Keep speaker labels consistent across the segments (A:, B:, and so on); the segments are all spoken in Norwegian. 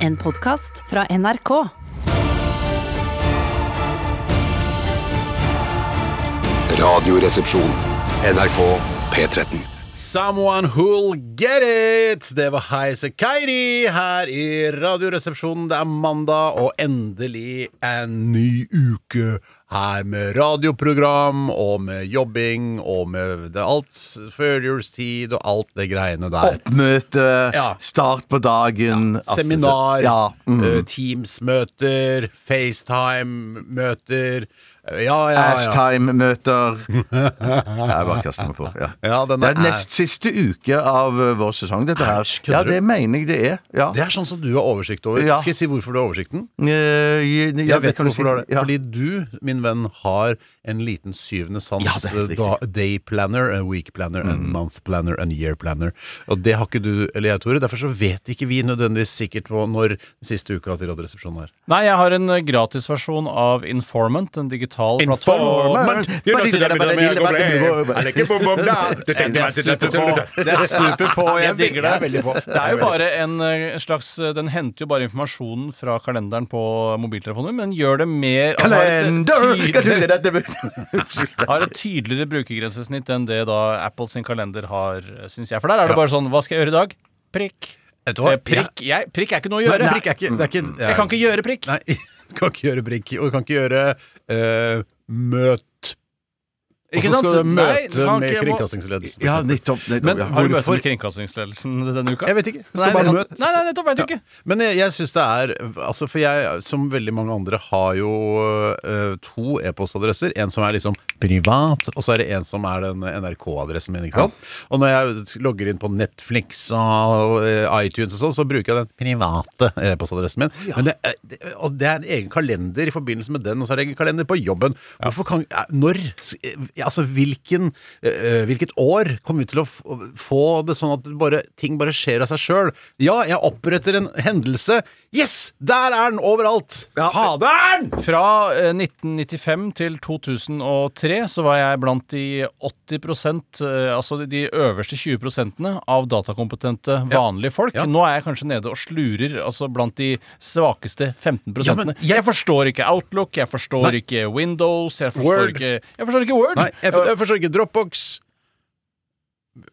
A: En podkast fra NRK.
B: Radioresepsjon. NRK P13.
C: Someone who'll get it! Det var Heise Kairi her i Radioresepsjonen. Det er mandag, og endelig en ny uke her med radioprogram og med jobbing og med det alt førjulstid og alt det greiene der.
D: Oppmøte,
C: Ja.
D: start på dagen altså,
C: Seminar,
D: ja, mm.
C: eh, Teams-møter, FaceTime-møter. Eh, Ja, ja, ja.
D: Ashtime-møter Jeg bare kaster meg på. Ja.
C: Ja, den
D: det er
C: er-
D: nest siste uke av ø, vår sesong, dette her.
C: Æsj, kødder
D: Ja,
C: du?
D: det mener jeg det er. Ja.
C: Det er sånn som du har oversikt over.
D: Ja.
C: Skal jeg si hvorfor du har oversikten?
D: Eh, jeg- jeg
C: Jeg
D: vet
C: vet
D: hva du
C: hvorfor du har det.
D: sier. Ja.
C: Fordi du, min venn, har en liten syvende sans.
D: Ja, det er helt
C: eh, da- day planner, a week planner, a
E: Mm.
C: month planner, a year planner. Og det har ikke du eller jeg, Tore. Derfor så vet ikke vi nødvendigvis sikkert på når siste uka til Radioresepsjonen er.
E: Nei, jeg har en eh, gratisversjon av Informant, en digital plattform.
D: Informant.
E: Det er super på, jeg
D: Jeg er
E: digger det.
D: veldig på.
E: Det er jo bare en eh, slags eh, Den henter jo bare informasjonen fra kalenderen på mobiltelefonen, men gjør det mer altså, har et
D: Kalender!
E: tydeligere-
D: Unnskyld.
E: har et tydeligere brukergrensesnitt enn det da Apple sin kalender har, syns jeg. For der er det bare sånn Hva skal jeg gjøre i dag? Prikk.
C: Vet du
E: Eh,
C: hva?
E: Prikk. Jeg, prikk er ikke noe å
C: Jeg,
E: gjøre.
C: nei, prikk er ikke, det er ikke
E: Jeg kan ikke gjøre prikk.
C: Nei, du kan ikke gjøre prikk. Og du kan ikke gjøre eh, møt. Og
E: Ikke
C: så
E: sant?
C: skal du
E: Nei, du
C: møte
E: kan
C: med
E: ikke-
C: kringkastingsledelsen.
D: Ja, nettopp.
C: Men-
D: nettopp ja.
E: Har du møte
C: Hvorfor?
E: med Kringkastingsledelsen denne uka?
C: Jeg vet ikke. Det
E: Nei,
C: står bare
E: nettopp-
C: møt.
E: Nei, nei, nettopp vet du ikke.
C: Men jeg, jeg syns det er altså For jeg, som veldig mange andre, har jo øh, to e-postadresser. En som er liksom privat, og så er det en som er den NRK-adressen min. ikke sant? Og når jeg logger inn på Netflix og øh, iTunes og sånn, så bruker jeg den private e-postadressen min. Men det, er- det, og det er en egen kalender i forbindelse med den, og så er det egen kalender på jobben. Hvorfor kan eh, Når? s- eh, Altså hvilken, eh, hvilket år kommer vi til å f- få det sånn at det bare, ting bare skjer av seg sjøl? Ja, jeg oppretter en hendelse. Yes! Der er den overalt! Faderen!
E: Fra eh, 1995 til 2003 så var jeg blant de 80 eh, altså de- de øverste 20 av datakompetente vanlige folk.
C: Ja.
E: Nå er jeg kanskje nede og slurer, altså blant de svakeste 15
C: Ja, men
E: jeg...
C: jeg-
E: forstår ikke Outlook, jeg forstår
C: Nei.
E: ikke Windows, jeg forstår
C: Word.
E: ikke Jeg forstår ikke Word!
C: Nei, jeg, for- jeg forstår ikke Dropbox.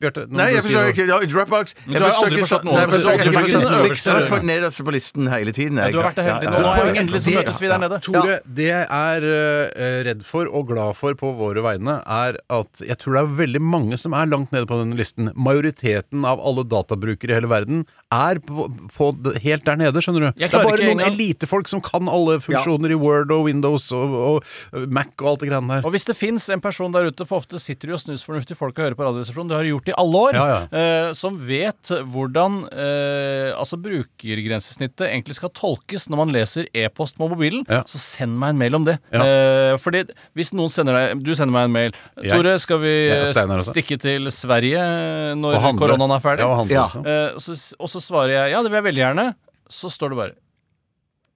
C: Bjarte, nå må
D: Nei,
C: du
D: jeg
C: si
D: forstår
C: noe.
D: ikke ja, Dropbox
E: Men du har aldri
D: ikke-
E: forstått noe.
D: Nei,
E: Du
D: jeg
E: har aldri
D: forstår ikke-
E: forstått den øverste.
D: Jeg har vært nederst på listen hele tiden. jeg.
E: du har vært der hele
D: Ja,
E: tiden.
D: ja,
E: Nå
D: ja.
E: er jeg endelig så
C: Det-
E: møtes vi der nede.
C: Tore, det jeg er eh, redd for og glad for på våre vegne, er at jeg tror det er veldig mange som er langt nede på den listen. Majoriteten av alle databrukere i hele verden er på, på, det- helt der nede, skjønner du. Det
E: Jeg
C: er
E: klarer
C: bare
E: ikke
C: noen
E: engang-
C: elitefolk som kan alle funksjoner i Word og Windows og, og Mac og alt det greiene der.
E: Og hvis det fins en person der ute, for ofte sitter det jo snusfornuftige folk og hører på Radioresepsjonen, det har de gjort i alle år,
C: Ja, ja.
E: eh, som vet hvordan eh, altså brukergrensesnittet egentlig skal tolkes når man leser e-post på mobilen,
C: Ja.
E: så send meg en mail om det.
C: Ja.
E: Eh, fordi hvis noen sender deg Du sender meg en mail. Tore, skal vi
C: Jeg er
E: eh,
C: Steinar også.
E: stikke til Sverige når
C: Og handle.
E: koronaen er ferdig?
C: Ja, og handle
D: Ja.
C: også.
E: Eh, så, og så svarer jeg ja, det vil jeg veldig gjerne. Så står det bare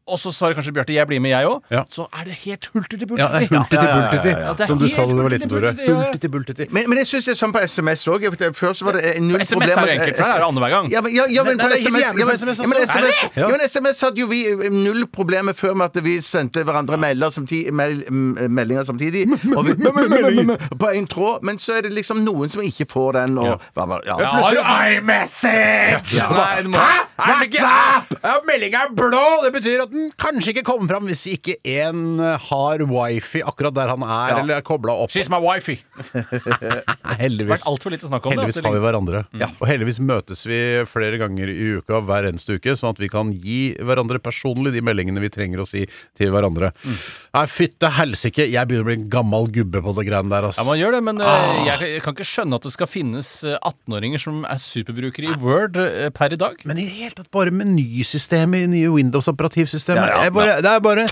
E: Og så svarer kanskje Bjarte jeg blir med, jeg òg.
C: Ja.
E: Så er det helt hulter til
C: Ja, det er hultiti bultiti,
E: Ja, det er
C: som du sa da
E: helt
C: du var liten, Tore.
E: hultiti, bultiti, ja.
C: Hultiti bultiti.
D: Men, men jeg syns det er sånn på SMS òg. Før så var det eh, null
E: SMS er jo enkelt, for det er det annenhver gang.
D: Ja, men, ja, ja, men
C: Nei,
D: på
C: det er helt
D: SMS,
C: jævlig
D: ja,
C: på
D: men,
C: SMS
D: ja, men,
C: også. Er det?
D: SMS, ja, men SMS hadde jo vi eh, null problemer før med at vi sendte hverandre melder samti- mel- m- meldinger samtidig. Og vi, på én tråd. Men så er det liksom noen som ikke får den. Og, bare- bare- ja.
E: Ja,
C: Plutselig-
E: har jo iMessage! Nei, du må- Nei, du må-
C: Ja, meldinga er blå! Det betyr at den kanskje ikke kommer fram hvis ikke en eh, har wifi akkurat der han er, eller er kobla opp.
E: She's my wifey. Det
C: Nei,
E: har
C: heldigvis.
E: vært altfor lite snakk om
C: Heldigvis
E: det. Mm.
C: har vi
E: at det-
C: hverandre. Og heldigvis møtes vi flere ganger i uka hver eneste uke, sånn at vi kan gi hverandre personlig de meldingene vi trenger å si til hverandre.
E: Mm.
C: Nei, fytte helsike, jeg begynner å bli en gammel gubbe på det greiene der, ass.
E: Ja, man gjør det, men eh, jeg, jeg kan ikke skjønne at det skal finnes eh, 18-åringer som er superbrukere i Word eh, per i dag.
C: Men i det hele tatt bare menysystemet i nye Windows-operativsystemet
D: Ja, ja,
C: jeg bare, Det er bare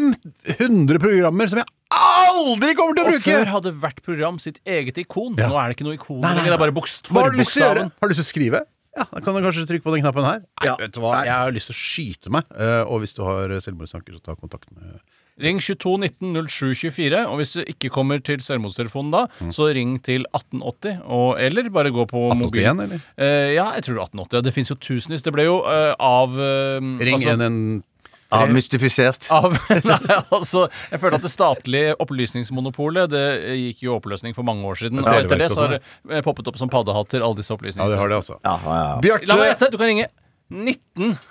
C: 500 programmer som jeg aldri kommer til å
E: Og
C: bruke!
E: før hadde hvert program sitt eget ikon.
C: Ja.
E: Nå er det ikke noe ikon
C: Nei, nei,
E: lenger. Det er bare bokst
C: Hva har du lyst til å gjøre?
E: forbokstaven.
C: Har du lyst til å skrive? Ja, da kan du kanskje trykke på den knappen her. Nei,
D: Ja.
C: vet du hva, jeg har lyst til å skyte meg. Eh, og hvis du har selvmordstanker, så ta kontakt med
E: Ring 2219-0724, og hvis du ikke kommer til selvmordstelefonen da,
C: Mm.
E: så ring til 1880, og, eller bare gå på mobilen.
C: 1881, eller?
E: Eh, ja, jeg tror 1880. Ja. Det fins jo tusenvis. Det ble jo eh, av eh,
C: Ring
E: altså-
C: 112.
D: Avmystifisert.
E: Av, nei, altså, jeg føler at det statlige opplysningsmonopolet Det gikk jo i oppløsning for mange år siden. Og
C: Televerket
E: etter det så
C: og
E: har det eh, poppet opp som paddehatter, alle disse
C: Ja, de har
E: opplysningstjenestene.
C: det, altså.
D: Ja, ja, ja.
C: Bjarte!
E: La meg gjette, du kan ringe 1981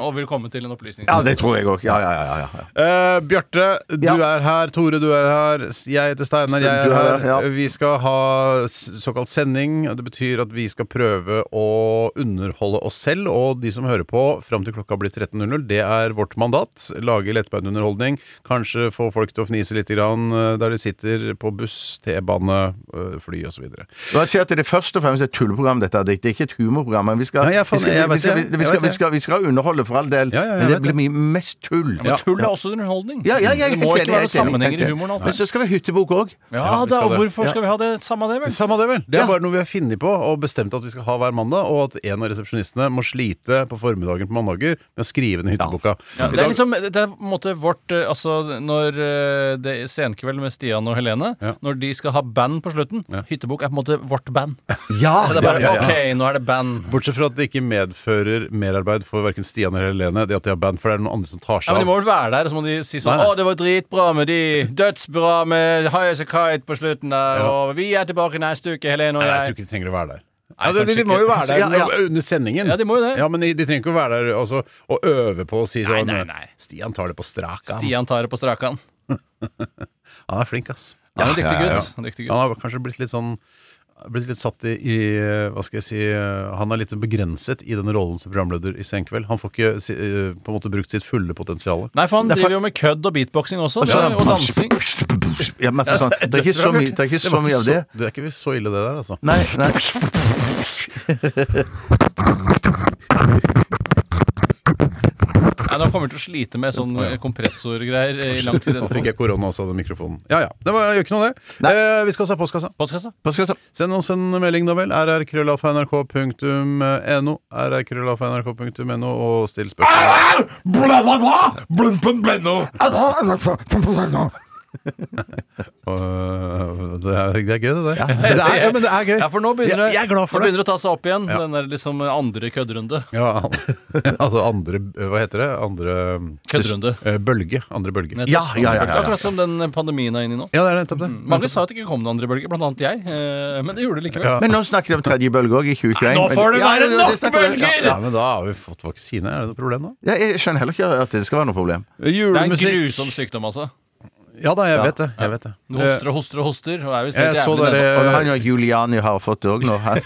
E: og vil komme til en opplysning.
D: ja, det tror jeg òg. Ja, ja, ja, ja, ja.
C: Eh, Bjarte, du
D: Ja.
C: er her. Tore, du er her. Jeg heter Steinar, jeg
D: Du
C: er her.
D: er her, ja.
C: Vi skal ha s- såkalt sending. Det betyr at vi skal prøve å underholde oss selv og de som hører på fram til klokka blir 13.00. Det er vårt mandat. Lage lettbeint underholdning. Kanskje få folk til å fnise litt grann eh, der de sitter på buss, T-bane, eh, fly osv.
D: La oss si at det først og fremst er et tulleprogram, dette. her. Det er ikke et humorprogram. Men vi skal,
C: Nei, jeg er fan-
D: vi skal,
C: jeg vet
D: vi skal,
C: det,
D: vi
C: jeg vet
D: skal, vi skal, vi
C: det.
D: skal, vi skal underholde for all del,
C: Ja, ja, jeg
D: men det
C: vet
D: blir
C: det.
D: mye mest tull.
E: Men
C: Ja.
E: tull er også underholdning.
D: Ja, ja, jeg er
E: det må
D: helt enig,
E: ikke være
D: helt enig,
E: sammenhenger
D: helt
E: i
D: enig.
E: humoren
D: Men
E: alltid.
D: så skal vi ha hyttebok òg.
E: Ja,
C: Ja, vi
E: da,
C: skal det.
E: hvorfor skal vi ha det? Samme det, vel?
C: Samme det, vel. Det er
D: Ja.
C: bare noe vi har funnet på og bestemt at vi skal ha hver mandag, og at en av resepsjonistene må slite på formiddagen på mandager med å skrive ned hytteboka.
E: Ja,
C: I
E: det er
C: dag-
E: liksom det er på en måte vårt eh, Altså når eh, det er senkveld med Stian og Helene,
C: Ja.
E: når de skal ha band på slutten
C: Ja.
E: Hyttebok er på en måte vårt band.
D: Ja,
E: Det er bare,
C: ja, ja.
E: Ok, nå er det band.
C: Bortsett fra at det ikke medfører merarbeid for verken Stian eller Helene. Det at de har band, for det er noen andre som tar seg
E: Ja, men De må
C: av.
E: vel være der, og så må de si
C: Nei,
E: sånn
C: nei.
E: Å, det var dritbra med de. Dødsbra med High As A Kite på slutten der.
C: Ja.
E: Og vi er tilbake neste uke, Helene og
C: Nei, jeg
E: jeg.
C: tror ikke de trenger å være der.
E: Nei,
C: ja, de,
E: kanskje
C: de må jo
E: ikke.
C: være der
D: Ja, ja.
C: under sendingen.
E: Ja, de må jo det.
C: Ja, Men de, de trenger ikke å være der altså, og øve på å si
E: Nei,
C: sånn
E: nei, nei.
C: Stian tar det på strak arm.
E: Stian tar det på strake hånd.
C: Han er flink, ass.
E: Han er en dyktig
C: Ja, ja, ja.
E: gutt. Han er en dyktig gutt.
C: Han har kanskje blitt litt sånn blitt litt satt i, i Hva skal jeg si eh, Han er litt begrenset i denne rollen som programleder i Senkveld. Han får ikke si, eh, på en måte brukt sitt fulle potensial.
E: Nei, for han
D: Derfor-
E: driver jo med kødd og beatboxing også.
D: Og så er
E: og dansing.
D: Ja, masse sånn. Det er ikke så mye, det er ikke
C: Det
D: så
C: var
D: mye
C: ikke
D: av
C: så,
D: det.
C: det er ikke så ille, det der, altså.
D: Nei, nei.
E: Nei, nå kommer vi til å slite med sånn eh, kompressorgreier eh, i lang tid
C: Nå
E: etterpå.
C: fikk jeg korona også av den mikrofonen. Ja ja, det var, gjør ikke noe det. Eh, vi skal også ha postkassa.
E: Postkassa?
D: Hva skal jeg ta?
C: Send oss en melding, da vel. rrkrøllalfa.nrk.no. rrkrøllalfa.nrk.no, og still spørsmål. Øh, Det er, det er gøy, det der. Men det er, ja, men det er gøy.
E: Ja, for nå begynner,
C: jeg, jeg er glad for det.
E: nå begynner det å ta seg opp igjen, den der liksom andre køddrunde.
C: Ja, an- altså andre Hva heter det? Andre
E: Køddrunde.
C: eh, bølge. Andre bølge.
E: Nettopp.
D: Ja, ja, ja, ja, ja.
E: Akkurat som den pandemien er inne i nå.
C: Ja, det er nettopp det.
E: Mange sa at det ikke kom noen andre bølger, blant annet jeg. eh, Men det gjorde det likevel.
C: Ja.
D: Men nå snakker de om tredje bølge òg, i 2021.
E: Nå får det
D: Ja,
E: være
D: ja, ja,
E: nok
D: det snakker vi-
E: bølger!
D: Ja,
C: Ja, men da har vi fått vaksine. Er det noe problem da?
D: ja. Ja, jeg skjønner heller ikke at det skal være noe problem.
E: Det er en
C: Julemusikk.
E: grusom sykdom, altså.
C: Ja da, jeg vet det. Jeg vet det. Eh,
E: Du hoster og hoster og hoster. Og er visst
C: Jeg
E: helt
C: så
E: jævlig
C: dere
E: nede.
D: Og det har jo Giuliani har fått det òg nå. Han-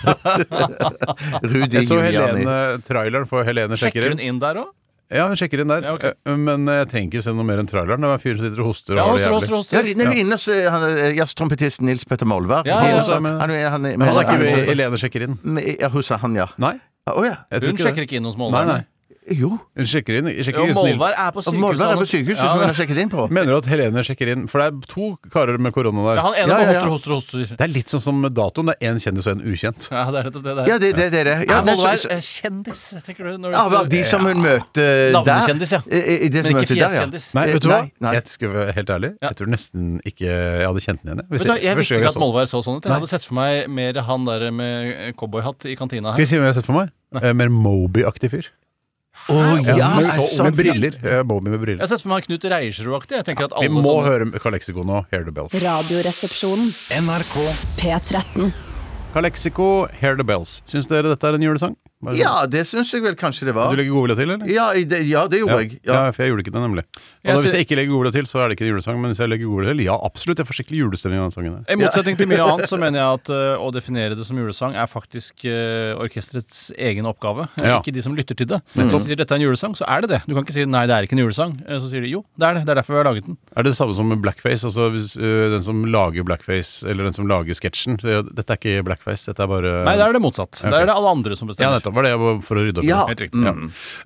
D: Rudi
C: Jeg så
D: Giuliani.
C: Helene, eh, traileren for Helene sjekker
E: Sjekker
C: inn.
E: hun inn der òg?
C: Ja, hun sjekker inn der.
E: Ja, ok.
C: Eh, Men jeg trenger ikke se noe mer enn traileren. Det er en fyr som sitter og hoster.
E: Ja,
C: og har det
E: hoster,
C: jævlig.
E: hoster,
D: Ja,
E: hoster.
D: de- nei, inne så er han, eh, jazztrompetisten Nils Petter Molvær.
E: Ja, ja,
D: Han er
E: ja.
D: også- han er- han er-
C: Han er ikke med i
D: han er-
C: Helene sjekker inn.
D: med- Ja, hos han, ja. Ah,
C: Nei.
D: Å ja.
C: Jeg tror
E: Hun
C: ikke det.
E: sjekker ikke inn hos
C: Nei, nei.
E: Molvær.
D: Jo.
C: Hun sjekker inn. Sjekker
E: Jo,
C: inn snill.
E: Molvær er på
D: Og
E: sykehuset.
D: Molvær er
E: han-
D: på sykehuset,
E: Ja,
D: som hun har sjekket inn på.
C: Mener du at Helene sjekker inn? For det er to karer med korona
E: ja,
C: der.
E: han ene
D: Ja,
E: bare
D: ja, ja.
E: hoster og hoster og hoster.
C: Det er litt sånn som med datoen. Det er én kjendis og én ukjent.
E: Ja, det er nettopp det det
D: Ja,
E: er.
D: det det- det er det. Ja,
E: Er
D: nei, så-
E: Molvær
D: så-
E: eh, kjendis, tenker du? Når du
D: Av av de som hun møter eh, der.
E: Navnekjendis, ja.
D: I, i- i det
E: Men
D: som
E: ikke
D: møter der, ja.
E: fjeskjendis.
C: Nei,
D: Eh,
C: vet du hva?
D: nei, nei.
C: Jeg skal være helt ærlig.
E: Ja.
C: Jeg tror nesten ikke jeg hadde kjent den igjen. jeg. Hvis
E: Vet du, hva, jeg
C: første
E: visste
C: gang
E: ikke at
C: så-
E: Molvær så sånn ut. Jeg
C: Nei.
E: hadde sett for meg mer han der med cowboyhatt i kantina
C: Skal
E: her.
C: jeg si hvem jeg har sett for meg? Eh, mer Moby-aktig fyr.
D: Å Ah, ja,
C: Ja,
D: altså, er det
C: med,
D: sant?
C: med briller. Eh, Moby med
E: Jeg
C: briller.
E: har sett for meg Knut Reiersrud-aktig. Jeg tenker at
C: Vi
E: alle
C: må
E: sånne
C: høre Kalexiko nå. Hear the bells.
A: Radioresepsjonen. NRK. P13.
C: Kalexiko, Hear the bells. Syns dere dette er en julesang? Bare
D: Ja,
C: sånn.
D: det syns jeg vel kanskje det var.
C: Du legger godvilja til, eller?
D: Ja, i det, ja det gjorde jeg. Ja.
C: Ja, for jeg gjorde ikke det, nemlig. Og
E: Jeg
C: da, hvis
E: sy-
C: jeg ikke legger godvilja til, så er det ikke en julesang. Men hvis jeg legger godvilja til, ja, absolutt. Jeg får skikkelig julestemning av den sangen. her.
E: I motsetning til mye annet så mener jeg at eh, å definere det som julesang er faktisk eh, orkesterets egen oppgave, eh,
C: Ja.
E: ikke de som lytter til det. Hvis de sier dette er en julesang, så er det det. Du kan ikke si nei, det er ikke en julesang. Eh, Så sier de jo, det er det. Det er derfor vi har laget den.
C: Er det det samme som med blackface? Altså hvis, øh, den som lager blackface, eller den som lager sketsjen sier at Dette er ikke blackface, dette er bare
E: Nei, da er det motsatt. Da er det alle andre
C: Ja,
E: som bestemmer.
C: nettopp. Mm. Var det jeg var for å rydde opp. i.
D: Ja.
E: Helt riktig. Ja.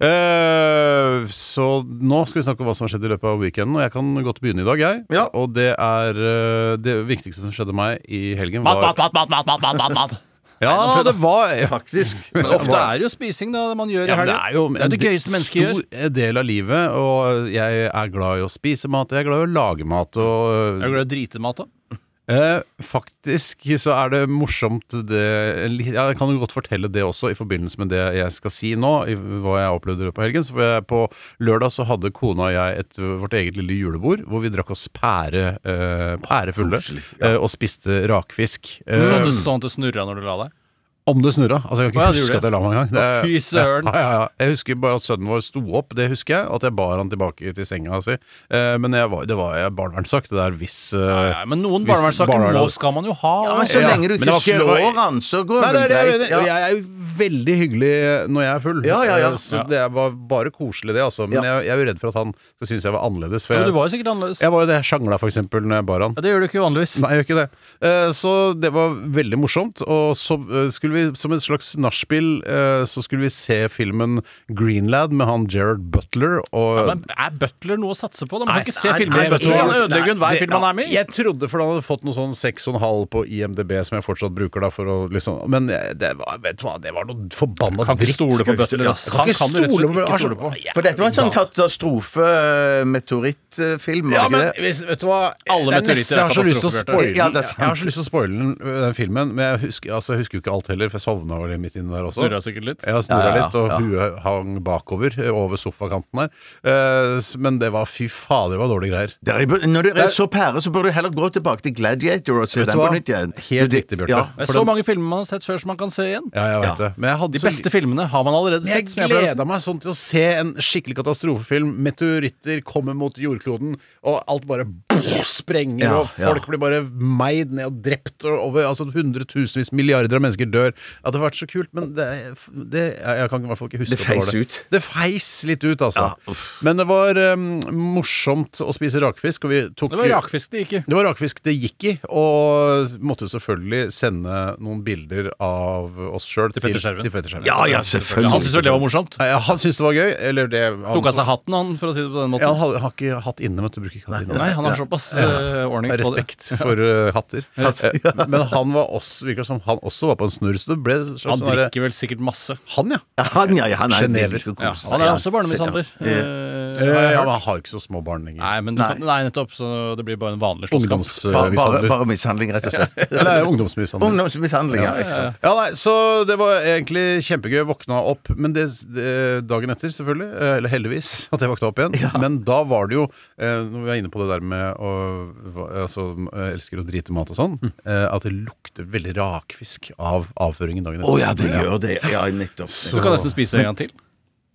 C: Eh, så nå skal vi snakke om hva som har skjedd i løpet av weekenden. Og jeg kan godt begynne i dag, jeg.
D: Ja.
C: Og det er eh, det viktigste som skjedde meg i helgen,
E: Mat,
C: var
E: mat, mat, mat, mat, mat, mat, mat, mat.
C: Ja, det var faktisk
E: Men ofte er det jo spising da man gjør i
C: ja, men
E: helgen.
C: det er jo
E: det er det gøyeste mennesket gjør.
C: stor del av livet, og jeg er glad i å spise mat, og jeg er glad i å lage mat, og
E: Er du glad i å drite mat, da?
C: Eh, faktisk så er det morsomt det en li- ja, Jeg kan jo godt fortelle det også i forbindelse med det jeg skal si nå, i, hva jeg opplevde i løpet av helgen. Så for jeg, på lørdag så hadde kona og jeg et, vårt eget lille julebord hvor vi drakk oss pære, eh, pærefulle eh, og spiste rakfisk. Eh,
E: Sånn at du, sånn at du snurra når du la deg?
C: om det snurra. Altså, jeg kan
E: Å, ja,
C: ikke
E: det
C: huske
E: gjorde
C: at jeg la meg engang.
E: Å, fy søren.
C: Ja, ja, ja. Jeg husker bare at sønnen vår sto opp, det husker jeg. At jeg bar han tilbake til senga si. Eh, men jeg var, det var jeg barnevernssak, det der hvis eh,
E: Nei, men noen
C: hvis
E: barnevernssaker
C: barnevernet-
E: må skal man jo ha. altså.
D: Ja, men så
C: Ja,
D: lenge du
C: men det
D: ikke
C: var ikke-
D: slår han, så går
C: Nei,
D: det
C: nei,
D: vel
C: nei, jeg,
D: greit.
C: mener, jeg er jo veldig hyggelig når jeg er full.
D: Ja, ja, ja.
C: Eh, Så det var bare koselig, det, altså. Men jeg, jeg er jo redd for at han skal synes jeg var annerledes. For
E: Ja,
C: jeg,
E: du var jo sikkert annerledes.
C: jeg var jo det jeg sjangla, for eksempel, når jeg bar han.
E: Ja, det gjør du ikke vanligvis.
C: Nei, jeg gjør ikke det. Eh, Så det var veldig morsomt. Og så eh, skulle vi, som et slags nachspiel, eh, så skulle vi se filmen Greenlad med han Gerard Butler og
E: Men er Butler noe å satse på? da? Man
C: Nei,
E: kan ikke se
C: nei,
E: filmer
C: nei,
E: med Butler.
C: nei,
E: Han ødelegger jo enhver
C: det-
E: film han er med i.
C: Jeg trodde fordi han hadde fått noe sånn 6,5 på IMDb, som jeg fortsatt bruker da for å liksom Men eh, det var, vet du hva, det var noe forbanna
E: Kan ikke
C: dritt.
E: stole på Butler. ass. Han kan du
C: på-
E: rett og slett ikke stole på.
D: altså, For dette var en sånn katastrofe-meteorittfilm,
C: Ja,
D: var det
C: men
D: ikke det?
C: hvis, vet du hva
E: Alle
C: Det er nesten-
E: meteoritter er
C: Jeg har så lyst til å
E: katastrofeverte.
C: spoile
D: Ja,
C: den.
D: det er
C: Jeg
D: sant.
C: har så lyst til å spoile den, den filmen, men jeg husker, altså, jeg husker jo ikke alt heller, for jeg sovna vel midt inni der også.
E: Snurra sikkert litt.
C: Jeg snurra
D: Ja, ja,
C: litt, og huet hang bakover eh, over sofakanten der. Eh, s- Men det var fy fader, det var dårlige greier.
D: Der er bu- Når du er så pære, så bør du heller gå tilbake til Gladiator og se
C: Vet
D: den
C: du
D: på
C: hva?
D: nytt igjen.
C: Helt
D: Du-
C: riktig, Bjørte.
D: Ja.
E: Det er
C: For
E: så
C: den-
E: mange filmer man har sett før som man kan se igjen.
C: Ja, jeg vet
D: Ja.
C: det. Men jeg hadde
E: De
C: så-
E: beste filmene har man allerede
C: Jeg
E: sett. som jeg pleier å si.
C: gleda meg sånn til å se en skikkelig katastrofefilm. Meteoritter kommer mot jordkloden, og alt bare sprenger,
D: Ja,
C: og folk
D: ja.
C: blir bare meid ned og drept, og over altså, hundretusenvis, milliarder av mennesker dør. Ja, det hadde vært så kult, men det, det jeg, jeg kan i hvert fall ikke huske
D: Det
C: at
D: feis
C: var
D: ut.
C: Det feis litt ut, altså.
D: Ja, uff.
C: men det var em, morsomt å spise rakfisk, og vi tok
E: Det var rakfisk det gikk i.
C: det var rakfisk det gikk i, og måtte jo selvfølgelig sende noen bilder av oss sjøl til
E: Petter Skjerven.
C: Til Petter Skjerven.
D: Ah, Ja, ja,
E: Han
D: selvfølgelig.
E: syntes vel det var morsomt.
C: Nei, Han syntes det var gøy. Eller det han,
E: Tok av seg hatten, han, for å si det på den
C: ja, han
E: måten.
C: har, har ikke hatt inne, vet du. Bruker ikke hatt inne.
E: Nei, han har såpass eh, ordnings på det.
C: Respekt for eh, hatter. Eh, Men han var også, virker som han også var på en snurr, så det ble et slags
E: Han
C: sånn derre-
E: drikker vel sikkert masse.
C: Han, ja.
D: Ja, Han, ja, ja, han er
C: Genever.
D: veldig god.
E: Ja, han er også barnemishandler.
D: Ja. Ja.
E: Eh,
C: Eh,
E: har jeg
C: ja,
E: hørt.
C: men han har jo ikke så små barn lenger.
E: Nei, men du kan, nei, nettopp. Så det blir bare en vanlig slåsskamp.
D: Bare, bare,
C: Ungdomsmishandler.
D: bare mishandling, rett og slett.
C: Eller ungdomsmishandler.
D: Ungdomsmishandling, ja. ikke sant.
C: Ja, nei, Så det var egentlig kjempegøy. Våkna opp, men det, det dagen etter, selvfølgelig. eh, Eller heldigvis at jeg våkna opp igjen. Men da var det jo eh, Når vi er inne på det der med å hva- altså, jeg elsker å drite i mat og sånn,
D: Mm.
C: eh, at det lukter veldig rakfisk av avføringen dagen
D: Å
C: etter.
D: ja, det gjør det. Ja, nettopp.
E: Du kan nesten spise en gang til.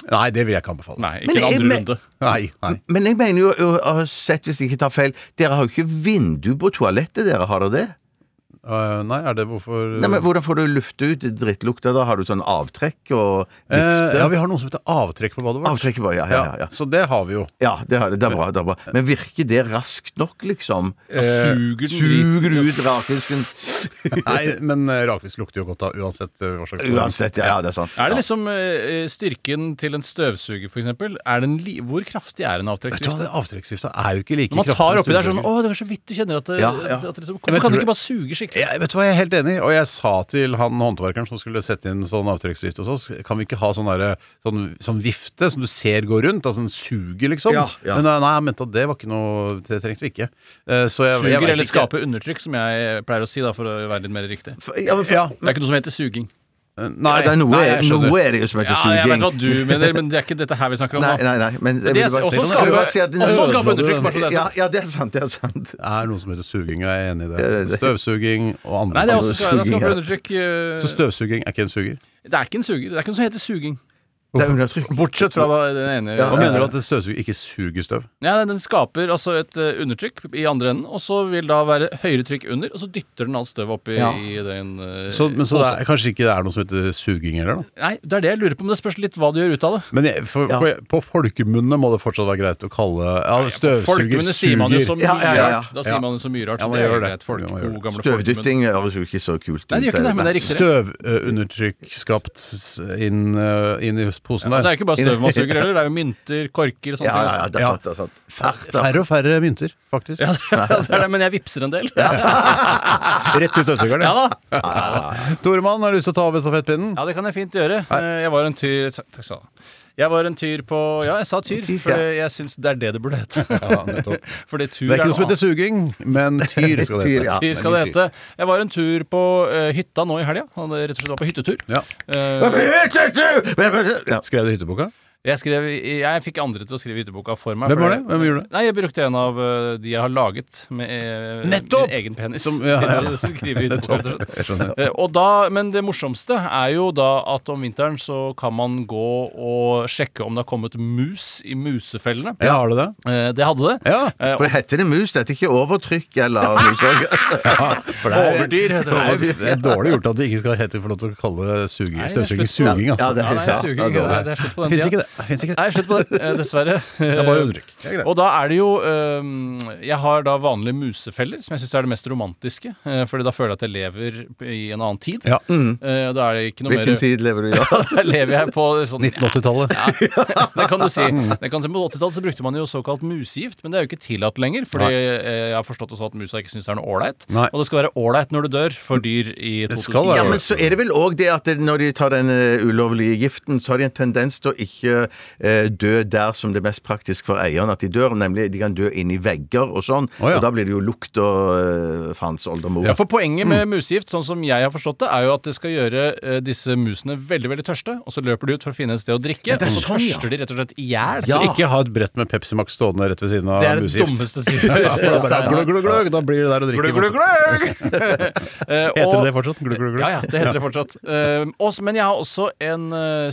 C: Nei, det vil jeg ikke anbefale.
E: Nei,
D: Men
E: ikke en
D: jeg-
E: andre
D: men-
E: runde.
C: Nei, nei.
D: Men jeg mener jo, å- å ha sett hvis jeg ikke tar feil, dere har jo ikke vindu på toalettet, dere har dere det?
C: Eh, nei, er det hvorfor
D: Nei, men Hvordan får du lufte ut drittlukta? Da har du sånn avtrekk og
C: Eh, ja,
D: vifte?
C: vi har noe som heter avtrekk på badet vårt.
D: Avtrekk bare, ja, ja, ja, ja.
C: Så det har vi jo.
D: Ja, det, har, det, det, er bra, det er bra. Men virker det raskt nok, liksom?
E: Eh, Suger den
D: Suger du ut rakfisken
C: Nei, men eh, rakfisk lukter jo godt av uansett eh, hva slags
D: uansett? Ja, ja, det er sant.
E: Er det liksom eh, styrken til en støvsuger, for eksempel? Er den li hvor kraftig er en
C: Vet du hva,
E: avtrekksvifte?
C: det Avtrekksvifta er jo ikke like
E: Når man tar oppi der sånn
C: støvsuger.
E: Å, det er så vidt du kjenner at det,
D: Ja, ja.
E: At det liksom,
C: Men
E: Hvorfor kan
C: tror
E: du ikke
C: du-
E: bare suge skikkelig?
C: Jeg, vet du hva, jeg er helt enig, og jeg sa til han håndverkeren som skulle sette inn sånn avtrekksvift hos oss, kan vi ikke ha sånn, derre- sånn, sånn vifte som du ser går rundt, altså en suger liksom?
D: Ja, ja.
C: Men nei, nei, jeg mente at det var ikke noe, det trengte vi ikke. Eh, Så jeg, jeg
E: Suger
C: vet
E: eller
C: ikke.
E: skaper undertrykk, som jeg eh, pleier å si, da, for å være litt mer riktig.
D: For- Ja, men for,
C: Ja.
E: Det er ikke noe som heter suging.
C: Eh,
D: ja,
C: Nei,
D: det er noe,
C: nei, jeg skjønner.
D: noe er det jo som heter
E: Ja, jeg vet
D: suging.
E: hva du mener, men det er ikke dette her vi snakker om
D: Nei,
E: nå.
D: nei, nei. Men jeg
E: Det
D: ville bare
E: er
D: si-
E: også
D: jeg ville bare
E: skape,
D: si at-
E: også skape undertrykk, bare så det er
D: Ja,
E: sagt.
D: ja, det er sant. Det er sant.
C: Det er noe som heter suging, og jeg er enig i
D: Det-
C: det.
D: det-
C: Støvsuging og andre.
E: Nei, det er også
D: Suging,
E: det er skape
D: ja.
E: undertrykk. eh,
C: Så støvsuging er ikke en suger?
E: Det er ikke en suger. Det er ikke noe som heter suging.
D: Det er undertrykk.
E: Bortsett fra da, den ene.
D: Ja,
C: Hva
D: ja.
C: mener du at en støvsuger ikke suger støv?
E: Ja, nei, Den skaper altså et eh, undertrykk i andre enden, og så vil da være høyere trykk under, og så dytter den alt støvet oppi
D: Ja.
E: i den eh,
C: Så, men så det
E: posen.
C: er, kanskje ikke det er noe som heter suging heller, da?
E: Nei, det er det jeg lurer på, men det spørs litt hva du gjør ut av det.
C: Men jeg, for,
D: Ja.
C: for, på folkemunne må det fortsatt være greit å kalle ja, støvsuger
E: Folkemunne sier man jo så mye
D: Ja, ja, ja, ja.
E: rart. Da sier
C: Ja.
E: man jo så mye rart,
C: Ja,
E: så
C: man
E: det
C: gjør
E: er jo
C: det.
E: greit. Folk,
C: Ja, man gjør
E: gode,
C: det.
E: gamle folkemunne.
D: Støvdytting høres jo ikke så kult ut.
E: Nei, det gjør ikke det, men det er riktig.
C: Støvundertrykk skapt s- inn, eh, inn i plastposen
E: Og så er
C: der.
E: det ikke bare støvmassugere heller. Det er jo mynter, korker og sånne
D: Ja, ja, ja,
E: ting.
D: det er sant. det er sant Farta.
C: Færre og færre mynter, faktisk.
E: også. det er det, men jeg vippser en del. Ja,
C: Rett til støvsugeren. Ja.
E: da.
C: Toremann, har du lyst til å ta over stafettpinnen?
E: Ja, det kan jeg fint gjøre. Eh, Jeg var en tyr Takk skal du ha. Jeg var en tyr på Ja, jeg sa tyr,
D: Tyr,
E: for
D: ja.
E: jeg syns det er det det burde hete.
C: nettopp.
E: Fordi tur
C: Det er ikke noe
E: noe
C: som heter
E: annet.
C: suging, men tyr skal det
D: Tyr,
C: hete.
D: ja.
E: Tyr skal det hete. Jeg var en tur på eh, hytta nå i helga. Han eh, rett og slett var på hyttetur.
C: Ja.
E: Eh,
D: Ja.
C: Skrev du hytteboka?
E: jeg, skrev, jeg fikk andre til å skrive hytteboka for meg.
C: Hvem
E: for
C: var det? Hvem gjorde det?
E: Nei, Jeg brukte en av eh, de jeg har laget med eh,
C: Nettopp!
E: min egen penis.
C: Som- ja, ja.
E: Til å skrive hyttebok, rett og slett.
C: Jeg skjønner.
E: Eh, Og da, men det morsomste er jo da at om vinteren så kan man gå og sjekke om det har kommet mus i musefellene.
C: Ja, har du det?
E: Eh, Det hadde det.
C: Ja.
E: Eh,
D: For heter det mus? Dette er ikke overtrykk eller noe sånt?
E: og Overdyr heter
C: Det er,
E: det.
C: jo- det er dårlig gjort at vi ikke skal helt få lov til å kalle suge-
E: Nei, det er
C: støvsuging
E: slutt.
C: suging. Altså.
D: Ja, det
E: Ja,
D: er-
E: nei, jeg suger
D: ja,
E: ikke.
D: det er
E: Nei,
D: det.
E: det er slutt på den
C: Fins ikke
E: tida.
C: det. Finnes ikke det.
E: Nei, slutt på det, eh, dessverre.
C: Det er bare undertrykk. Det er greit.
E: Og da er det jo eh, Jeg har da vanlige musefeller, som jeg syns er det mest romantiske. eh, Fordi da føler jeg at jeg lever i en annen tid.
C: Ja. Mm.
E: Eh, Da er det ikke noe
D: Hvilken
E: mer
D: tid lever du i? Ja.
E: Da lever jeg på sånn
C: 1980-tallet.
E: Det kan du si.
C: Mm.
E: Det kan, du si. på 80-tallet så brukte man jo såkalt musegift, men det er jo ikke tillatt lenger. Fordi eh, jeg har forstått det sånn at musa ikke syns det er noe ålreit.
C: Nei.
E: Og det skal være ålreit når du dør for dyr i
C: Det
E: 2000.
C: skal være
D: Ja, men så er det vel òg det at når de tar den eh, ulovlige giften, så har de en tendens til å ikke eh, dø der som det er mest praktisk for eieren at de dør, nemlig de kan dø inni vegger og sånn,
C: Å, ja.
D: og da blir det jo lukt og eh, faens oldemor.
E: Ja, for Poenget med
C: mm.
E: musegift sånn som jeg har forstått det, er jo at det skal gjøre eh, disse musene veldig veldig tørste. Og så løper de ut for å finne et sted å drikke, og så
D: sånn, ja.
E: tørster de rett og slett i hjel.
C: Så ikke ha et brett med Pepsi Max stående rett ved siden av
E: Det er det
C: musegift.
E: dummeste du gjør.
C: Ja, det er bare gløgg, gløgg, gløgg, Da blir det der å drikke.
E: Glugg, glugg,
C: masse.
E: glugg! Eh,
C: Heter
E: og-
C: det det fortsatt? Gløgg, gløgg, gløgg?
E: Ja, ja, det heter det fortsatt. Eh, også, men jeg har også en eh,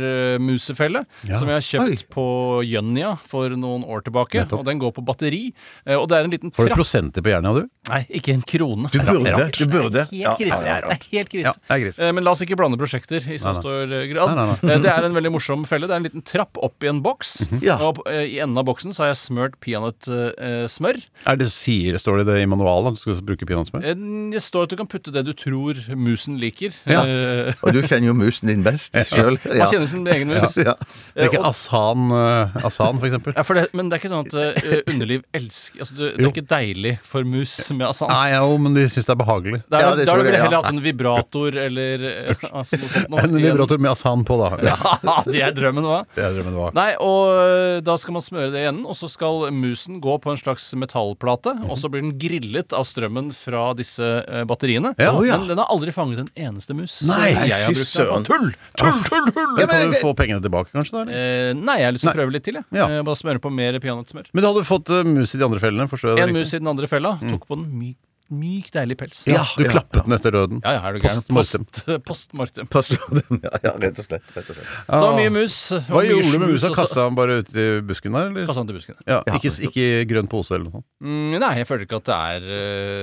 E: supermusefelle
C: Ja.
E: som jeg har kjøpt på Jønnia for noen år tilbake.
C: Nettopp.
E: Og den går på batteri. Eh, og det er en liten
C: Får du
E: trapp
C: prosenter på hjernen, ja, du?
E: Nei, ikke en krone.
D: Du burde. Du burde.
E: Helt krise.
D: Ja, ja, ja.
E: Det er helt krise.
C: Ja, det er krise.
E: Eh, Men la oss ikke blande prosjekter i så
C: Nei, nei.
E: stor eh, grad.
C: Nei, Mhm. nei,
E: Eh, Det er en veldig morsom felle. Det er en liten trapp opp i en boks.
D: Ja.
E: Og på- eh, i enden av boksen så har jeg eh, smørt peanøttsmør.
C: Er det sier, Står det det i manualen at du skal bruke peanøttsmør?
E: Eh, Det står at du kan putte det du tror musen liker.
C: Ja.
E: Eh,
D: Og du kjenner jo musen din best sjøl.
E: Man kjenner sin egen mus.
D: Ja.
C: Det er ikke Asan, uh, Asan for eksempel?
E: Ja, for det, men det er ikke sånn at eh, underliv elsker altså, det, det
C: Jo.
E: er ikke deilig for mus med asan.
C: Nei, jo, men de syns det er behagelig.
E: Da
D: Ja,
E: har
D: det
E: da
D: tror
E: ville
D: jeg,
E: jeg
D: ja.
E: heller hatt en vibrator eller eh, altså, noe sånt. noe.
C: En vibrator med Asan på, da. Ja.
E: Ja, det er drømmen, hva?
C: Det er drømmen det var.
E: Nei, og eh, da skal man smøre det i enden, og så skal musen gå på en slags metallplate, og så blir den grillet av strømmen fra disse eh, batteriene.
C: Ja. Å, ja.
E: Men den har aldri fanget en eneste mus.
C: Nei,
E: som jeg har
D: fy
E: brukt den.
D: søren.
E: Tull! Tull, tull, tull!
C: Men kan du få pengene tilbake, kanskje? da? eller?
E: Eh, nei, jeg har lyst til å
C: Nei.
E: prøve litt til, jeg.
C: Ja.
E: Eh, bare smøre på mer peanøttsmør.
C: Men du hadde fått eh, mus i de andre fellene? Forstår jeg det
E: En
C: riktig? Mm.
E: mus i den andre fella tok på den myk, myk deilig pels.
C: Ja, du klappet den etter døden.
E: Ja, ja, er du gæren?
C: Post mortem.
E: Post- eh, postmortem.
D: Pass på den. Ja, ja, rett og slett. Rett og slett.
E: Så mye mus. og
C: Ah. Hva
E: mye
C: gjorde du med
E: snus
C: musa?
E: også.
C: Kasta han bare ut i busken der, eller?
E: Kassa den til buskene.
C: Ja, ikke, ikke i grønn pose eller noe sånt?
E: Mm, nei, jeg føler ikke at det, er,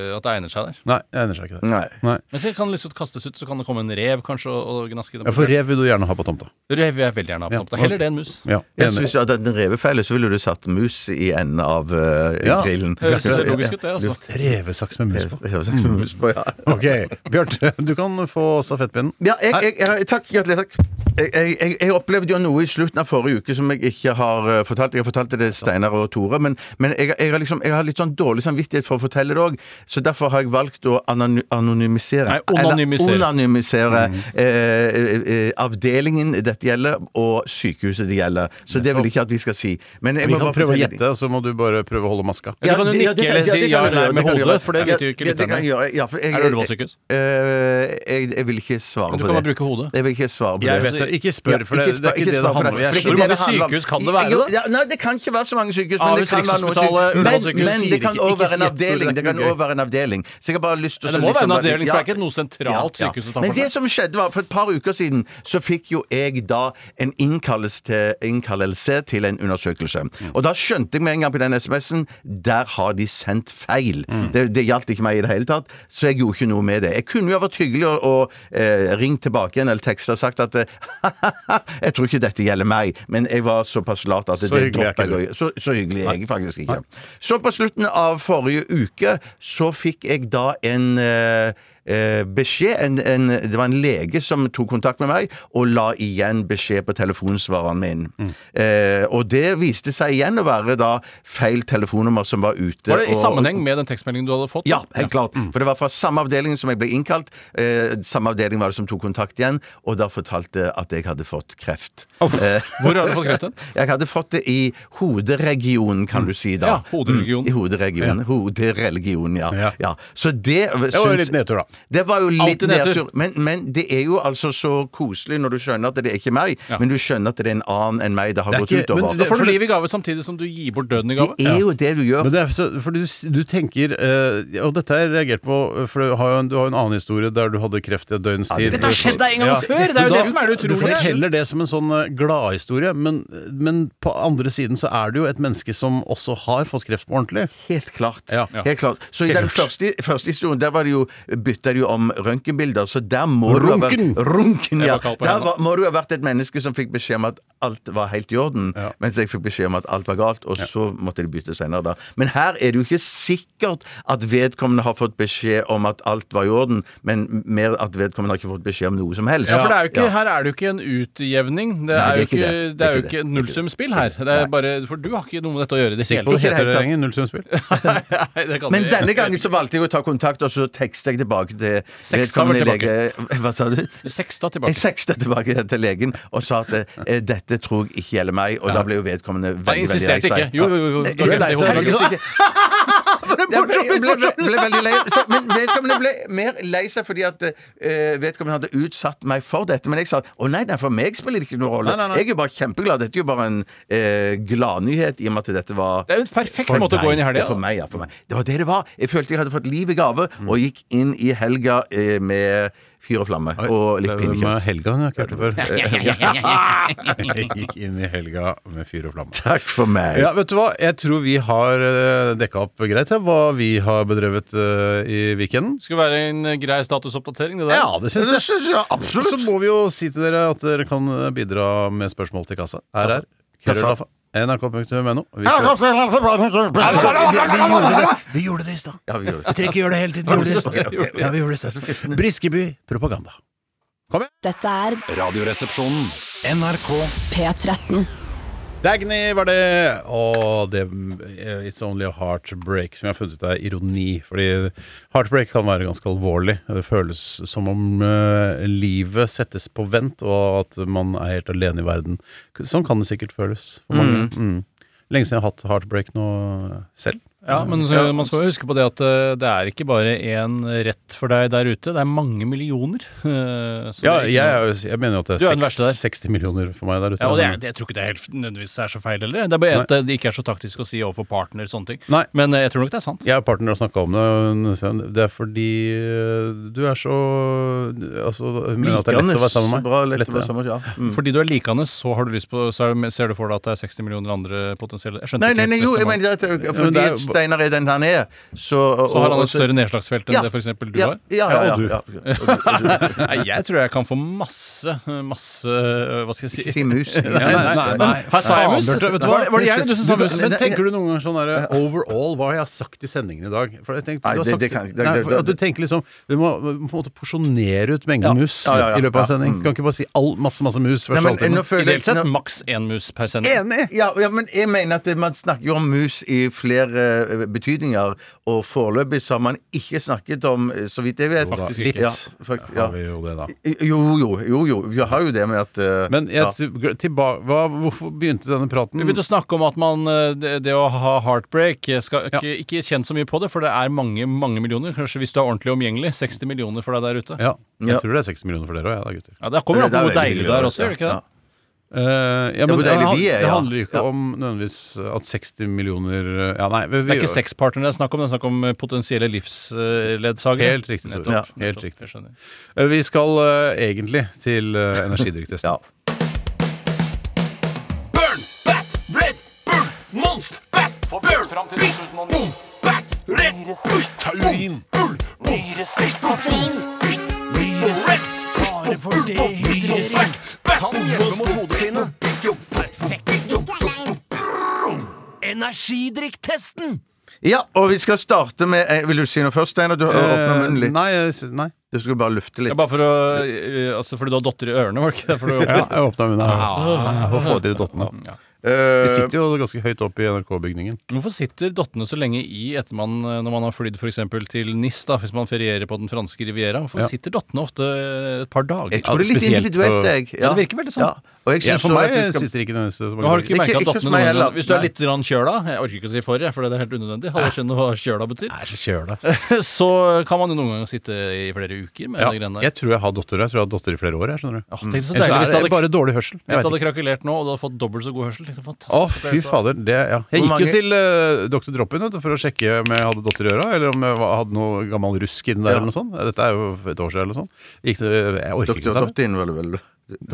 E: eh, at det egner seg der.
C: Nei, jeg egner seg ikke det.
D: Nei.
C: Nei.
E: Men så kan det liksom kastes ut, så kan det komme en rev kanskje og, og gnaske i den.
C: Ja, for rev vil du gjerne ha på tomta.
E: Rev vil jeg veldig gjerne ha
C: Ja,
E: på tomta. Heller
C: ok.
E: det enn mus.
C: Ja,
D: Jeg
C: enig.
D: syns jo at den revefelle så ville du satt mus i enden av eh,
C: Ja.
D: grillen.
E: Høres logisk ut, det, altså.
C: Revesaks med mus på.
D: Høres ut som mus på, ja.
C: Ok, Bjarte, du kan få stafettpinnen.
D: Ja, jeg, jeg, jeg, takk, gratulerer. Takk. Jeg, jeg, jeg- jeg opplevde jo noe i slutten av forrige uke som jeg ikke har eh, fortalt. Jeg fortalte det Steinar og Tore, men, men jeg, jeg, har liksom, jeg har litt sånn dårlig samvittighet for å fortelle det òg. Så derfor har jeg valgt å anony anonymisere
E: Nei, onanymisere.
D: Eller onanymisere eh, eh, eh, avdelingen dette gjelder, og sykehuset det gjelder. Så det vil jeg ikke at vi skal si. Men jeg
C: Vi
D: må
C: kan
D: bare
C: prøve å
D: fortelle de-
C: gjette, så må du bare prøve å holde maska.
E: Eller kan du
D: det-
E: nikke
D: det kan-
E: eller
D: det
E: si
D: kan
E: ja
D: jeg
E: eller
D: gjøre,
E: nei med
D: det kan jeg
E: hodet?
D: gjøre.
E: For det vet jo ikke
D: Ja, det kan
E: lytterne.
D: jeg gjøre. Ja, for jeg-
E: Er det Ullevål sykehus?
D: Eh, jeg, jeg vil ikke svare på
E: Men
D: det.
E: du kan bare bruke hodet.
D: Jeg vil ikke svare på
C: Jeg
D: det.
C: vet det. Ikke spør, for det, det er ikke det det handler om. Jeg
E: det.
C: skjønner
E: Hvor
C: bare-
E: mange sykehus kan det være,
D: Jo,
E: da?
D: Ja, nei, det kan ikke være så mange sykehus. Men det
E: Ahus
D: kan være noen sykehus.
E: Rikshospitalet,
D: Men,
E: Ullevål sykehus.
D: men
C: Sier
D: det kan
C: ikke-
D: òg
C: ikke
D: være en
C: si at
D: avdeling.
C: det er
D: Det kan
C: ikke gøy.
D: òg være en avdeling. Så jeg har bare lyst til
E: Ja,
D: å
E: det
D: liksom
E: må være en
D: bare-
E: avdeling, for det er
D: Ja.
E: ikke noe
D: Ja,
E: sentralt
D: ja.
E: sykehus å ta
D: Men
E: for
D: det
E: seg.
D: som skjedde var For et par uker siden så fikk jo jeg da en innkalles til, innkallelse til en undersøkelse.
C: Mm.
D: Og da skjønte jeg med en gang på den SMS-en der har de sendt feil.
C: Mm.
D: Det, det gjaldt ikke meg i det hele tatt, så jeg gjorde ikke noe med det. Jeg kunne jo ha vært hyggelig og, og eh, ringt tilbake igjen eller teksta og sagt at eh, jeg tror ikke dette gjelder meg, men jeg var såpass lat at
C: Så
D: det
C: hyggelig er
D: droppa
C: ikke du.
D: jeg å gjøre. Så, så hyggelig er jeg faktisk ikke. Så på slutten av forrige uke så fikk jeg da en eh, eh, beskjed. En, en, det var en lege som tok kontakt med meg og la igjen beskjed på telefonsvareren min.
E: Mm.
D: Eh, og det viste seg igjen å være da feil telefonnummer som var ute.
E: Var det i
D: og-
E: sammenheng Mm. med den tekstmeldingen du hadde fått?
D: ja, helt klart. For det var fra samme avdeling som jeg ble innkalt. Eh, samme avdeling var det som tok kontakt igjen, og da fortalte at jeg hadde fått kreft. Eh,
E: Hvor har du fått kreften?
D: jeg hadde fått det i hoderegionen, kan
C: Mm.
D: du si da.
E: Ja, hoderegionen.
D: Mm, I hoderegionen. Hodereligionen, ja.
C: Ja.
D: ja. Så det
C: Det var jo litt nedtur, da.
D: Det var jo litt
E: Alltid nedtur.
D: nedtur. Men, men det er jo altså så koselig når du skjønner at det er ikke meg, men du skjønner at det er en annen enn meg det har
C: Det er
D: gått
C: ikke-
D: utover.
C: men
E: Da
C: det-
E: får
C: for
E: du
C: det-
E: liv i gave samtidig som du gir bort døden i gave.
D: Det er jo det du gjør.
C: Men det er, så, for du, s- du tenker eh, Og dette har jeg reagert på, for du har jo en, du har jo en annen historie der du hadde kreft i et døgns tid.
A: dette har skjedd deg en gang før, det er jo
C: Men
E: det som er det utrolige.
C: Du forteller det som en sånn eh, gladhistorie, men, men på andre siden så er det jo et menneske som også har fått kreft på ordentlig.
D: Helt klart.
C: Ja.
D: Helt klart. Så i den første, første historien der var det jo, bytta de jo om røntgenbilder, så der må
C: Runken!
D: du ha vært Runken!
E: Jeg
D: Ja.
E: var kald på
D: Der
E: hendene.
D: var, må du ha vært et menneske som fikk beskjed om at alt var helt i orden, mens jeg fikk beskjed om at alt var galt, og så måtte de bytte senere, da. Men her er det jo ikke sikkert at vedkommende har fått beskjed om at alt var i orden, men mer at vedkommende har ikke fått beskjed om noe som helst.
E: Ja, for det er jo ikke,
D: Ja.
E: Her er det jo ikke en utjevning.
D: Nei,
E: Det
D: det er
E: er,
D: ikke
E: jo
D: det.
E: ikke, det er jo
D: Det er ikke
E: ikke et nullsumspill her. Det er bare, for du har ikke noe med dette å gjøre i det hele
C: Sikker på det
D: Ikke i det
C: heter
D: hele
C: det
D: tatt.
C: lenger? Nullsumspill?
E: Nei, det kan
D: Men
E: vi-
D: denne gangen så valgte jeg å ta kontakt, og så tekstet jeg tilbake til
E: Seksta var tilbake.
D: lege. Hva sa du?
E: Seksta
D: Jeg
E: tilbake.
D: seksta tilbake til legen og sa at eh, dette tror jeg ikke gjelder meg, og da ble jo vedkommende
E: Jeg
D: veldig veldig lei
E: insisterte ikke.
D: seg.
E: Jo, jo, jo. jo.
D: Jeg ble lei seg.
E: Herregud,
D: Herregud, ikke. Ja, men jeg ble, ble, ble veldig lei seg. Men vedkommende ble mer lei seg fordi at eh, vedkommende hadde utsatt meg for dette. Men jeg sa å nei, nei, for meg spiller det ikke noen rolle.
C: Nei, nei, nei.
D: Jeg er jo bare kjempeglad. Dette er jo bare en eh, gladnyhet, i og med at dette var
E: Det er jo en perfekt måte å gå inn i helga.
D: ja, for meg, ja, for meg. Det var det det var. Jeg følte jeg hadde fått liv i gave, og gikk inn i helga eh, med fyr og flamme og litt
C: Det
D: pinnekjøtt.
C: med helga hun har ikke hørt det før. Jeg gikk inn i helga med fyr og flamme.
D: Takk for meg.
C: Ja, vet du hva? Jeg tror vi har eh, dekka opp greit her, hva vi har bedrevet eh, i weekenden.
E: Det skulle være en grei statusoppdatering, det der.
C: Ja, det syns jeg.
D: absolutt.
C: Så må vi jo si til dere at dere kan eh, bidra med spørsmål til kassa. Her er krøllalfa. nrk.no. Vi skal Vi gjorde det i stad.
D: Ja, vi
C: Vi
D: gjør det.
C: trenger ikke gjøre det hele tiden. Vi gjorde det i stad.
E: Ok, ok.
C: Ja, vi gjorde det i stad. Briskeby propaganda.
A: Dette er
B: Radioresepsjonen. NRK.
A: P13.
C: Dagny var det, og det eh, It's Only a Heartbreak, som jeg har funnet ut er ironi. Fordi heartbreak kan være ganske alvorlig. Det føles som om eh, livet settes på vent, og at man er helt alene i verden. Sånn kan det sikkert føles for mange. Mm. Lenge siden jeg har hatt heartbreak nå selv.
E: Ja, men så, man skal jo huske på det at eh, det er ikke bare én rett for deg der ute. Det er mange millioner. eh, så
C: Ja,
E: det er ikke
C: jeg,
E: noe-
C: er jo- jeg mener jo at det
E: Du er
C: er
E: den verste der.
C: 60, 60 millioner for meg der ute.
E: Ja, og det, er- det, jeg tror ikke det er helt nødvendigvis er så feil heller. Det er bare at det ikke er så taktisk å si overfor partner sånne ting.
C: Nei.
E: Men eh, jeg tror nok det er sant.
C: Jeg og partner har snakka om det. og hun sier, Det er fordi eh, du er så altså, hun mener at det er lett å være sammen med meg.
D: Bra, lett,
C: Lett,
D: å være
C: ja.
D: sammen med ja. Mm.
E: Fordi du er likende, så, har du lyst på, så er, ser du for deg at det er 60 millioner andre potensielle Jeg skjønte
D: Nei,
E: ikke
D: nei, nei,
E: helt
D: jo, jeg
E: resonnementet.
D: mener at eh,
C: men
D: fordi
C: det er jo-
D: at Steinar er den han er, så
E: Så har han
D: og-
E: et større nedslagsfelt enn
D: Ja,
E: det f.eks. du
D: ja,
E: har?
D: ja, ja, ja, ja. Og du- og
E: Nei, jeg tror jeg kan få masse, masse øh, Hva skal jeg
D: du-
E: si?
D: Si mus.
C: Nei, nei, nei, nei.
E: Her sa jeg mus.
C: Faen, Bjarte, vet du hva?
E: Var det- var det jeg eller du som sa mus?
C: Men tenker du noen ganger sånn derre overall, hva har jeg sagt i sendingen i dag? For jeg tenkte,
D: Nei,
C: du har
D: det-
C: sagt,
D: det kan jeg ikke. Det-
C: nei,
D: det-
C: for at du tenker liksom Du må på en måte porsjonere ut mengden mus
D: Ja, ja, ja.
C: i løpet av en
D: Ja, Mm.
C: sending. Du kan ikke bare si all, masse, masse mus.
D: Nei,
C: Hver
D: men, eh,
C: halvtime.
D: nå føler jeg
E: Ideelt sett
D: nå-
E: maks én mus per sending.
C: Enig!
D: ja, ja, men jeg mener at man snakker jo om mus i flere eh, betydninger, og foreløpig så har man ikke snakket om, eh, så vidt jeg vet
C: Da,
E: Faktisk
C: litt
E: ikke.
D: Ja,
C: Da
D: fakt, ja.
C: har vi jo det, da.
D: Jo, jo, jo, jo, vi har jo det med at eh,
C: Men
D: ja.
C: jeg, tilbake, hva, hvorfor begynte denne praten?
E: Vi begynte å snakke om at man, eh, det, det å ha heartbreak eh, skal ikke, ikke kjenne så mye på det, for det er mange mange millioner. Kanskje hvis du er ordentlig omgjengelig. 60 millioner for deg der ute.
C: Ja, jeg
D: Ja.
C: tror det er 60 millioner for dere òg, ja, da, gutter.
E: Ja, Det kommer an på
D: Det er
E: hvor
D: veldig
E: deilig du
D: hyggelig,
E: er også, gjør det ikke
D: ja.
E: det?
C: Eh, ja,
D: hvor
C: men det,
D: deilig
C: han-
D: vi er,
C: det
D: ja.
C: handler jo ikke
D: Ja.
C: om nødvendigvis at 60 millioner eh, Ja, nei. Vi,
E: Det er ikke
C: vi-
E: sexpartnere det er snakk om, det er snakk om eh, potensielle livsledsagere.
C: Helt riktig, Tore.
E: Nettopp,
C: Ja, helt
E: nettopp,
C: riktig.
E: jeg skjønner.
C: eh, vi skal eh, egentlig til uh, energidrikktesten.
D: Ja.
F: Burn, bat, red, burn, monst, bat, burn, fram til 2009. Boom, bat, red, burn, taurin, bull, nyresekk, koffein, nyresekk, bare for det nyresekk, kan hjelpe mot hodepine. Jo, perfekt. Energidrikktesten!
D: ja, og vi skal starte med eh, Vil du si noe først, Steinar? Du har åpna munnen
C: Eh,
D: litt.
C: nei, jeg s- nei.
D: Det skulle bare lufte
E: Ja,
D: litt.
E: bare for å eh, Altså fordi du har dotter i ørene, var det ikke derfor du
C: Ja, jeg åpna munnen. her. Få få til dottene.
E: Ah. Mm, Ja.
D: Eh,
C: Vi sitter jo ganske høyt oppe i NRK-bygningen.
E: Hvorfor sitter dottene så lenge i etter man, eh, når man har flydd f.eks. til Nis, da, hvis man ferierer på den franske riviera? Hvorfor
C: Ja.
E: sitter dottene ofte eh, et par dager?
D: jeg tror det er litt
C: spesielt
D: individuelt,
C: på-
D: jeg.
E: Ja, det virker veldig sånn.
D: Og jeg
C: Ja,
D: synes
C: for
D: så
C: meg
D: at vi skal-
C: sitter ikke nødvendigvis så
E: Men har du
C: mange
E: ikke
D: Ikke-
E: merket
D: ikke
E: at
D: hos meg
E: dottene noen
D: heller.
E: gang Hvis du er
D: Nei.
E: litt grann kjøla Jeg orker ikke å si for, jeg, for det er helt unødvendig. Alle skjønner hva kjøla betyr.
C: Nei, så kjør det.
E: Så kan man jo noen ganger sitte i flere uker med
C: Ja,
E: de greiene der.
C: jeg tror jeg har datter. Jeg tror jeg har datter i flere år. Jeg, skjønner du.
E: Åh, tenk så
C: Ellers
E: deilig hvis det
C: er
E: hadde-
C: det bare dårlig hørsel. Jeg
E: Hvis
C: vet
E: du hadde
C: ikke.
E: krakelert nå, og du hadde fått dobbelt så god hørsel tenk, så fantastisk
C: Å, fy
E: opplevelse.
C: fader. Det, ja. Jeg
D: Hvor
C: gikk jo
D: mange-
C: til uh, Dr. Droppen vet du, for å sjekke om jeg hadde datter i øra, eller om jeg var- hadde noe gammel rusk inni der. eller noe sånt. Dette er jo et år siden eller noe sånt. Gikk det, jeg orker
D: Dr.
C: ikke sånn. det.
D: Doptin, vel, vel.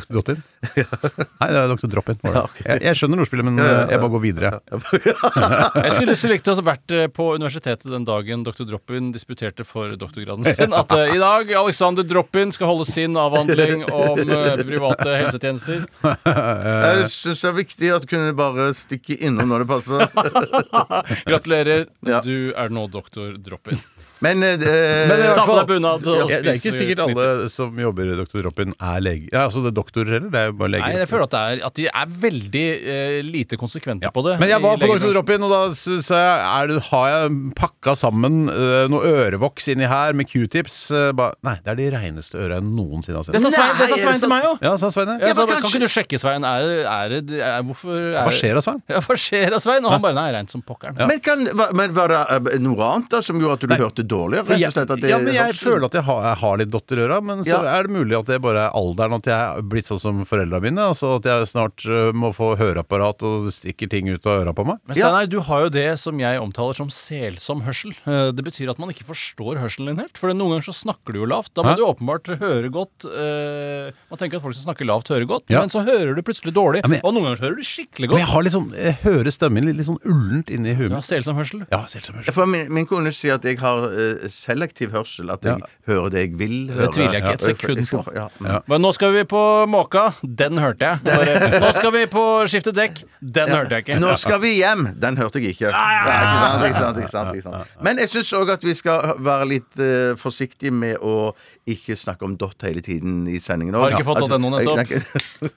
C: Dotin? Nei, det er Dr. Droppen. var det.
D: ok.
C: jeg, jeg skjønner ordspillet, men uh, jeg bare går videre.
E: Jeg skulle så likt å ha vært eh, på universitetet den dagen dr. Droppin disputerte for doktorgraden sin. At eh, i dag Alexander Droppin skal holde sin avhandling om eh, private helsetjenester.
D: Jeg syns det er viktig at du kunne bare stikke innom når det passer.
E: Gratulerer,
D: Ja.
E: du er nå doktor Droppin.
D: Men, eh,
C: Men i
E: Ta
C: hvert
E: på
C: fall-
E: deg bunad og
C: Ja, det er
E: spis,
C: ikke
E: eh,
C: sikkert
E: snitt.
C: alle som jobber i Dr. Droppen, er lege. Ja, altså det er doktorer, eller? Det er jo bare leger.
E: Nei, jeg føler at, det er, at de er veldig eh, lite konsekvente på det.
C: Men jeg
E: i
C: var på Dr.
E: legebransjen.
C: Dropin, og da s- sa jeg er, det- har jeg pakka sammen eh, noe ørevoks inni her med q-tips. eh, ba- Nei, det er de reineste øra jeg noensinne har sett.
E: Det sa
D: Nei,
E: Svein, det sa
D: er det
E: Svein til
D: sant?
E: meg òg!
C: Ja, sa Svein det.
E: Jeg
D: Ja,
E: sa,
D: men
E: kan
D: kanskje-
E: ikke du sjekke, Svein? Er det, er det er, Hvorfor er
C: Hva skjer da, Svein?
E: Ja, hva skjer da, Svein? Og han bare Nei, rent som pokkeren.
D: men, kan, hva- men var det eh, noe annet da som gjorde at du hørte dårligere? Rett og slett at det,
C: ja, men jeg føler at jeg har, jeg har litt dotter i øra, men så
D: Ja.
C: er det mulig at det bare er alderen, at jeg er blitt sånn som foreldra mine. Altså at jeg snart eh, må få høreapparat og stikker ting ut av øra på meg.
E: Men
D: Ja.
E: Steinar, du har jo det som jeg omtaler som selsom hørsel. Eh, Det betyr at man ikke forstår hørselen din helt. For noen ganger så snakker du jo lavt. Da må
C: Hæ?
E: du åpenbart høre godt. eh, Man tenker at folk som snakker lavt, hører godt,
C: Ja.
E: men så hører du plutselig dårlig.
C: Ja, men-
E: Og noen ganger så hører du skikkelig
C: Men jeg
E: godt.
C: har litt sånn, jeg hører stemmen min litt, litt sånn ullent inni huet
E: Du
C: mitt.
E: har selsom hørsel.
C: Ja, selvsagt.
D: For min, min kone sier at jeg har eh, selektiv hørsel. At jeg
C: Ja.
D: hører det jeg vil høre.
E: tviler jeg ikke et
D: Ja, for-
E: sekund på.
D: Ja.
C: Ja.
E: Men nå skal vi på måka. Den hørte jeg. Bare, nå skal vi på skifte dekk. Den hørte jeg ikke.
D: Nå skal vi hjem! Den hørte jeg ikke. Nei, ikke sant, ikke sant, ikke sant, ikke sant. Men jeg syns òg at vi skal være litt eh, forsiktige med å ikke snakke om dot hele tiden i sendingen. altså,
E: Har ikke fått .no nettopp.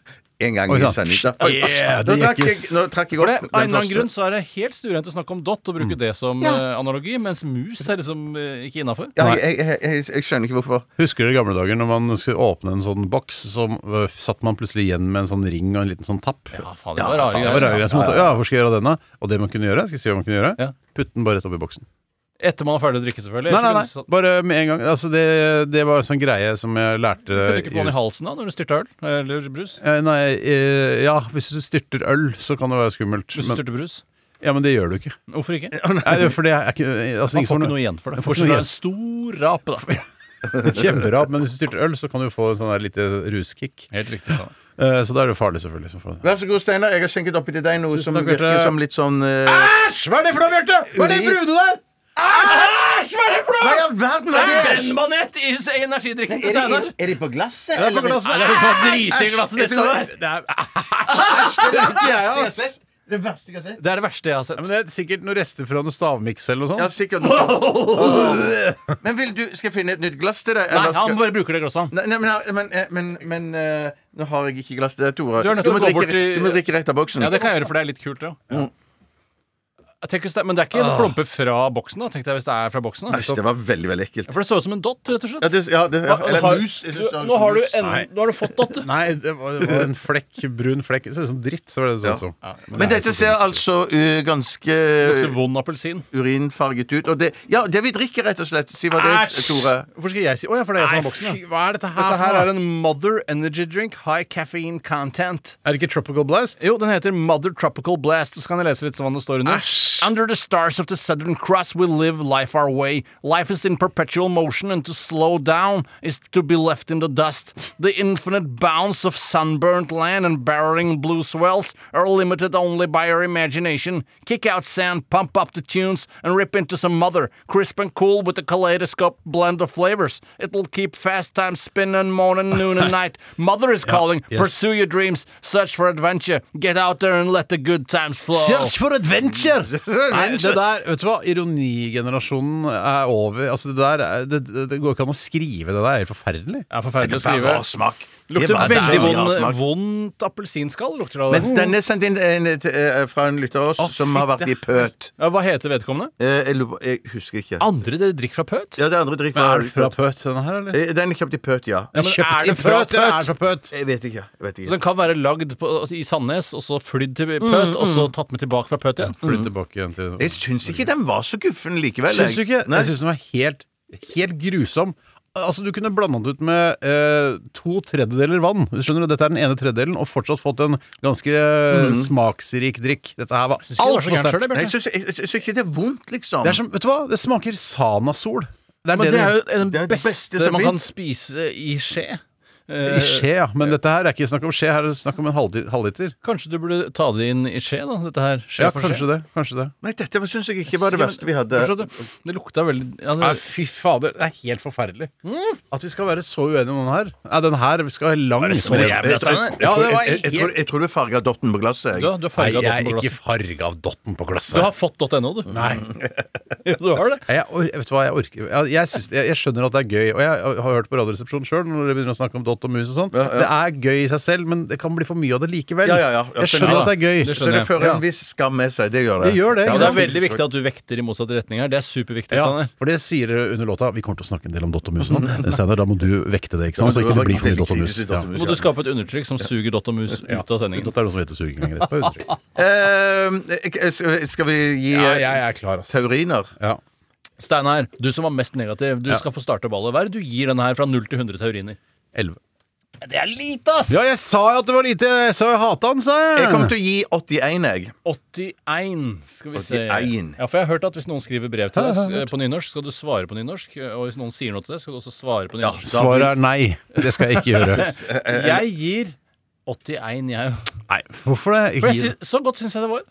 D: En gang
C: Oi,
D: i
C: sant.
D: sending. Da. Oi,
C: Yeah, det
D: nå, trakk
C: gikk
D: jeg,
C: s-
D: nå trakk jeg
E: For
D: opp den
E: det, av en eller annen
D: første.
E: grunn så er det helt stuerent å snakke om dott og bruke
C: Mm.
E: det som eh, analogi, mens mus er liksom eh, ikke innafor.
D: Ja, jeg, jeg, jeg, jeg skjønner ikke hvorfor.
C: Husker dere i gamle dager når man skulle åpne en sånn boks, så øh, satt man plutselig igjen med en sånn ring og en liten sånn tapp?
E: Ja, faen, det var
C: Det var
E: rare greier.
C: rare greier som måtte, ja, hvor skal jeg gjøre av denne? Og det man kunne gjøre, skal jeg si hva man kunne gjøre?
E: Ja.
C: Putte den bare rett oppi boksen.
E: Etter man er ferdig å drikke, selvfølgelig.
C: Nei, nei,
E: Ellers
C: nei,
E: kunne du-
C: bare med en gang. Altså, det, det var en sånn greie som jeg lærte
E: Kan du ikke få den
C: Eh,
E: i
C: i-
E: halsen da, når du styrter øl eller brus?
C: Eh, Nei, eh, ja, hvis du styrter øl, så kan det være skummelt.
E: Hvis du
C: Men,
E: styrter brus?
C: ja, men det gjør du ikke.
E: Hvorfor ikke?
C: Nei, det- for det er ikke altså,
E: Man
C: ingen
E: får
C: som
E: ikke noe igjen for det.
C: Jeg får ikke noe
E: Bortsett fra en stor rape, da.
C: Kjemperap, men hvis du styrter øl, så kan du få en sånn der lite ruskick.
E: Helt riktig. Sånn.
C: Eh, Så da er det farlig, selvfølgelig. som faen.
D: Vær så god, Steinar. Jeg har skjenket oppi til deg noe som
C: takk, Bjarte.
D: virker som litt sånn eh,
E: Æsj! Hva er det for noe, Bjarte?
D: Hva er det brune
E: der? Æsj! Hva er det for
D: Hva i all verden var det?
E: Benmanett i energidrikken til
D: Er det,
E: Steinar.
D: er det på
C: Det
D: glasset?
C: er på
D: eller- Ah,
C: glasset.
E: Nei, det er jo for drit i
C: Æsj!
E: glasset ditt,
C: Jeg
E: Steinar.
C: skal-
E: Det er-
D: Det verste jeg har sett.
E: Det er det verste jeg har sett.
C: Ja, men det er sikkert noen rester fra noen stavmiks eller noe
D: Ja,
C: sånt.
D: sikkert noe sånt. Men vil du, skal jeg finne et nytt glass til deg?
E: Nei,
D: eller skal-
E: han bare bruker det glasset.
D: Nei, nei, men, men, men, men eh, nå har jeg ikke glass til deg, Tore.
E: Du er nødt
D: må
E: til å gå
D: drikke,
E: bort til-
D: du må drikke rett av boksen.
E: Ja, det kan jeg gjøre, for det er litt kult, det òg. Men det er ikke en flompe fra boksen, da, tenkte jeg, hvis det er fra boksen.
D: Æsj,
E: da.
D: det var veldig, veldig ekkelt.
E: For det så ut som en dott, rett og slett.
D: Ja, det, ja, det, ja.
E: Hva-
D: Eller
E: har-
D: mus. Jeg
E: du-
D: synes det er
E: Nå har du,
D: mus.
E: en,
C: Nei.
E: nå har du fått dott. du.
C: Nei, det var, det var en flekk, brun flekk. Det ser ut som dritt. Så var det det så ut som.
D: Men dette ser altså eh, ganske
E: Lukter vond appelsin.
D: urinfarget ut. Og det, ja, det vi drikker, rett og slett. Si hva det er, Tore.
E: Hvorfor skal jeg si Å ja, for det er jeg som har boksen. ja.
C: hva er dette her?
E: Dette her
C: for
E: er
C: noe?
E: en Mother Energy Drink High Caffeine Content.
C: er det ikke Tropical Blast?
E: Jo, den heter Mother Tropical Blast. Så kan jeg lese litt hva det står under.
C: Æsj.
E: Under the stars of the southern cross we live life our way. Life is in perpetual motion and to slow down is to be left in the dust. The infinite bounds of sunburnt land and barreling blue swells are limited only by our imagination. Kick out sand, pump up the tunes, and rip into some mother. Crisp and cool with a kaleidoscope blend of flavors. It'll keep fast time spinning morning, noon, and night. Mother is calling.
C: yes.
E: Pursue your dreams. Search for adventure. Get out there and let the good times flow.
C: for adventure! Nei, det der, vet du hva, ironigenerasjonen er over. Altså, det der er, det, det- det går ikke an å skrive det der. Det er helt forferdelig.
E: Det er forferdelig å
D: Bare
E: skrive.
D: rar smak. Det er
E: Lukter
D: bare-
E: veldig
D: det er rar
E: vond,
D: smak.
E: vondt appelsinskall, lukter det av
D: Men
E: det.
D: den er sendt inn en, til- eh, fra en lytter av oss som har vært i pøt.
E: Ja, hva heter vedkommende?
D: Eh, Jeg, lurer på- jeg husker ikke.
E: Andre dere drikker fra pøt?
D: Ja, det andre drikker
C: Er det fra Pøt, denne her, eller?
D: Eh, Den er kjøpt i pøt, ja.
C: Jeg
E: men
C: kjøpte
E: er det
C: i
E: fra
C: Pøt, eller
E: Pøt?
C: er det fra Pøt?
D: Jeg vet ikke. Jeg vet
E: Så
D: ikke.
E: den kan være lagd på, altså, i Sandnes, og så flydd til Pøt, og så tatt med tilbake fra Pøt igjen.
C: Flytt tilbake igjen til
D: Jeg syns ikke den var så guffen likevel. jeg.
C: Syns du ikke?
D: Nei.
C: Jeg syns den var helt, helt grusom. Altså, Du kunne blanda den ut med eh, to tredjedeler vann. Du skjønner, du, Dette er den ene tredjedelen, og fortsatt fått en ganske eh, smaksrik drikk. Dette her var
E: Synes ikke det var så
C: altfor
E: gærent selv,
C: sterkt.
E: det,
D: Nei,
E: Bjarte.
D: jeg syns jeg syns ikke det er vondt, liksom.
C: Det er som, vet du hva? Det smaker Sanasol. Det er
E: Men
C: det
E: det er jo
C: det-
E: den
D: det er det
E: beste,
D: beste som
E: man kan
D: finnes.
E: spise i skje. Eh,
C: i skje, ja. Men dette her er ikke snakk om skje, her er det snakk om en halvdi- halvliter.
E: Kanskje du burde ta det inn i skje, da? Dette her. Skje
C: Ja,
E: for skje.
C: kanskje det. kanskje det
D: Nei, dette syns jeg ikke var det verste vi hadde.
E: Forstår du? Det lukta veldig ja, det,
C: Nei, Fy fader, det er helt forferdelig. Mm. At vi skal være så uenige om den her. Nei, den her skal langt
E: så jævlig, Steiner?
C: Ja, det var
D: jeg, jeg, tror, jeg tror du farga dotten på glasset. jeg.
E: Du, har-
C: Nei,
E: du har farga
C: jeg
E: dotten
C: er
E: på
C: ikke
E: glasset.
C: farga av dotten på
E: Du
C: glasset.
E: har fått .no, du. Nei. du har det.
C: Jeg, or- vet du hva, jeg orker Jeg, jeg, syns- jeg, jeg skjønner at det er gøy, og jeg har hørt på Radioresepsjonen sjøl når dere begynner å snakke om dott og mus og sånn. Det er gøy i seg selv, men det kan bli for mye av det likevel.
D: Ja, ja, ja. Ja,
C: Jeg skjønner
D: skjønner
C: at det er gøy.
E: Det
D: Så
E: skjønner
D: det
E: jeg.
D: fører en viss skam med seg. Det gjør det.
C: Det gjør det,
D: Ja,
C: ja.
E: Men det er veldig viktig at du vekter i motsatt retning her. Det Sånn er superviktig.
C: Ja,
E: Steinar.
C: for det sier dere under låta. Vi kommer til å snakke en del om dott og mus nå. Steinar, da må du vekte det, ikke sant? Så ikke det blir for mye dott og mus. Ja.
E: Nå må du skape et undertrykk som suger dott og mus ut av sendingen.
C: Dette er noe som heter suging lenger. Det er bare uttrykk.
D: Eh, skal- Skal vi gi
C: Ja,
D: eh,
C: jeg er klar, ass.
D: teoriner?
C: Ja.
E: Steinar, du som var mest negativ, du skal få starte ballet. Hva er det du gir denne her fra 0 til 100 teoriner?
C: 11.
E: Det er lite, ass!
C: Ja, jeg sa jo at det var lite! Jeg sa jeg hata han, sa jeg!
D: Jeg kommer til å gi 81, jeg.
E: 81, skal vi se.
D: 81.
E: Ja, for jeg har hørt at hvis noen skriver brev til deg eh, på nynorsk, skal du svare på nynorsk. eh, Og hvis noen sier noe til deg, skal du også svare på nynorsk.
C: Svaret er nei. Det skal jeg ikke gjøre.
E: Jeg gir 81, jeg òg.
C: Nei, hvorfor det?
E: For
C: Ikke
E: jeg sy- Så godt syns jeg det var.
C: Det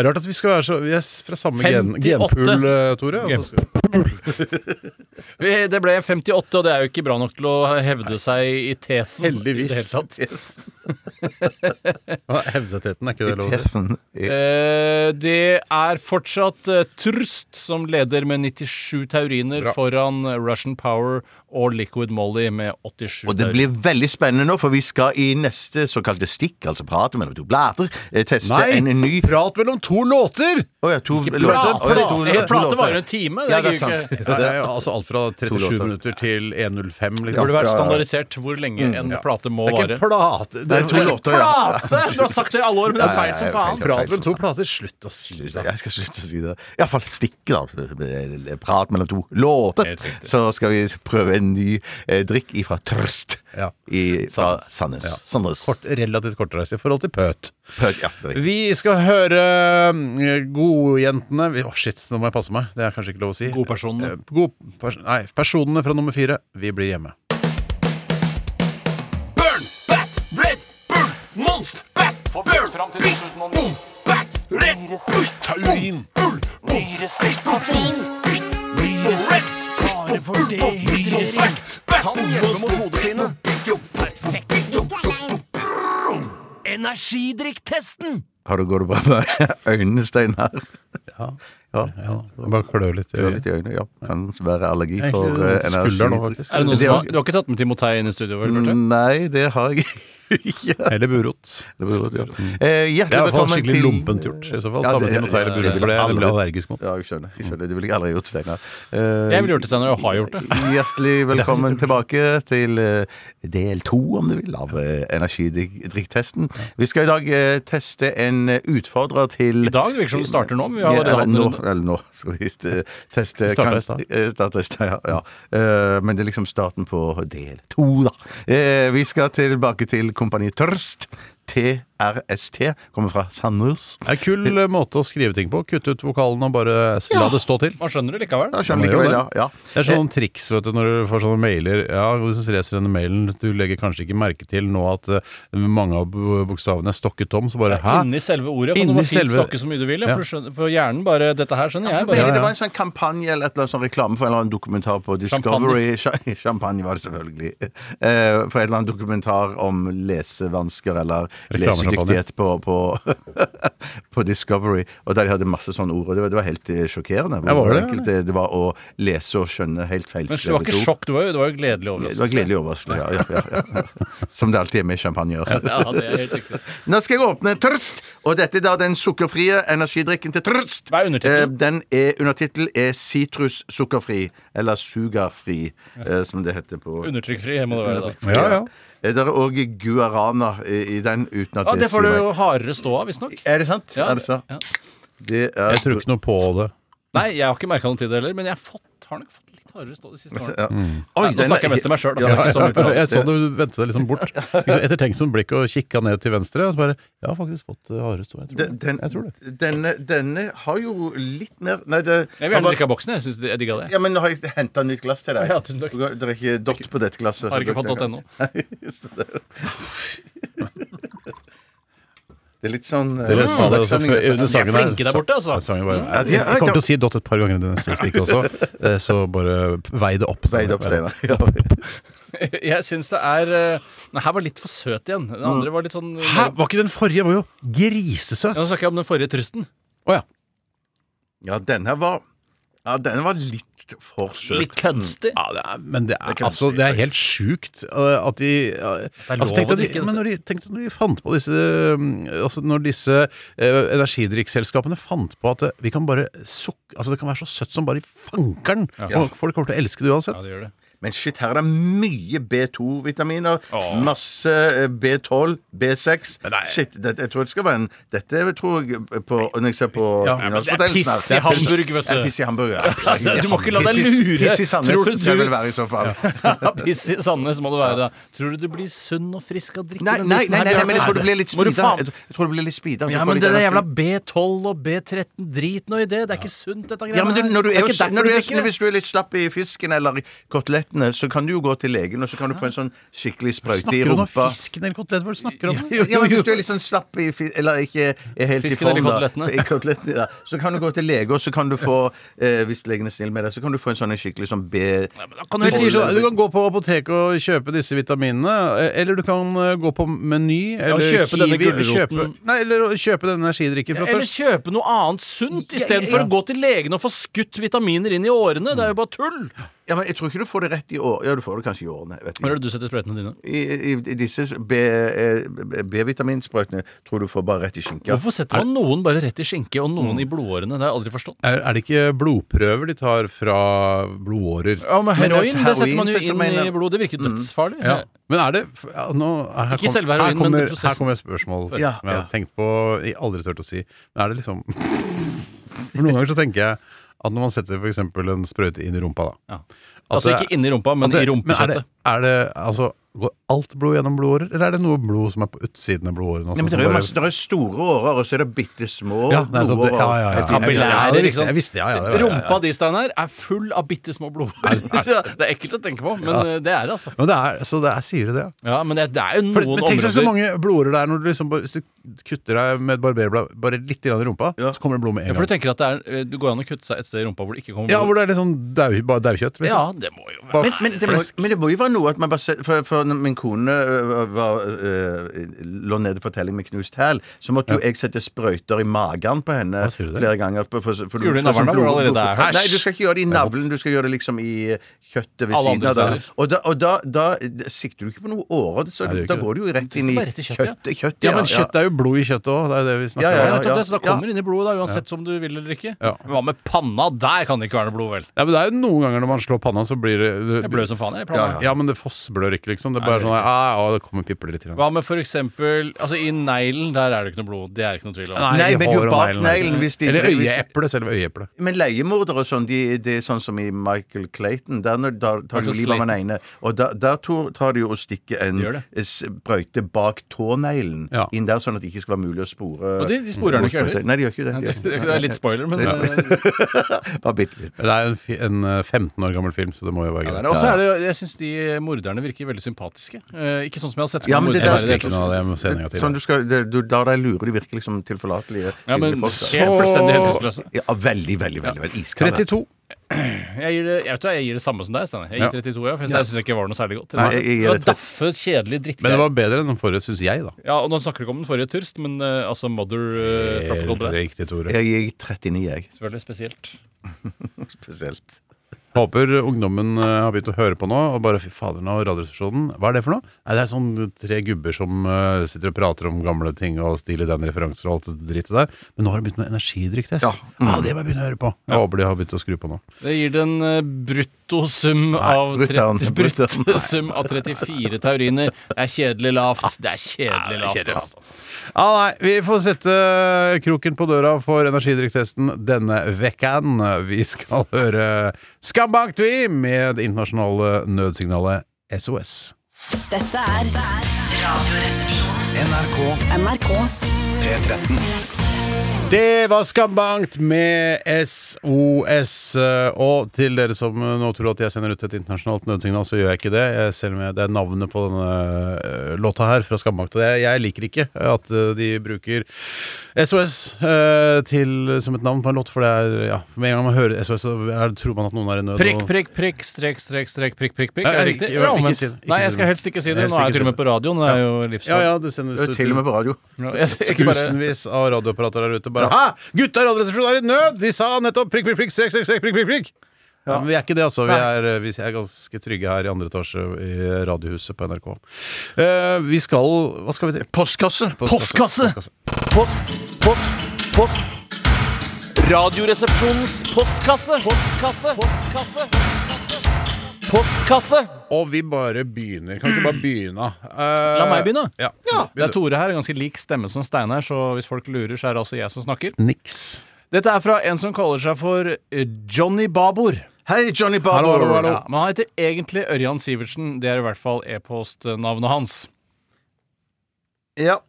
C: er Rart at vi skal være så Vi er s- fra samme gen,
E: 58.
C: genpool, eh, Tore. og så skal-
E: Vi- Det ble 58, og det er jo ikke bra nok til å hevde seg i teten.
C: Heldigvis.
E: I det hele tatt.
C: Ja, Hevzeteten, er ikke det lov å si?
D: Testen. Jeg-
E: Eh, det er fortsatt eh, Trust som leder med 97 tauriner
C: Bra.
E: foran Russian Power og Liquid Molly med 87
D: Og det
E: tauriner.
D: blir veldig spennende nå, for vi skal i neste såkalte stikk, altså prate mellom to blader, eh, teste
C: Nei!
D: en ny
C: Prat mellom to låter!
D: Å ja, to
C: Ikke
D: låter.
C: prate,
D: Å ja, to
E: En
D: låter.
E: plate varer en time. Det
D: Ja, det
E: er
D: er sant.
E: ikke-
C: Ja, det er jo altså alt fra 37
D: låter.
C: minutter til 1.05.
E: Det burde
C: Liksom.
E: vært standardisert hvor lenge en plate må
C: Det er ikke
E: vare.
C: en plate. Det er
D: to
C: en
D: låter, ja.
E: Plate! Du har sagt det i alle år, men det er
D: Ja, ja,
E: feil
D: ja,
E: som
D: ja, feil,
E: faen.
D: ja.
C: Prat mellom to plater. Slutt å si det.
D: Jeg skal slutte å si det. Iallfall stikke, da. Eh, Prat mellom to låter.
E: Helt riktig.
D: Så skal vi prøve en ny eh, drikk ifra Trøst
C: Ja.
D: i, fra Sandnes.
C: Ja.
D: Sandnes.
C: Kort, relativt kortreist i forhold til pøt.
D: Pøk, ja, det er riktig.
C: Vi skal høre mm, Godjentene vi- Å, shit, nå må jeg passe meg. Det er kanskje ikke lov å si.
E: Godpersonene.
C: Eh, God, pers nei, personene fra nummer fire. Vi blir hjemme.
F: Burn, back, red, burn, monst, back, forbør fram til 2009. Boom, back, red, bull, taurin, bull, nyresekk, koffein, nyrefekt, fare for det, nyrefekt, kan hjelpe mot hodepine. Energidrikktesten!
D: Har du, går det bra med øynene, Steinar? Ja.
C: Ja, jeg bare klør litt. i
D: Du har
C: øyet.
D: litt i øynene, ja. Kan være allergi
C: Egentlig
D: for
C: litt
D: eh, energi.
C: skulder nå, faktisk.
E: Er det noen
D: Det
E: som
D: er- Mm.
E: har, du har ikke tatt med Timotei inn i studio? vel, Bjarte?
D: Nei, det har jeg ikke.
C: Eller burot.
D: Det blir godt, ja. Eh,
C: Det
D: Hjertelig
C: er i hvert fall
D: velkommen
C: skikkelig
D: til
C: lompent gjort. I så fall.
D: Ja,
C: Ta med
D: det-
C: til noe
D: ja,
C: tegn
D: ja,
C: burot, for
D: det
C: det
D: ville
C: blir jeg
D: aldri-
C: allergisk mot.
D: Ja, jeg skjønner. Jeg skjønner. Det ville jeg aldri gjort, Steinar. Eh,
E: Jeg ville gjort det senere, og har gjort det.
D: Hjertelig velkommen tilbake til eh, del to, om du vil, av eh, energidrikktesten. Vi skal i dag eh, teste en eh, utfordrer til
E: I dag virker det som det starter nå. men vi har
D: Ja, eller,
E: allerede hatt en
D: nå,
E: runde.
D: eller nå skal vi eh, teste
C: startet
D: kan-
C: i stad.
D: eh, startet i stad, ja, ja. Eh, Men det er liksom starten på del to, da. Eh, Vi skal tilbake til Kompani Tørst. TRST. Kommer fra Sandnes.
C: Det er en kul eh, måte å skrive ting på. Kutte ut vokalen og bare s- la det stå til.
E: Man skjønner det likevel.
D: Ja, skjønner
C: Man gjør
D: likevel, ja.
C: det.
D: ja. Eh,
C: Det er sånn triks vet du, når du får sånne mailer. Ja, Hvis du leser denne mailen, du legger kanskje ikke merke til nå at eh, mange av bu- bokstavene er stokket tom, så bare hæ?
E: Inni selve ordet.
C: Inni
E: Inni selve...
C: selve-
E: Snakke så mye du vil, ja,
C: Ja.
E: for, du skjønner, for hjernen bare Dette her skjønner
D: Men
E: jeg. bare
D: Det var en sånn kampanje eller et eller annet sånn reklame for en eller annen dokumentar på Discovery Champagne, Champagne var det selvfølgelig. Eh, For en eller annen dokumentar om lesevansker eller lesedyktighet på, på, på Discovery, og der de hadde masse sånne ord. Og det var, det var helt eh, sjokkerende hvor
C: Ja, var det?
D: enkelt det, det var å lese og skjønne helt feil.
E: Men det var ikke sjokk, altså. det var jo, det var jo gledelig
D: Det
E: overraskelse.
D: var gledelig overraskelse, ja, ja, ja, ja. Som det alltid er med champagnør.
E: Ja, det er helt riktig.
D: Nå skal jeg åpne Trøst, og dette er da den sukkerfrie energidrikken til Trøst.
E: Hva er undertittelen?
D: Eh, Den er, undertittel er Sitrus sukkerfri, eller sugarfri, eh, som det heter på
E: Undertrykkfri må det være, da.
C: Ja, ja.
D: Eh, Det er òg guarana i i den, uten at
E: Ja, Det
D: sier
E: får du
D: meg-
E: jo hardere stå av, visstnok.
D: Er det sant?
E: Ja,
D: er det sant?
E: ja.
D: Det er
C: Jeg tror ikke noe på det.
E: Nei, jeg har ikke merka noe til det heller, men jeg har, fått, har nok fått litt hardere stå de siste årene.
C: Mm.
D: ja.
E: Nei, nå snakker jeg mest til meg sjøl.
C: Ja,
E: Altså,
C: ja,
E: ja,
C: jeg så du vendte deg liksom bort. Liksom Ettertenksomt blikk og kikka ned til venstre. Og så bare Jeg har faktisk fått eh, hardere stå. Jeg tror
D: Den,
C: det.
D: den,
C: Jeg tror det.
D: Denne, denne har jo litt mer Nei, det
E: jeg vil gjerne drikke av boksen. Jeg synes det- jeg digga det.
D: Ja, men nå har jeg henta nytt glass til deg.
E: Ja, tusen takk.
D: Det er ikke dott på dette glasset.
E: Har ikke
D: så
E: fått
D: dere-
E: dott ennå.
D: Nei, så det- Det er litt sånn eh,
C: Dere sa det også
D: søndagssending,
C: før
D: dette.
C: under sangen
E: flinke der borte, altså.
C: sa- sangen bare,
D: Ja, de er-
C: jeg kommer til å si dot et par ganger i det neste stikket også, eh, så bare vei det opp.
D: Veid opp, Steinar. Ja.
E: Jeg syns det er eh, Nei, her var litt for søt igjen. Den andre var litt sånn
C: Hæ? Var ikke den forrige var jo grisesøt?
E: Ja, Nå snakker jeg om den forrige trusten.
C: Å ja.
D: ja, den her var Ja, den var litt for søt.
E: Litt kunstig.
C: Ja, det er, men det er,
D: Det er
C: altså, det er helt sjukt eh, at de eh,
E: er lov
C: altså, tenk
E: å
C: deg at de,
E: drikke
C: men når de, tenk deg når de fant på disse eh, altså, Når disse eh, energidrikkselskapene fant på at eh, vi kan bare sukke altså, Det kan være så søtt som bare i fankeren! Og folk kommer til å elske det uansett.
E: Ja, det gjør det.
D: Men shit, her er det mye B2-vitaminer. Masse eh, B12, B6. Shit, det, jeg tror det skal være en Dette tror jeg på Når jeg ser på
C: Ja, men
E: det er piss i
D: Det er piss-
E: Hamburg, vet du.
D: det er Piss i hamburger.
E: piss i Du må ikke la deg lure.
D: Piss i Sandnes
E: Tror du
D: skal det
E: du-
D: vel være i så fall.
E: Ja, Piss i Sandnes må det være. da Tror du du blir sunn og frisk av å drikke
D: Nei,
E: den
D: nei,
E: dritten
D: nei,
E: her,
D: nei, nei,
E: Bjørn?
D: men jeg tror det blir litt
E: Må du
D: speeda.
E: faen-
D: Jeg tror det blir litt speeda.
E: Ja, men det der jævla B12 og B13 drit nå i det. Det er ikke sunt, dette greiene
D: Ja, men du, når du
E: Det
D: er,
E: er ikke
D: når du
E: derfor du
D: er,
E: drikker det.
D: hvis du er litt slapp i fisken eller i kotelettene, så kan du jo gå til legen, og så kan du få en sånn skikkelig sprøyte i
C: Snakker du om
D: rumpa.
C: fisken eller kotelett? Hva er det du snakker om?
D: Ja, men Hvis du er litt sånn slapp i fi- Eller ikke er helt i
E: Fisken
D: form,
E: eller
D: da.
E: kotelettene?
D: I kotelettene, ja. Så kan du gå til lege, og så kan du få eh, Hvis legen er snill med deg, så kan du få en sånn en skikkelig sånn B...
C: Du,
E: Kan du
C: sier
E: si
C: sånn, du kan gå på apoteket og kjøpe disse vitaminene, eh, eller du kan eh, gå på Meny eller
E: kjøpe denne
C: Kiwi,
E: gulroten.
C: kjøpe- Nei, eller å kjøpe denne energidrikken fra
E: Eller
C: Tørst.
E: kjøpe noe annet sunt istedenfor å gå til legen og få skutt vitaminer inn i årene. Det er jo bare tull!
D: Ja, men jeg tror ikke du får det rett i år. Ja, du får det kanskje i årene. Vet ikke.
E: Hvor er det du setter sprøytene dine?
D: I, i, i disse B- eh, B- B-vitaminsprøytene tror du får bare rett i skinka.
E: Hvorfor setter man noen bare rett i skinke og noen i blodårene? Det har jeg aldri forstått.
C: Er, er det ikke blodprøver de tar fra blodårer?
E: Ja, men
D: Men
E: Heroin
D: også
E: det setter
D: heroin
E: man jo
D: setter
E: inn
D: man Mm. inn-
E: i blodet. Det virker dødsfarlig.
C: Ja. Men er det ja, nå, her
E: Ikke selve
C: her
E: heroin, men
C: kommer,
E: det prosessen.
C: Her kommer et spørsmål
D: Ja,
C: som jeg
D: ja.
C: har tenkt på jeg aldri turt å si. Men er det liksom For Noen ganger så tenker jeg at når man setter f.eks. en sprøyte inn i rumpa, da
E: Ja.
C: at
E: Altså
C: det-
E: ikke inni rumpa, men
C: at det-
E: i
C: er det,
E: rumpekjøttet.
C: er det altså Går alt blod gjennom blodårer, eller er det noe blod som er på utsiden av blodårene? også,
D: Nei, men det
C: som
D: er jo
C: bare-
D: masse, det er store årer, og så er det bitte små
C: Ja, nei, så det-
D: blodårer.
C: ja, ja, ja.
D: Helt inn i-
C: Kapillære,
D: Ja,
C: det
E: Kapillærer,
C: visste
E: liksom.
C: jeg, jeg visste, ja, ja, det var-
E: Rumpa di, Steinar, er full av bitte små blodårer. Det er ekkelt å tenke på, men eh, det er det, altså.
C: Men det er, så det er, sier du det, ja?
E: Ja, men det, det er jo
C: For,
E: noen
C: men tenk deg så
E: områder
C: mange blodårer det er når du liksom bare, hvis du kutter deg med et barberblad bare litt grann i rumpa, så kommer det blod med
E: ja,
C: en
E: For du
C: gang.
E: tenker at det, er, eh, det går an å kutte seg et sted i rumpa hvor det ikke kommer
C: Ja, hvor det er litt sånn dau, bare daukjøtt,
E: Ja,
C: liksom.
E: det må jo være
C: Bare,
D: Men, men, det må, men det må jo være noe at man bare ser, for, for når min kone øh, var, øh, lå nede for telling med knust hæl, så måtte jo jeg sette sprøyter i magen på henne
C: Hva sier du det?
D: flere ganger. For, for, for,
E: Gjorde du i
D: for-
E: navlen da, hvor du allerede er?
D: Nei,
E: Æsj!
D: du skal ikke gjøre det i navlen, du skal gjøre det liksom i kjøttet ved
E: Alle
D: siden
E: andre
D: av.
E: steder.
D: Der. Og, da, og da, da sikter du ikke på noe åre,
C: Nei,
D: så
C: det gjør
D: da
C: ikke
D: går du jo rett inn i
E: bare rett i kjøttet, ja.
D: kjøttet. kjøttet,
C: ja, men kjøtt det er jo blod i kjøttet òg, det er jo det vi snakker
D: Ja,
E: Ja,
C: om.
E: nettopp
D: ja,
E: det, så da
D: ja.
E: kommer det inn i blodet, da, uansett som du vil eller ikke.
C: Ja.
E: Men Hva med panna? Der kan det ikke være noe blod, vel?
C: Ja, men det er jo noen ganger når man slår panna, så blir det, det
E: Jeg blør som faen, jeg. i
C: ja,
E: panna.
C: ja, men det fossblør ikke, liksom. Det er bare
E: Nei, det
C: sånn
E: gjør
C: ah, ja, det kommer pipler litt. Grann.
E: Hva med for eksempel Altså, i neglen, der er det ikke noe blod. Det er det ikke noe tvil om.
D: Nei,
C: i
D: men jo
C: hår og
D: bak
C: neglen, nei.
D: neglen, hvis de-
C: Eller
D: hvis-
C: øyeeplet, selve øyeeplet.
D: Men leiemordere og sånn, de, det er sånn som i Michael Clayton. Der når- da tar de jo
E: Michael
D: livet av
E: Slayton.
D: en ene. Og der, der tor, tar de jo og stikker en
E: Gjør det.
D: sprøyte bak tåneglen
C: Ja.
D: inn der, sånn at det ikke skal være mulig å spore
E: Og de, de sporer den ikke
D: sprøyte.
E: heller.
D: Nei, de gjør ikke det. De gjør
E: Det
D: ikke
E: er litt spoiler, men eh,
D: Bare bitte litt.
C: Det er jo en, fi- en eh, 15 år gammel film, så det må jo være
E: ja, det er
C: greit.
E: det. Og så er det Jeg syns de morderne virker veldig sympatiske. Eh, ikke sånn som jeg har sett.
D: Ja, men det
E: mordere
D: der
C: Jeg husker
E: være i det hele
C: ikke
E: tatt.
C: noe av det, jeg må se en gang til.
D: Sånn du skal det- Du lar deg lure, de virker liksom tilforlatelige.
E: Ja, men
D: hyggelige folk, da.
E: se fullstendig hensynsløse.
D: ja, veldig, veldig, veldig, veldig iskalde.
C: 32.
E: Jeg gir det, jeg vet hva, jeg gir det samme som deg, Steinar. Jeg
C: Ja.
E: gir 32, ja, for jeg synes- jeg syns ikke det var noe særlig godt. Det
D: Nei,
E: var,
D: jeg- jeg gir
E: det var
D: det til-
E: daffe, kjedelig
C: Men det
E: drittgreier.
C: var bedre enn den forrige, syns jeg, da.
E: Ja, og nå snakker du ikke om den forrige Tyrst, men eh, altså Mother eh, Tropical
C: Helt
E: Blast.
C: riktig, Tore.
D: Jeg gir 39, jeg.
E: Selvfølgelig spesielt.
D: Spesielt.
C: Håper ungdommen eh, har begynt å høre på nå og bare fy fader, nå Radioresepsjonen, hva er det for noe? Nei, det er sånn tre gubber som eh, sitter og prater om gamle ting og stiller den referanser og alt det drittet der. Men nå har de begynt med energidrikktest.
D: Ja.
C: Ja. det må jeg begynne å høre på. Jeg håper de har begynt å skru på nå.
E: Det gir den eh, brutto sum av
D: bruttoen,
E: 30,
D: bruttoen,
E: brutto sum av 34 tauriner. Det er kjedelig lavt. Det er kjedelig lavt. altså.
C: Ja, nei, vi får sette eh, kroken på døra for energidrikktesten denne vekkan. Vi skal høre Skambankt, vi, med det internasjonale nødsignalet SOS.
A: Dette er Radioresepsjonen.
B: NRK
A: NRK.
B: P13.
C: Det var Skambankt med SOS. eh, Og til dere som eh, nå tror at jeg sender ut et internasjonalt nødsignal, så gjør jeg ikke det. Jeg- Selv om jeg, det er navnet på denne eh, låta her fra Skambankt. Og jeg, jeg liker ikke at eh, de bruker SOS eh, til, som et navn på en låt, for det er ja, Med en gang man hører SOS, så er, tror man at noen er i nød.
E: Prikk,
C: og-
E: prikk, prikk, strek, strek, strek, prikk, prikk. prikk
C: Nei,
E: Er det
C: ikke-
E: riktig?
C: Altså- ikke-
E: Eller omvendt?
C: ikke si det. Ikke
E: Nei,
C: si
E: jeg skal
C: det.
E: helst ikke si det.
C: Helst
E: Nå er
C: ikke
E: jeg til og
C: si
E: med på radioen. Det er jo
C: Ja,
E: livsfarlig.
C: ja, det sendes ut
D: Til og med på radio.
E: Jeg skal ikke bare-
C: Tusenvis av radioapparater der ute bare Hæ! Gutta i Radioresepsjonen er i nød! De sa nettopp prikk, prikk, prikk, strek, strek, strek, prikk, prikk, prikk. Ja, men vi er ikke det, altså. Vi er, vi er ganske trygge her i andre etasje i Radiohuset på NRK. Eh, vi skal Hva skal vi til?
D: Postkasse.
E: Postkasse!
F: Post, post, post. Radioresepsjonens postkasse. Postkasse. Postkasse. Postkasse.
C: Og vi bare begynner. Kan vi ikke bare begynne? Eh,
E: La meg begynne.
C: Ja.
E: Det er
C: Begynn du.
E: Tore her, ganske lik stemme som Steinar, så hvis folk lurer, så er det altså jeg som snakker.
C: Niks.
E: Dette er fra en som kaller seg for eh, Johnny Babor.
D: Hei, Johnny Barber.
C: Hallo, hallo, hallo.
E: Ja, men han heter egentlig Ørjan Sivertsen. Det er i hvert fall e-postnavnet hans.
D: Ja.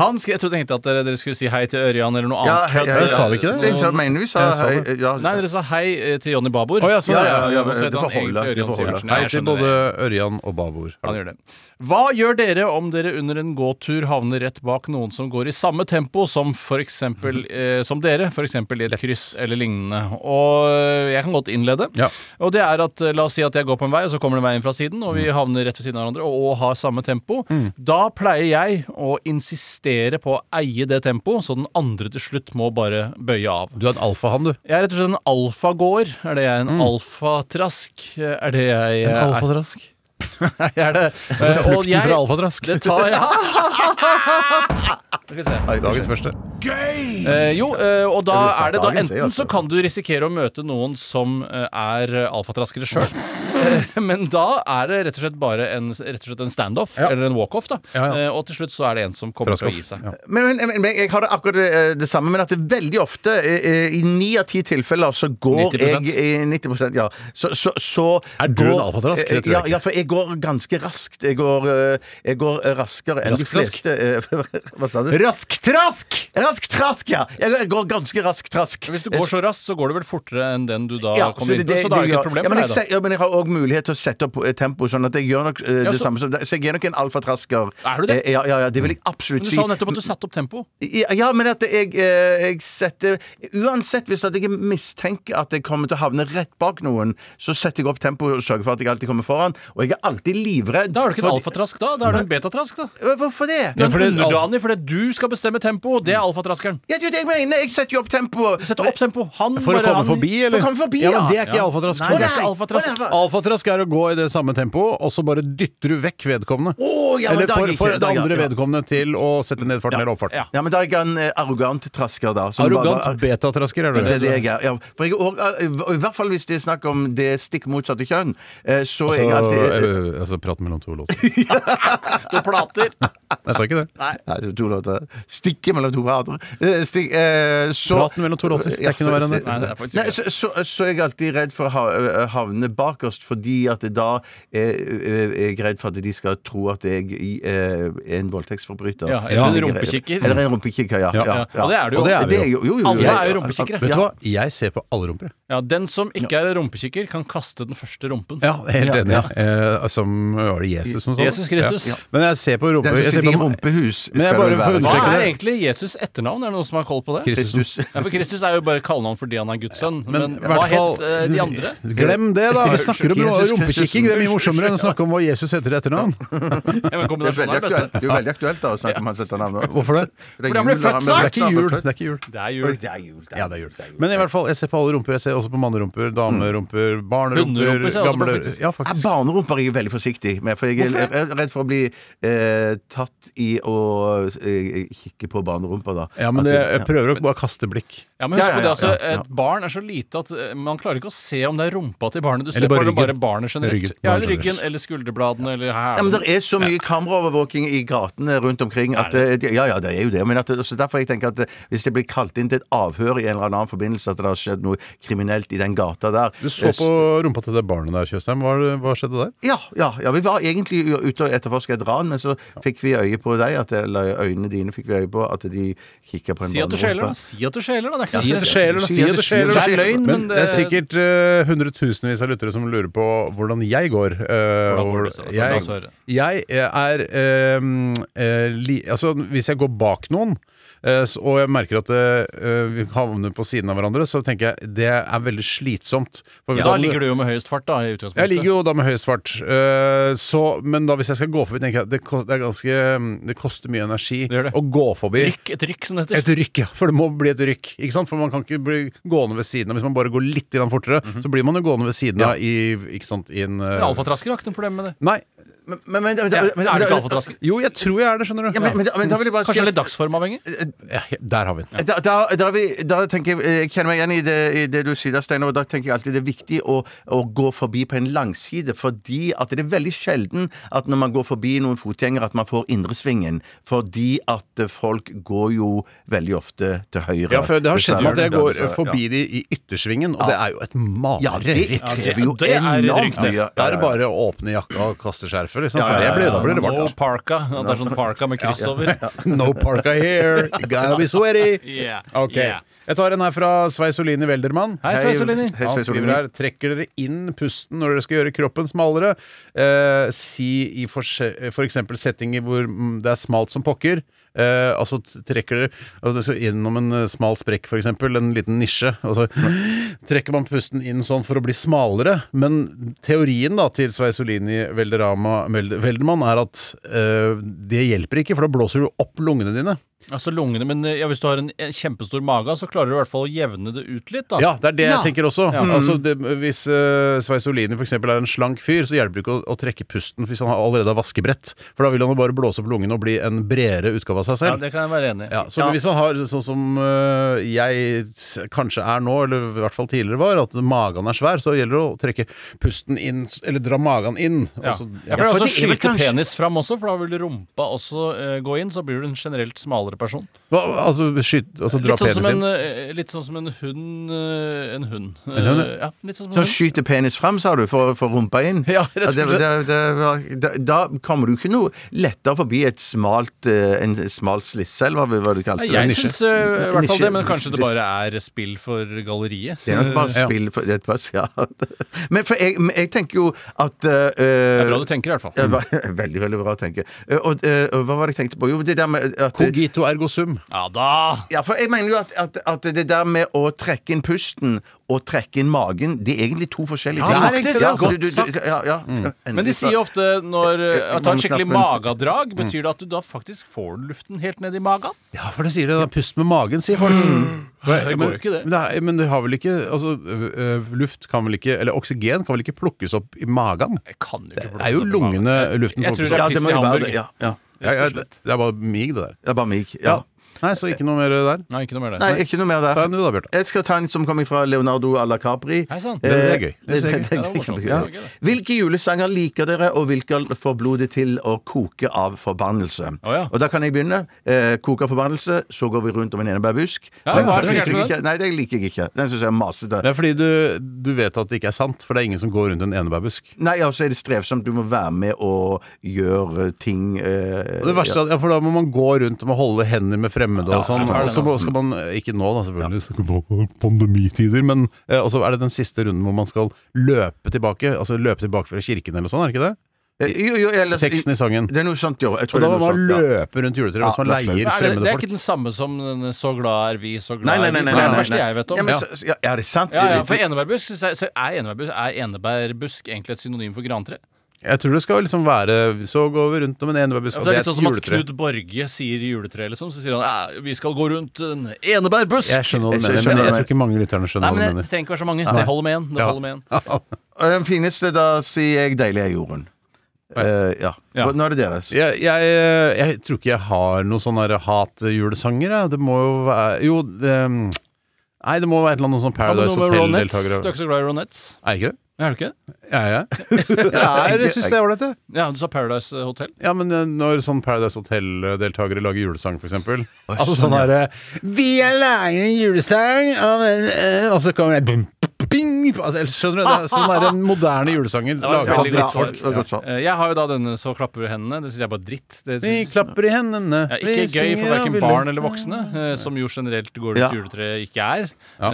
E: Han skrev, jeg trodde tenkte at dere, dere skulle si hei til Ørjan eller noe
D: Ja,
E: annet.
D: hei, hei,
E: kødd.
D: hei.
C: Sa vi ikke det?
D: Så Jeg mener vi sa
C: Jeg sa
D: hei.
C: det.
D: Ja.
E: Nei, dere sa hei eh, til Johnny Babor.
C: Å, ja, sånn, ja,
D: ja, ja,
E: Og så
D: det
E: heter
D: får
E: han egentlig
D: holde, det
E: Ørjan
D: får holde.
E: Sivertsen.
C: Hei
E: Jeg
C: til
E: skjønner
C: både
E: det.
C: Ørjan og Babord.
E: Han gjør det. Hva gjør dere om dere under en gåtur havner rett bak noen som går i samme tempo som, for eksempel, eh, som dere, f.eks. i et kryss eller lignende? Og eh, jeg kan godt innlede.
C: Ja.
E: Og det er at eh, La oss si at jeg går på en vei, og så kommer det en vei inn fra siden, og vi havner rett ved siden av hverandre og, og har samme tempo. Da pleier jeg å insistere på å eie det tempoet, så den andre til slutt må bare bøye av.
C: Du er en alfahann, du.
E: Jeg er rett og slett en alfagåer. Er det jeg en alfatrask? Er det jeg eh,
C: En
E: er?
C: alfatrask. Altså
E: Jeg er det. Eh, Og
C: Flukten fra
E: jeg
C: alfatrask.
E: det tar jeg. Skal vi se.
C: Dagens første.
E: Eh, jo, eh, og da
D: Eller fra
E: er det
D: dagen,
E: da
D: sier jeg,
E: enten
D: altså.
E: så kan du risikere å møte noen som eh, er eh, alfatraskere sjøl. Men da er det rett og slett bare en, rett og slett en standoff, eller en walkoff, da.
C: Ja, ja.
E: Eh, og til slutt så er det en som kommer til å gi seg.
C: Ja.
D: Men, men, men, men jeg har det akkurat det, eh, det samme, men at det er veldig ofte, eh, eh, i ni av ti tilfeller, så går
E: 90%.
D: jeg eh, i 90 ja. Så, så, så
C: Er du
D: går- eh,
C: en alfatrask? Det tror jeg
D: Ja,
C: ikke.
D: ja, for jeg går ganske raskt. Jeg går, eh, jeg går eh, raskere enn de
C: Rask-trask?
D: fleste. eh, Hva sa du?
C: Rasktrask!
D: Rask-trask, ja! Jeg jeg går ganske rask-trask.
E: Hvis du går så raskt, så går det vel fortere enn den du da
D: Ja,
E: kommer
D: så
E: inn på, så da er det ikke
D: gjør-
E: et problem
D: ja, men
E: for
D: jeg,
E: deg, da.
D: se- ja, men jeg har òg mulighet til å sette opp eh, tempo, sånn at jeg gjør nok eh, det
E: så-
D: samme som deg. Så jeg er nok en alfatrasker.
E: Er du det? Mm.
D: Eh, Ja, ja, ja, det vil jeg absolutt
E: Men du
D: si. Mm,
E: sa nettopp at du satte opp tempo.
D: Ja, ja, men at jeg, eh, jeg setter Uansett, hvis at jeg mistenker at jeg kommer til å havne rett bak noen, så setter jeg opp tempoet og sørger for at jeg alltid kommer foran. Og jeg er alltid livredd.
E: Da er du ikke en
D: for-
E: alfatrask, da. Da er du en betatrask, da.
D: Øh, Hvorfor det?
E: Du er en
C: fordi-
E: underdanig fordi du skal bestemme tempo. Det er alfatraskeren.
D: Ja, det er jo det jeg mener! Jeg setter jo opp tempoet.
E: Sette opp tempo. Han
C: For å
E: bare
C: komme
E: han,
C: forbi, eller?
D: For å komme forbi,
C: ja. men
D: ja.
C: det er ikke
E: Ja.
C: alfatrask.
E: Nei,
C: tror
E: det
C: jeg.
E: er ikke alfatrask.
D: Å, nei,
C: Alfatrask er å gå i det samme tempoet, og så bare dytter du vekk vedkommende.
D: Å, ja, men
C: eller
D: da
C: for,
D: gikk
C: for
D: det,
C: det
D: da, ja,
C: andre
D: ja.
C: vedkommende til å sette ned farten eller oppfarten.
E: Ja.
D: Ja, men da er jeg en eh, arrogant trasker, da. som bare-
C: Arrogant betatrasker er du.
D: Det er det jeg er. Ja. For jeg er også- eh, I hvert fall hvis det er snakk om det stikk motsatte kjønn. eh, Så er jeg
C: Altså,
D: alltid
C: eh, altså prat mellom to låter.
E: to plater.
C: Jeg sa ikke det.
D: Nei, det er to låter. Stikke mellom to rader. Eh, Stikk, eh, så,
C: Praten mellom to låter. Det er ikke noe verre enn det.
E: Nei, det er faktisk
D: Nei,
E: ikke det.
D: så, så, så er jeg alltid redd for å ha- eh, havne bakerst, fordi at det da er, eh, er jeg redd for at de skal tro at jeg i- eh, er en voldtektsforbryter.
E: Ja,
C: eller en
E: rumpekikker.
D: Eller en rumpekikker, ja.
C: Ja.
D: ja,
E: Ja, det er du jo.
C: Og det er vi
D: er
C: jo.
D: jo, jo, jo, jo.
E: Alle er jo rumpekikkere.
C: Vet du
D: Ja.
C: hva? Jeg ser på alle rumper. jeg.
E: Ja, Den som ikke er rumpekikker, kan kaste den første rumpen.
C: Ja, helt
D: Ja,
C: enig. Ja. Eh, som var det Jesus som sa det?
E: Jesus Kristus.
C: Ja. Men jeg ser på rumper.
D: Den som
C: jeg ser
D: sitter i
C: på-
D: rumpehus,
C: Men jeg bare
D: skal det
C: får
D: være.
E: Hva
C: understreke
E: er
C: det.
E: egentlig Jesus' etternavn? Er det noen som har koll på det?
C: Kristus.
D: Kristus.
E: Ja, for Kristus er jo bare kallenavn fordi han er Guds sønn. Men,
C: Men i
E: hva
C: hvert fall
E: het eh, de andre?
C: Glem det, da! Vi snakker om
D: Jesus
C: rumpekikking. Det er mye
D: Kristus.
C: morsommere enn å snakke om hva Jesus heter i etternavn.
E: Ja, men
D: Det er
E: kombinasjonen
D: veldig
E: er det beste.
C: sånn
D: aktuelt, det er jo veldig aktuelt da, å snakke om hans etternavn. nå.
C: Hvorfor det?
D: For det
E: Fordi han ble
D: jul, da,
E: født
D: men-
E: snart.
C: Det er ikke jul. Det er ikke jul.
E: Det er jul.
D: Det er jul. det er
C: Ja, det er
D: jul.
C: jul. Men i hvert fall, jeg ser på alle rumper. Jeg ser også på mannerumper, damerumper, barnerumper,
E: Hunderumper ser jeg også på,
C: gamle
E: faktisk. Ah,
C: Ja,
D: Ja,
C: faktisk.
D: barnerumper er jeg veldig forsiktig med, for jeg er,
E: Hvorfor
D: jeg er redd for å bli eh, tatt i å eh, kikke på barnerumper, da.
C: Ja, men
D: At
C: det,
D: det-
C: jeg prøver å bare kaste blikk.
E: Ja, men husk
D: Ja, ja,
E: på det, altså,
D: ja, ja.
E: Et barn er så lite at eh, man klarer ikke å se om det er rumpa til barnet. Du ser
C: Eller bare
E: bare, bare
C: ryggen.
E: barnet generelt.
C: Ryggen.
E: Ja,
C: Barnet
E: eller ryggen,
C: generelt.
E: eller skulderbladene, eller hælen.
D: Ja, men Det er så mye kameraovervåking i gatene rundt omkring at eh, Ja, ja, det er jo det. Men at, så derfor jeg tenker at eh, hvis jeg blir kalt inn til et avhør i en eller annen forbindelse, at det har skjedd noe kriminelt i den gata der
C: Du så
D: eh,
C: på rumpa til det barnet der, Tjøstheim. Hva, hva skjedde der?
D: Ja, ja, ja. Vi var egentlig u- ute og etterforska et ran, men så fikk vi øye på deg, at, eller øynene dine fikk vi øye på at de kikka på en
E: Si at du skjeler, da.
D: barnerumpe.
E: Si at du skjeler, da. Det er
C: Si
E: ikke
C: at det
E: så-
C: skjeler, da. Si at det skjeler, da.
E: Det er løgn, men
C: det er
E: det-
C: sikkert eh, hundretusenvis av lyttere som lurer på hvordan jeg går. eh,
E: Hvordan går
C: hvor-
E: du, Steinar? La oss
C: jeg,
E: høre.
C: jeg er eh, eh, li, Altså, hvis jeg går bak noen eh, s- og jeg merker at eh, vi havner på siden av hverandre, så tenker jeg det er veldig slitsomt. For
E: Ja, da ligger du jo med høyest fart, da. i utgangspunktet.
C: jeg ligger jo da med høyest fart, eh, så, men da hvis jeg skal gå forbi, tenker jeg det, ko- det er ganske mm, Det koster mye energi
E: gjør det.
C: å gå forbi.
E: Rykk, et rykk, som det heter.
C: Et rykk, ja. For det må bli et rykk. Ikke sant? For man kan ikke bli gående ved siden av. Hvis man bare går litt grann fortere,
D: Mhm.
C: så blir man jo gående ved siden av i Ikke sant? I en eh,
E: Men Alfatrasker har ikke noe problem med det.
C: Nei.
D: Men, men, men, men,
E: Ja,
D: men,
E: er du ikke alfatrasker?
C: Jo, jeg tror jeg er det, skjønner du.
D: ja, men, men, men da vil jeg bare si
E: Kanskje
D: at-
E: litt dagsformavhengig?
C: Ja, he- der har vi den.
D: Da, da, da, vi, da tenker jeg Jeg kjenner meg igjen i det, i det du sier, der, Steinar. og Da tenker jeg alltid det er viktig å, å gå forbi på en langside, fordi at det er veldig sjelden at når man går forbi noen fotgjengere, at man får indresvingen. Fordi at folk går jo veldig ofte til høyre.
C: Ja, for det har skjedd meg at jeg går
D: Dessverre,
C: forbi
D: ja.
C: de i yttersvingen, og det er jo et
D: Ja, det
C: mareritt.
E: det-
D: krever jo
E: det er et
D: enormt
E: rykte.
D: mye. Ja,
C: Da
D: ja,
C: er det
D: ja.
C: bare å åpne jakka og kaste skjerfet, liksom.
D: Ja, ja,
C: For det
D: ja,
C: blir, da
D: ja.
C: blir det
E: No
C: bart.
E: parka. At det er sånn parka med kryss over.
C: No parka here, you gotta be sweaty.
E: Yeah,
C: Ok.
E: yeah.
C: Jeg tar en her fra Sveisolini Weldermann.
E: Hei, Svein Solini.
D: Hei,
C: Han
D: Svein
C: skriver
D: Solini.
C: her Trekker dere inn pusten når dere skal gjøre kroppen smalere? Eh, si i forse- for eksempel settinger hvor mm, det er smalt som pokker. Eh, altså t- trekker dere altså, det skal innom en eh, smal sprekk, for eksempel, en liten nisje. Og så trekker man pusten inn sånn for å bli smalere. Men teorien da til Sveisolini Velderama Veld- Veldermann er at eh, det hjelper ikke, for da blåser du opp lungene dine.
E: Altså lungene, men eh, ja, Hvis du har en en kjempestor mage, så klarer du i hvert fall å jevne det ut litt. da
C: Ja, det er det
D: Ja.
C: jeg tenker også. Altså, det, hvis uh, Sveisolini for eksempel er en slank fyr, så hjelper det ikke å, å trekke pusten hvis han har- allerede har vaskebrett. For da vil han jo bare blåse opp lungene og bli en bredere utgave av seg
E: Ja,
C: selv. Ja,
E: Det kan jeg være enig i.
C: så hvis man har sånn som øh, jeg s- kanskje er nå, eller i hvert fall tidligere var, at magen er svær, så gjelder det å trekke pusten inn, s- eller dra magen inn.
E: Ja.
C: og så-
E: Jeg
C: ja,
E: pleier
D: for
E: også
D: det
E: å
D: er vel
E: skyte
D: kanskje-
E: penis fram også, for da vil rumpa også eh, gå inn. Så blir du en generelt smalere person.
C: hva- altså skyt, altså dra
E: Litt sånn, som
C: penisen
E: en,
C: inn.
E: eh, litt sånn som en hund eh, En hund.
C: hund,
E: Eh, ja, litt sånn som
D: Så
E: en hund.
D: skyter penis fram, sa du, for å få rumpa inn?
E: Ja, rett og
D: det,
E: slett.
D: det, det, var- da, da kommer du ikke noe lettere forbi et smalt, eh, en smalt slisse, eller hva, hva du kalte
E: Nei,
D: det?
E: jeg syns eh, i hvert fall
D: Nisje.
E: det, men kanskje det bare er spill for galleriet.
D: Det er nok bare
C: Ja.
D: spill for det er et pass, ja. Men for jeg, men jeg tenker jo at eh,
E: Det er bra du tenker, i hvert
D: ja,
E: fall.
D: ba- veldig, veldig bra å tenke. Eh, Og, eh, og hva var det jeg tenkte på? Jo, det der med at
E: eh,
C: Cogito ergo sum.
E: Ja da!
D: ja, for jeg mener jo at, at, at det der med å trekke inn pusten og trekke inn magen, det er egentlig to forskjellige
E: Ja,
D: ting.
E: faktisk, ja,
D: så
E: godt sagt. Mm.
D: ja, ja.
E: Men de
D: Endelig så-
E: sier jo ofte når eh,
D: Jeg- jeg
E: at ta
D: må
E: et skikkelig
D: knappe en-
E: magedrag, betyr det at du da faktisk får luften helt ned i magen?
C: Ja, for det sier det. da Pust med magen, sier folk.
E: det går jo ikke, det.
C: Men, nei, men det har vel ikke altså, ø- ø, Luft kan vel ikke Eller oksygen kan vel ikke plukkes opp i magen?
E: Jeg kan jo ikke
C: Det er jo lungene luften
E: Jeg tror
C: plukkes opp
D: Ja, det må
E: det er
D: jo
E: Piss i
D: være
E: Hamburg.
D: det. Ja, ja.
C: Ja, ja, det det er bare mig, det der.
D: Det er bare mig.
C: Ja,
D: Ja.
C: Nei, så ikke noe mer der.
E: Nei, ikke noe mer det.
D: Nei, ikke noe mer der.
C: Ta en du da, Bjarte.
D: Jeg skal ta en som kommer fra Leonardo à la Capri.
E: Hei sann.
D: Eh,
C: Det er gøy. Det er
D: det-
C: gøy.
D: det-
E: Ja,
D: det
E: det var
D: er
E: morsomt.
D: kjempegøy.
E: Det var gøy, det.
D: Hvilke julesanger liker dere, og hvilke får blodet til å koke av forbannelse?
E: Å, ja.
D: Og da kan jeg begynne. Eh, koke av forbannelse, så går vi rundt om en enebærbusk.
E: Ja,
D: Den
E: hva er det som er
D: liker jeg
E: gærent med
D: ikke. Nei, det liker jeg ikke. Den syns jeg er masete.
C: Det er fordi du, du vet at det ikke er sant, for det er ingen som går rundt en enebærbusk.
D: Nei, og så er det strevsomt. Du må være med og gjøre ting eh,
C: Og det verste, er at- ja, for da må man gå rundt og må holde hender med fremmede og sånn.
E: det er
C: Og så må- skal man eh, Ikke nå, da, selvfølgelig, så ikke på pandemitider, men eh, Og så er det den siste runden hvor man skal løpe tilbake. Altså løpe tilbake fra kirken eller noe sånt, er det ikke det?
D: ja. Eh, jo, jo, ellers,
C: Teksten i sangen.
D: Det er noe sånt, jo. Jeg
C: Og
D: tror
C: da
D: det
C: må
D: er noe
C: man
D: sånt, ja.
C: løpe rundt juletreet hvis
D: Ja,
C: man
D: det er
C: leier
E: Nei, det, det
C: fremmede
E: er
C: folk.
E: ikke den samme som denne 'så glad er vi, så glad
D: Nei, nei,
E: er vi'.
D: nei, nei, nei,
E: For det er den
D: nei,
E: verste jeg vet om.
D: Ja, men
E: Ja.
D: så- ja, er det sant?
E: Ja, ja, for enebærbusk så er, så er, enebærbusk, er enebærbusk egentlig et synonym for grantre?
C: Jeg tror det skal liksom være Så går vi rundt om en enebærbusk,
E: Ja,
C: og
E: for
C: det er et
E: det er litt sånn som at
C: juletre.
E: Knut Borge sier juletre, liksom. Så sier han «Ja, 'vi skal gå rundt en enebærbusk'.
C: Jeg skjønner hva du
D: Jeg
C: mener,
D: skjønner
C: men
D: hva
C: jeg
D: du
C: tror ikke mange lytterne
E: Nei,
C: skjønner
E: men
C: hva
E: det
C: du mener.
E: trenger ikke være så mange. Det holder med én. Det
C: Ja.
E: holder med en.
D: Og Den fineste, da sier jeg 'Deilig er jorden'. Eh, ja.
E: Ja.
D: Nå er det deres.
C: Jeg, jeg, jeg tror ikke jeg har noen sånne der hatjulesanger. jeg. Det må jo være Jo, det, nei, det må være et eller annet sånn
E: Hva med
C: Paradise
E: noe med Ronettes? Du
C: Hotel-deltakere.
E: er ikke så glad i Ronettes?
C: Er jeg ikke det?
E: Er du ikke? det?
C: Er jeg? Jeg er- syns det er ålreit, jeg.
E: Ja, du sa Paradise Hotel.
C: Ja, men eh, når sånn Paradise Hotel-deltakere lager julesang, for eksempel. altså
D: sånn,
C: sånn
D: ja.
C: herre Vi er lager en julesang, og, eh, og så kommer det bum, bing, altså, eller Skjønner du? Det er sånn der en moderne julesanger
E: var
C: lager
E: veldig
C: av
D: bra.
E: godt svar.
D: Det var godt svar.
E: Eh, Jeg har jo da denne 'Så klapper vi hendene'. Det syns jeg er bare dritt. Det
C: Vi
E: synes-
C: klapper i hendene
E: Ja, ikke
C: vi
E: gøy for
C: synger av
E: verken
C: vilje.
E: barn eller voksne, eh, som jo generelt går rundt
D: Ja.
E: juletreet ikke er.
C: Ja.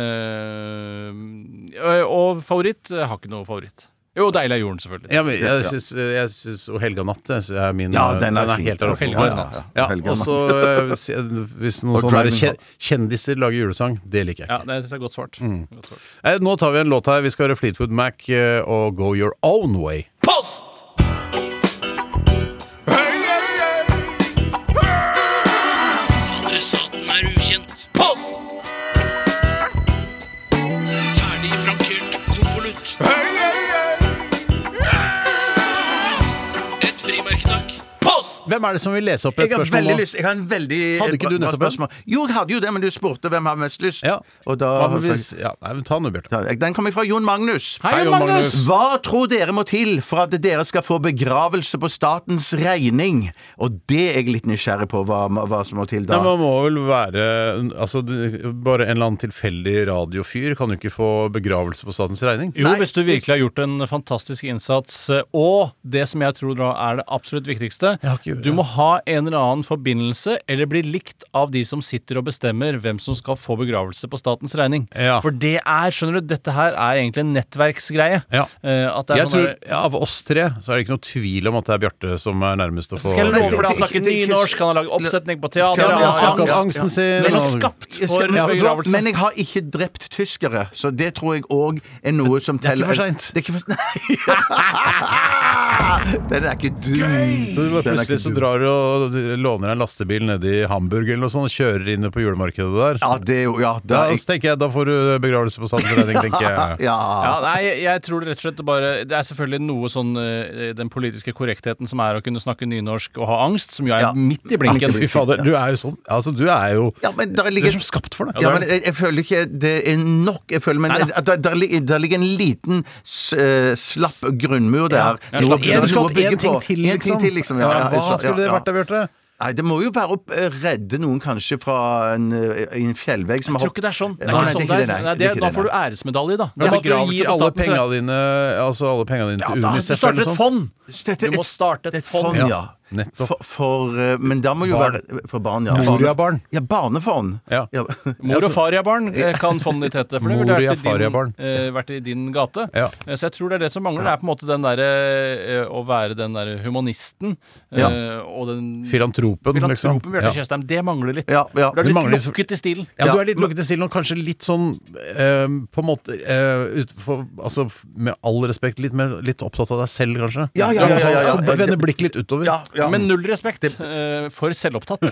E: Eh, og favoritt eh, har ikke noe favoritt. Jo, 'Deilig er jorden', selvfølgelig.
C: Ja, men jeg
D: Ja.
C: syns, eh, jeg syns Og 'Helga natt' jeg syns er min
D: Ja, den er fin.
C: helt der oppe.
E: Og Helga
C: Ja,
E: natt.
C: ja, ja.
D: Helga
C: og så eh, se- hvis noen
D: Og
C: sånne der
D: Driving
C: kje- kjendiser lager julesang, det liker jeg
E: Ja,
C: ikke.
E: det syns jeg er godt svart. Godt svart.
C: Eh, Nå tar vi en låt her. Vi skal høre Fleetwood Mac eh, og 'Go Your Own Way'.
E: Post!
F: Adressaten er ukjent. Post! Ferdig frankert konvolutt. Et frimerke, takk. Post!
C: Hvem er det som vil lese opp et
D: Jeg har
C: spørsmål
D: veldig
C: nå?
D: lyst Jeg har en veldig
C: Hadde ikke du
D: bra
C: nettopp en?
D: spørsmål. Jo, jeg hadde jo det, men du spurte hvem har mest lyst.
C: Ja.
D: Og da
C: Hva med hvis, ja, nei, men ta den nå, Bjarte.
D: Ta- eh, Den kommer fra Jon Magnus.
E: Hei, Jon Magnus!
D: Hva tror dere må til for at dere skal få begravelse på statens regning? Og det er jeg litt nysgjerrig på, hva, hva som må til da.
C: Nei, man må vel være altså, det- Bare en eller annen tilfeldig radiofyr kan jo ikke få begravelse på statens regning.
E: Jo, hvis du virkelig har gjort en fantastisk innsats, eh, og det som jeg tror da er det absolutt viktigste,
C: Jeg har ikke-
E: du må ha en eller annen forbindelse, eller bli likt av de som sitter og bestemmer hvem som skal få begravelse på statens regning.
C: Ja.
E: For det er, skjønner du, dette her er egentlig en nettverksgreie.
C: Ja.
E: Eh, At det er
C: Jeg
E: sånn
C: tror
E: der-
C: ja, Av oss tre så er det ikke noe tvil om at det er Bjarte som er nærmest å få
E: Skal jeg love for deg, han
D: Ikke-
E: snakker
D: ikke-
E: nynorsk, han har laget oppsetning på teater
C: Ja, men han
E: han-
C: snakker om
E: han-
C: angsten sin.
E: Men
C: og-
E: skapt
D: Jeg
E: for
D: skal- men, vet du hva?
E: begravelse.
D: men jeg har ikke drept tyskere, så det tror jeg òg er noe som
C: er ikke
D: teller.
C: for sent.
D: Det er ikke for Nei. Den er ikke
C: Så du
D: dum.
C: bare
D: Den er
C: plutselig så
D: ikke dum.
C: drar du og låner deg en lastebil nede i Hamburg eller noe sånt og kjører inn på julemarkedet der.
D: Ja, det er jo Ja,
C: Da,
D: da er jeg,
C: så tenker jeg, da får du begravelse på statens regning, tenker jeg.
D: ja.
E: Ja, nei, jeg, jeg tror det rett og slett bare Det er selvfølgelig noe sånn eh, Den politiske korrektheten som er å kunne snakke nynorsk og ha angst, som jo er
D: Ja.
E: midt i blinken.
C: Fy fader, du er jo sånn. Altså, du er jo
D: Ja, men der
C: Du
D: ligger
C: er som skapt for det.
D: Ja, men jeg, jeg føler ikke det er nok. Jeg føler, men
E: Neida.
D: at der, der, ligger- der ligger en liten s, eh, slapp grunnmur der.
E: ja, slapp
D: der
E: grunnmur.
D: du
E: Du
D: må
C: skulle hatt
D: bygge
C: én ting
D: på.
C: til,
D: En
C: liksom.
D: ting til, liksom. Ja, ja,
C: Hva
D: ja,
C: skulle det
D: ja.
C: vært da, Bjarte?
D: Nei, det må jo være å eh, redde noen kanskje fra en, eh, i en fjellvegg som
E: Jeg
D: har
E: tror ikke det er sånn. Det er
D: Nei,
E: ikke
D: nei, det er
E: sånn
D: ikke
E: det
D: det,
E: er.
D: nei.
E: Nei,
D: Det
E: det,
D: er ikke
E: da
D: det,
E: får du
D: nei.
E: æresmedalje, da.
C: Men at du
E: Begravelse
C: gir
E: på
C: alle
E: statens-
C: pengene sånn. dine Altså alle pengene dine til
E: Da- Du
C: UNICEF
E: starter
C: eller
E: et
C: noe sånt?
E: fond!
D: Dette er
E: Du må
D: et-
E: starte
D: Et
E: et
D: fond,
E: fond.
D: ja.
C: nettopp.
D: For, for, eh, men da må jo
C: Barn.
D: være For barn, ja.
C: Moria-barn.
D: Ja, barnefond.
C: Ja.
E: Mor og fariabarn eh, kan fondet ditt hete, for det ville
C: Moria
E: vært, i din-
C: fariabarn.
E: eh, vært i din gate.
C: Ja.
E: Eh, Så jeg tror det er det som mangler. Det er på en måte den derre eh, å være den derre humanisten eh, og den
C: Filantropen, liksom.
E: filantropen Bjarte
C: Ja.
E: Tjøstheim. Det mangler litt.
D: Ja, ja.
E: Du er
C: Det mangler-
E: litt lukket i stilen.
C: Ja,
D: Ja.
C: du er litt lukket til stilen og kanskje litt sånn eh, på en måte eh, ut for, Altså med all respekt litt, mer, litt opptatt av deg selv, kanskje?
D: Ja, ja, ja, ja, ja, ja.
C: Vende blikket litt utover.
D: Ja,
E: Men null respekt eh, for selvopptatt.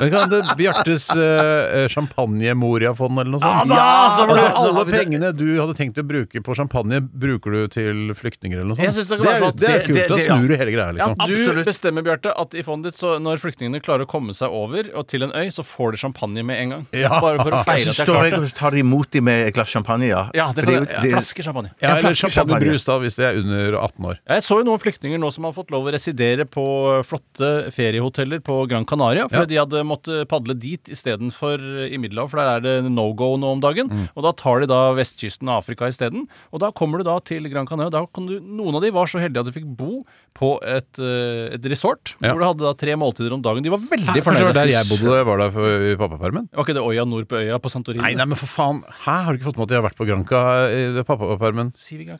C: Men kan det Bjartes eh, champagne-Moria-fond eller noe sånt?
E: da, så blir
C: altså,
E: det-
C: alle pengene du hadde tenkt å bruke på champagne, bruker du til flyktninger eller noe sånt?
E: Jeg synes det kan
C: det,
E: være
C: er,
E: sånn at
C: det er
D: det-
C: kult.
D: det-
C: Da
D: det- ja.
C: snur du hele greia, liksom.
E: Du
D: Absolutt.
E: bestemmer, Bjarte, at i fondet ditt, så når flyktningene klarer å komme seg over og til en øy, så får de champagne med en gang.
C: Ja.
E: Bare for å feire
D: Så står
E: at jeg
D: jeg
E: klarte det.
D: og tar imot dem med et glass champagne, ja.
E: Ja, det
D: For
E: kan,
D: er jo-
E: ja,
D: det-
E: flasker champagne.
C: Ja,
D: En
C: eller
D: flaske champagne.
C: champagnebrus, da, hvis det er under 18 år.
E: Jeg så jo noen flyktninger nå som har fått lov å residere på flotte feriehoteller på Gran Canaria, fordi de hadde måttet padle dit istedenfor i Middelhavet, for der er det no go nå om dagen.
C: Mm.
E: Og da tar de da vestkysten av Afrika isteden. Og da kommer du da til Gran Canaria. og Da kan du, noen av de var så heldige at de fikk bo på et, eh, et resort,
C: Ja.
E: hvor du hadde da tre måltider om dagen. De var veldig
C: Kanskje det var
E: fornøyde.
C: der jeg bodde da jeg var der for, i pappapermen?
E: Var ikke det øya nord på øya på Santorini?
C: Nei, nei, men for faen. Hæ, har du ikke fått med at jeg har vært på Granca i pappapermen?
E: Sier vi ikke.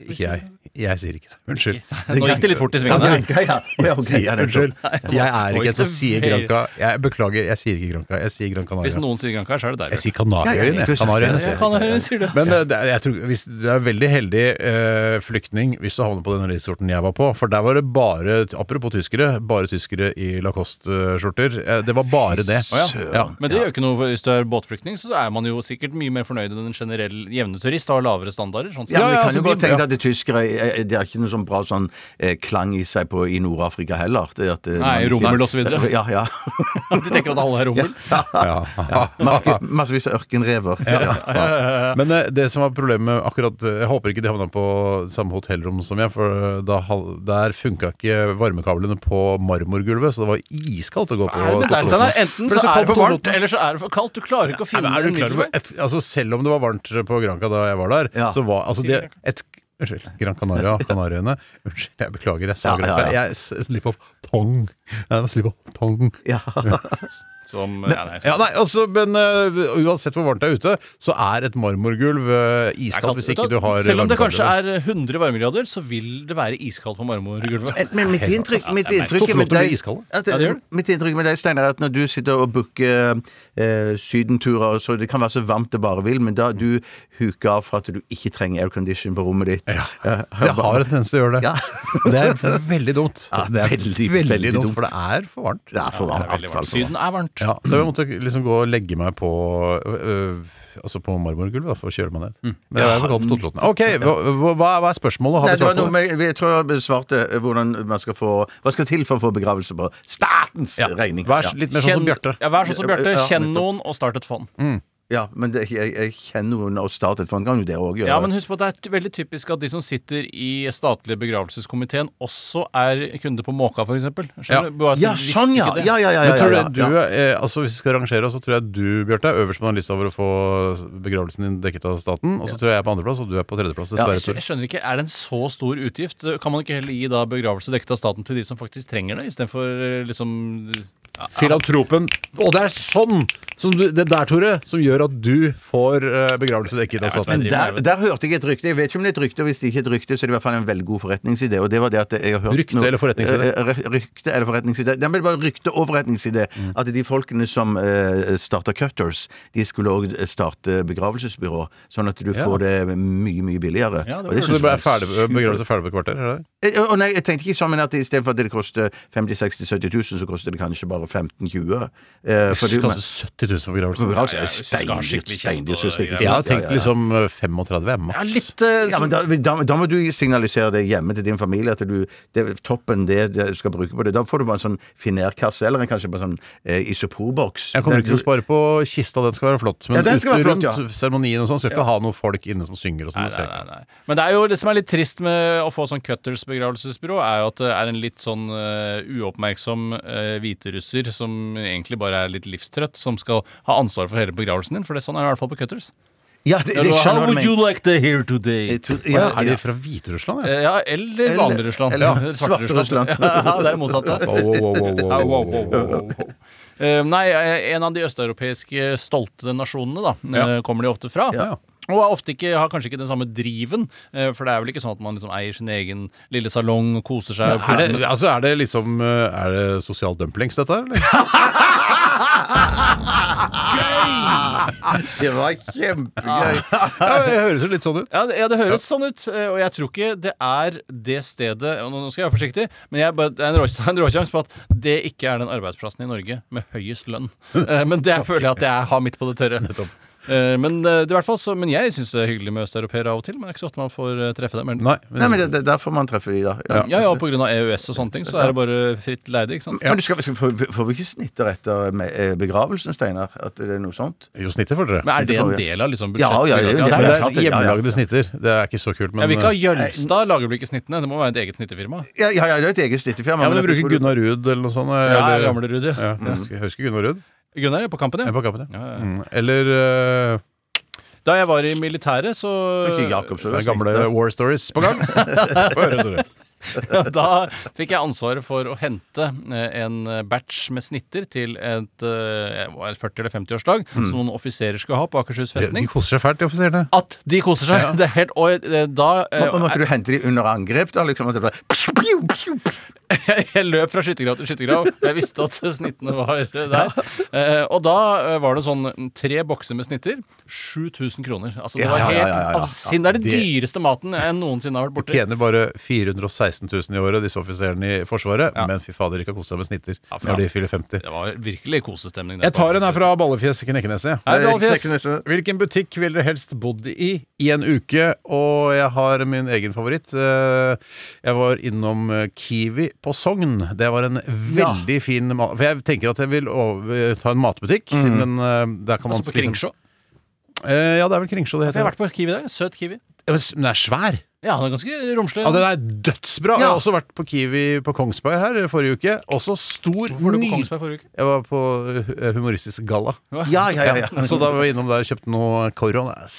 C: Ikke jeg. Jeg sier ikke det. Unnskyld.
E: Nå gikk det litt fort i
D: Ja,
E: svingene.
D: ja, ja. Ja, ok, ja, det er
C: Unnskyld. Jeg er
E: Oi,
C: ikke en som sier
E: det-
C: Granca. Jeg beklager, jeg sier ikke Granca. Jeg sier Gran
E: Hvis
C: Canaria.
E: noen sier Gran Canaria, så er
C: Jeg
E: det der.
C: sier Kanariøyene.
D: Ja,
C: jeg.
D: ja,
C: Kanariøyene sier jeg.
E: Kan jeg sier det.
C: Men eh, det er, jeg tror, hvis, det er veldig heldig eh, flyktning hvis du havner på den resorten jeg var på. For der var det bare, apropos tyskere, bare tyskere i Lacoste-skjorter. Eh, det var bare det.
E: Å ja.
C: Ja.
E: Men det gjør ikke noe for- hvis du er båtflyktning, så er man jo sikkert mye mer fornøyd enn en generell jevne turist og har lavere standarder. Sånn sett.
D: Ja, men
C: ja,
D: jeg kan
C: altså,
D: jo godt
C: de-
D: tenke at det tyskere eh, Det er ikke noe sånn bra sånn eh, klang i seg på, i Nord-Afrika heller. Det at, eh, man ikke- Eh,
E: rummel og så videre.
D: Ja, ja.
E: De tenker at alle er rommel.
C: Ja.
D: Maske, massevis av ørkenrever. Ja.
C: Men eh, det som var problemet med akkurat eh, Jeg håper ikke de havna på samme hotellrom som jeg, for eh, da, hal- der funka ikke varmekablene på marmorgulvet, så det var iskaldt å gå på.
E: Er det der,
C: på-
E: Steinar? Enten
C: For
E: så er det for varmt,
C: Lofoten.
E: eller så er det for kaldt. Du klarer ikke å
C: Nei,
E: finne
C: men er
E: en
C: du klar over
E: middelvei.
C: et, altså Selv om det var varmt på Granca da jeg var der,
D: Ja.
C: så var altså det et Unnskyld. Gran Canaria, Kanariøyene. Unnskyld, jeg beklager, jeg sa
D: Ja, ja,
C: Granca.
D: ja.
C: Jeg slipper opp tong. Jeg slipper opp tong.
E: Som, ja, nei.
C: Ja, nei, altså, men øh, uansett hvor varmt det er ute, så er et marmorgulv øh,
E: Jeg
C: iskaldt
E: kan-
C: hvis
E: vet
C: ikke du har
E: Selv om det
C: varmekabler.
E: kanskje er 100 varmegrader, så vil det være iskaldt på marmorgulvet.
D: Men mitt inntrykk, mitt
E: det er
D: inntrykk
C: merkelig.
D: med
C: Totalt å bli
D: deg,
C: iskald.
D: at,
E: Ja, det gjør det.
D: mitt inntrykk med deg, Steinar, er at når du sitter og booker eh, sydenturer, så det kan være så varmt det bare vil, men da du huker av for at du ikke trenger aircondition på rommet ditt.
C: Ja. Det har en tendens til å gjøre det.
D: Ja.
C: Det er veldig dumt. det er veldig,
D: veldig, veldig
C: dumt,
D: dumt.
C: for det er for varmt.
D: Det er for varmt.
E: veldig
D: altfor
E: varmt.
D: varmt.
E: Syden er varmt.
C: Ja, så jeg måtte liksom gå og legge meg på øh, Altså på marmorgulvet da, for å kjøle meg ned. Men jeg har fortalt Totelotten. Ok, hva, hva, hva er spørsmålet? Har
D: Mm. Nei,
C: vi svart på
D: det var noe
C: det?
D: med, jeg tror jeg besvarte eh, hvordan man skal få Hva skal til for å få begravelse på statens
C: Ja.
D: regning.
C: Vær
D: Ja.
C: litt mer sånn som Bjarte.
E: ja, vær sånn som Bjarte.
D: Ja,
E: Kjenn
D: nettopp.
E: noen og start et fond. sånn-
D: Ja, men det, jeg, jeg kjenner noen og startet for en gang, jo dere òg gjør
E: Ja, men husk på at Det er t- veldig typisk at de som sitter i statlige begravelseskomiteen, også er kunder på Måka, f.eks.
C: Ja.
D: Ja, sånn, ja! Ja, ja, ja. ja,
C: Men tror
D: ja,
C: jeg du,
D: ja.
C: eh, altså Hvis vi skal rangere, oss, så tror jeg du Bjørte, er øverst på den lista over å få begravelsen din dekket av staten. Og så tror jeg jeg er på andreplass, og du er på tredjeplass.
E: Jeg
C: Dessverre.
E: skjø- jeg
C: Tore.
E: skjønner ikke, Er det en så stor utgift? Kan man ikke heller gi da begravelse dekket av staten til de som faktisk trenger det, istedenfor eh, liksom
C: Filantropen. Og det er sånn! Som du, det der, Tore, som gjør at du får eh, begravelse dekket av staten.
E: Men det-
D: Der, der hørte jeg et rykte. Jeg vet ikke om det er et rykte, og hvis det ikke er et rykte, så er det i hvert fall en veldig god forretningsidé. Og det var det at jeg har hørt
C: Rykte
D: noe-
C: eller forretningsidé?
D: Eh, ry- Rykte eller forretningsidé. Det ble bare rykte og forretningsidé. At de folkene som uh, starta Cutters, de skulle òg starte begravelsesbyrå. Sånn at du
C: Ja.
D: får det mye, mye billigere.
E: Ja, det
D: Og det
C: Så det
D: synes
C: ble
D: jeg var
C: ferdig,
D: super-
C: begravelse ferdig på et kvarter? er det det?
D: Eh, og nei, jeg tenkte ikke sånn, men at istedenfor at det koster 50 60 70 000, så koster det kanskje bare 15 20 eh, for
C: Du
D: du-
C: kaster 70 000 på begravelse.
D: Begravelse er
E: Ja, ja, hvis du skal ha
D: steindyrt.
E: skikkelig
D: steindyrt,
E: kjeft og
D: synes jeg.
E: greier.
C: Jeg har tenkt
D: Ja, ja, ja.
C: liksom eh, 35, jeg, maks.
E: Ja, litt eh,
D: Ja, men da, da, da må du signalisere det hjemme til din familie at du, det er toppen det, det du skal bruke på det. Da får du bare en sånn finerkasse, eller en- kanskje bare en sånn eh, isoporboks.
C: Jeg kommer
D: Der
C: ikke til å
D: du-
C: spare på kista, den skal være flott. Men
D: Ja, den skal være
C: ut-
D: flott, ja.
C: rundt seremonien og sånn skal jeg ikke ha noen folk inne som synger og sånn. det skal
E: Nei,
C: jeg ikke.
E: nei, nei. Men det er jo det som er litt trist med å få sånn Cutters begravelsesbyrå, er jo at det er en litt sånn eh, uoppmerksom eh, hviterusser som egentlig bare er litt livstrøtt, som skal ha ansvaret for hele begravelsen din. For det er sånn er det i hvert fall på Cutters.
D: Ja, det, det, jeg skjønner hva du mener.
E: like to hear today?
D: Jeg tror-
C: Å, ja,
D: ja,
C: er de
D: ja.
C: fra Hviterussland?
E: Eh,
C: Ja?
E: Ja, eller vanlig Russland.
D: eller
E: Ja,
D: svarte Russland.
E: Ja, det er det motsatte.
D: Eh,
C: Wow, wow, wow, wow, wow,
E: Au, au,
C: wow,
E: au,
C: wow, wow.
E: au, au. Eh, Nei, eh, en av de østeuropeiske stolte nasjonene, da, eh, kommer de ofte fra.
C: Ja.
E: Og er ofte ikke, har kanskje ikke den samme driven, eh, for det er vel ikke sånn at man liksom eier sin egen lille salong og koser seg.
C: Er det, altså, er det liksom eh, Er det sosial dumplings, dette her? eller?
D: Det var kjempegøy.
C: Ja, det høres jo litt sånn ut.
E: Ja, det, ja, det høres sånn ut, eh, og jeg tror ikke det er det stedet og Nå nå skal jeg være forsiktig, men jeg, bare- det er en rå- en råsjanse på at det ikke er den arbeidsplassen i Norge med høyest lønn. Eh, Men det føler jeg at jeg har midt på det tørre. Eh, Men, eh, det er i hvert fall så, men jeg syns det er hyggelig med østeuropeere av og til, men det er ikke så ofte man får eh, treffe dem. eller-
C: Nei.
D: Nei, men det, det, Der får man treffe i, da. Ja.
E: Ja, ja, på grunn av EØS og sånne ting, så er det bare fritt leide, ikke sant?
D: Men du skal, skal, får, får vi ikke snitter etter me- eh, begravelsen, Steinar? At det er noe sånt?
C: Jo, snittet får dere.
E: Men er det en del av liksom budsjettet?
D: Ja, ja, ja,
E: det
D: ja,
E: er
C: Men
E: det.
C: det
D: sant,
C: er
D: ja, ja.
C: hjemmelagde snitter. Det er ikke så kult, men eh,
E: Jeg vil ikke ha
C: ja,
E: Jølstad lager vel ikke snittene? Det må være et eget snittefirma.
D: Ja, ja, ja, det er et eget snittefirma.
C: men
D: men
C: du
D: jeg
C: bruker
D: tror-
C: Gunnar Ruud eller noe sånt. eh,
E: Ja,
C: eller-
E: gamle Rudi.
C: Ja, jeg husker- jeg husker Gunnar Ruud.
E: Gunnar er på kampen,
C: Jeg
E: ja.
C: er på kappen, ja.
E: Ja, ja.
C: Mm. Eller eh,
E: Da jeg var i militæret, så
D: Ikke Jakobsen,
C: det er gamle
D: snitter.
C: War Stories på gang. Få høre, Tore.
E: Da fikk jeg ansvaret for å hente eh, en batch med snitter til et, eh, det var et 40- eller 50-årsdag
D: Mm.
E: som noen offiserer skulle ha på Akershus
C: De de
E: festning.
C: koser seg fælt, de offiserene.
E: At de koser seg! Det er helt, og eh, da eh,
D: Må- Måtte du hente de under angrep, da? Liksom, at det ble...
E: jeg, jeg løp fra skyttergrav til skyttergrav. Jeg visste at snittene var der. Eh, og da eh, var det sånn mm, tre bokser med snitter. 7000 kroner. Altså, det
D: Ja,
E: var
D: ja,
E: helt
D: ja, ja, ja.
E: avsinn. Det er den
C: Det-
E: dyreste maten jeg noensinne har vært borti.
C: Tjener bare 416 000 i året, disse offiserene i Forsvaret. Men fy fader, de kan kose seg med snitter
E: for
C: når
E: faen.
C: de fyller 50.
E: Det var virkelig kosestemning. der
C: Jeg
E: på
C: tar en her
E: Akershus.
C: fra Ballefjes Knekkeneset.
E: Hei, Ballefjes.
C: Hvilken butikk ville dere helst bodd i i en uke? Og jeg har min egen favoritt. Eh, Jeg var innom eh, Kiwi på Sogn. Det var en veldig fin mat... For jeg tenker at jeg vil over, eh, ta en matbutikk, siden den eh, Der kan man
E: Mm. Altså på Kringsjå.
C: Eh, Ja, det er vel Kringsjå det
E: Jeg har
C: heter.
E: vært på Kiwi i dag. Søt Kiwi.
C: Ja, Men s- men den er svær!
E: Ja, han er ganske romslig.
C: Ja, den er dødsbra. Jeg har også vært på Kiwi på Kongsberg her forrige uke. Også stor,
E: Var du på
C: ny
E: Kongsberg forrige uke?
C: Jeg var på eh, Humoristisk Galla.
D: Ja, ja, ja. ja.
C: Så da var jeg innom der og kjøpte noe koronas.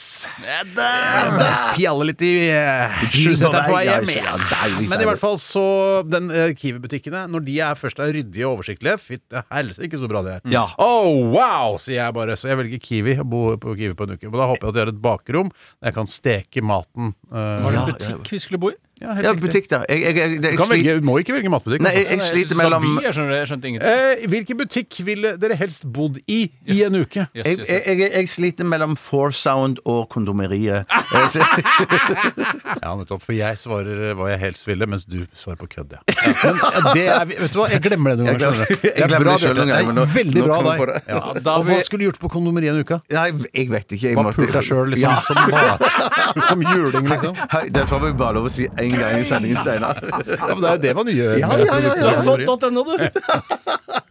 C: Pjalle litt i eh, sjusetteren på vei
D: Ja,
C: hjem.
D: ja, deilig,
C: Men i
D: deilig.
C: hvert fall så Den eh, Kiwi-butikkene, når de er først er ryddige og oversiktlige Fytte helsike, ikke så bra de er.
D: Ja.
C: Oh, wow, sier jeg bare. Så jeg velger Kiwi og bor på Kiwi på en uke. Men da håper jeg at de har et bakrom der jeg kan steke maten. eh,
E: Var det en butikk vi skulle bo i?
C: ja, helt
D: Ja,
C: riktig.
D: butikk, da. Jeg, jeg, jeg, jeg,
C: Du kan velge, du må ikke velge matbutikk.
D: Nei, eh,
C: altså.
D: jeg, jeg sliter
E: sa
D: mellom
E: by, sånn jeg, skjønner, jeg skjønte ingenting.
C: Eh, hvilken butikk ville dere helst bodd i i en uke?
E: Yes,
D: jeg,
E: yes,
C: eh,
D: jeg, jeg,
E: yes.
D: jeg sliter mellom Foursound og Kondomeriet. Jeg ser-
C: Ja, nettopp. For jeg svarer hva jeg helst ville, mens du svarer på kødd. Ja. Men ja, det er, vet du hva, jeg glemmer det noen
D: Jeg
C: ganger.
D: glemmer-
C: skjønner du. Det
D: jeg
C: er
D: glemmer
C: bra,
D: det selv
C: Bjarte.
D: noen ganger, men
C: Det er
D: nå-
C: Veldig
D: nå
C: bra
D: kom jeg
C: deg.
D: på det.
C: Ja.
E: Ja, da
C: Og hva
E: vil-
C: skulle du gjort på kondomeriet en uke?
D: Nei, jeg vet ikke. Jeg
C: Hva pult deg sjøl, liksom? Som, barn. som juling, liksom?
D: Hei, det får vi bare lov å si én gang i sendingen, Steinar.
C: Ja, men det er jo det man gjør.
D: Ja,
C: med
D: ja, ja,
C: produkter
E: Du
C: og
E: har
C: kalorier.
E: fått .no, du!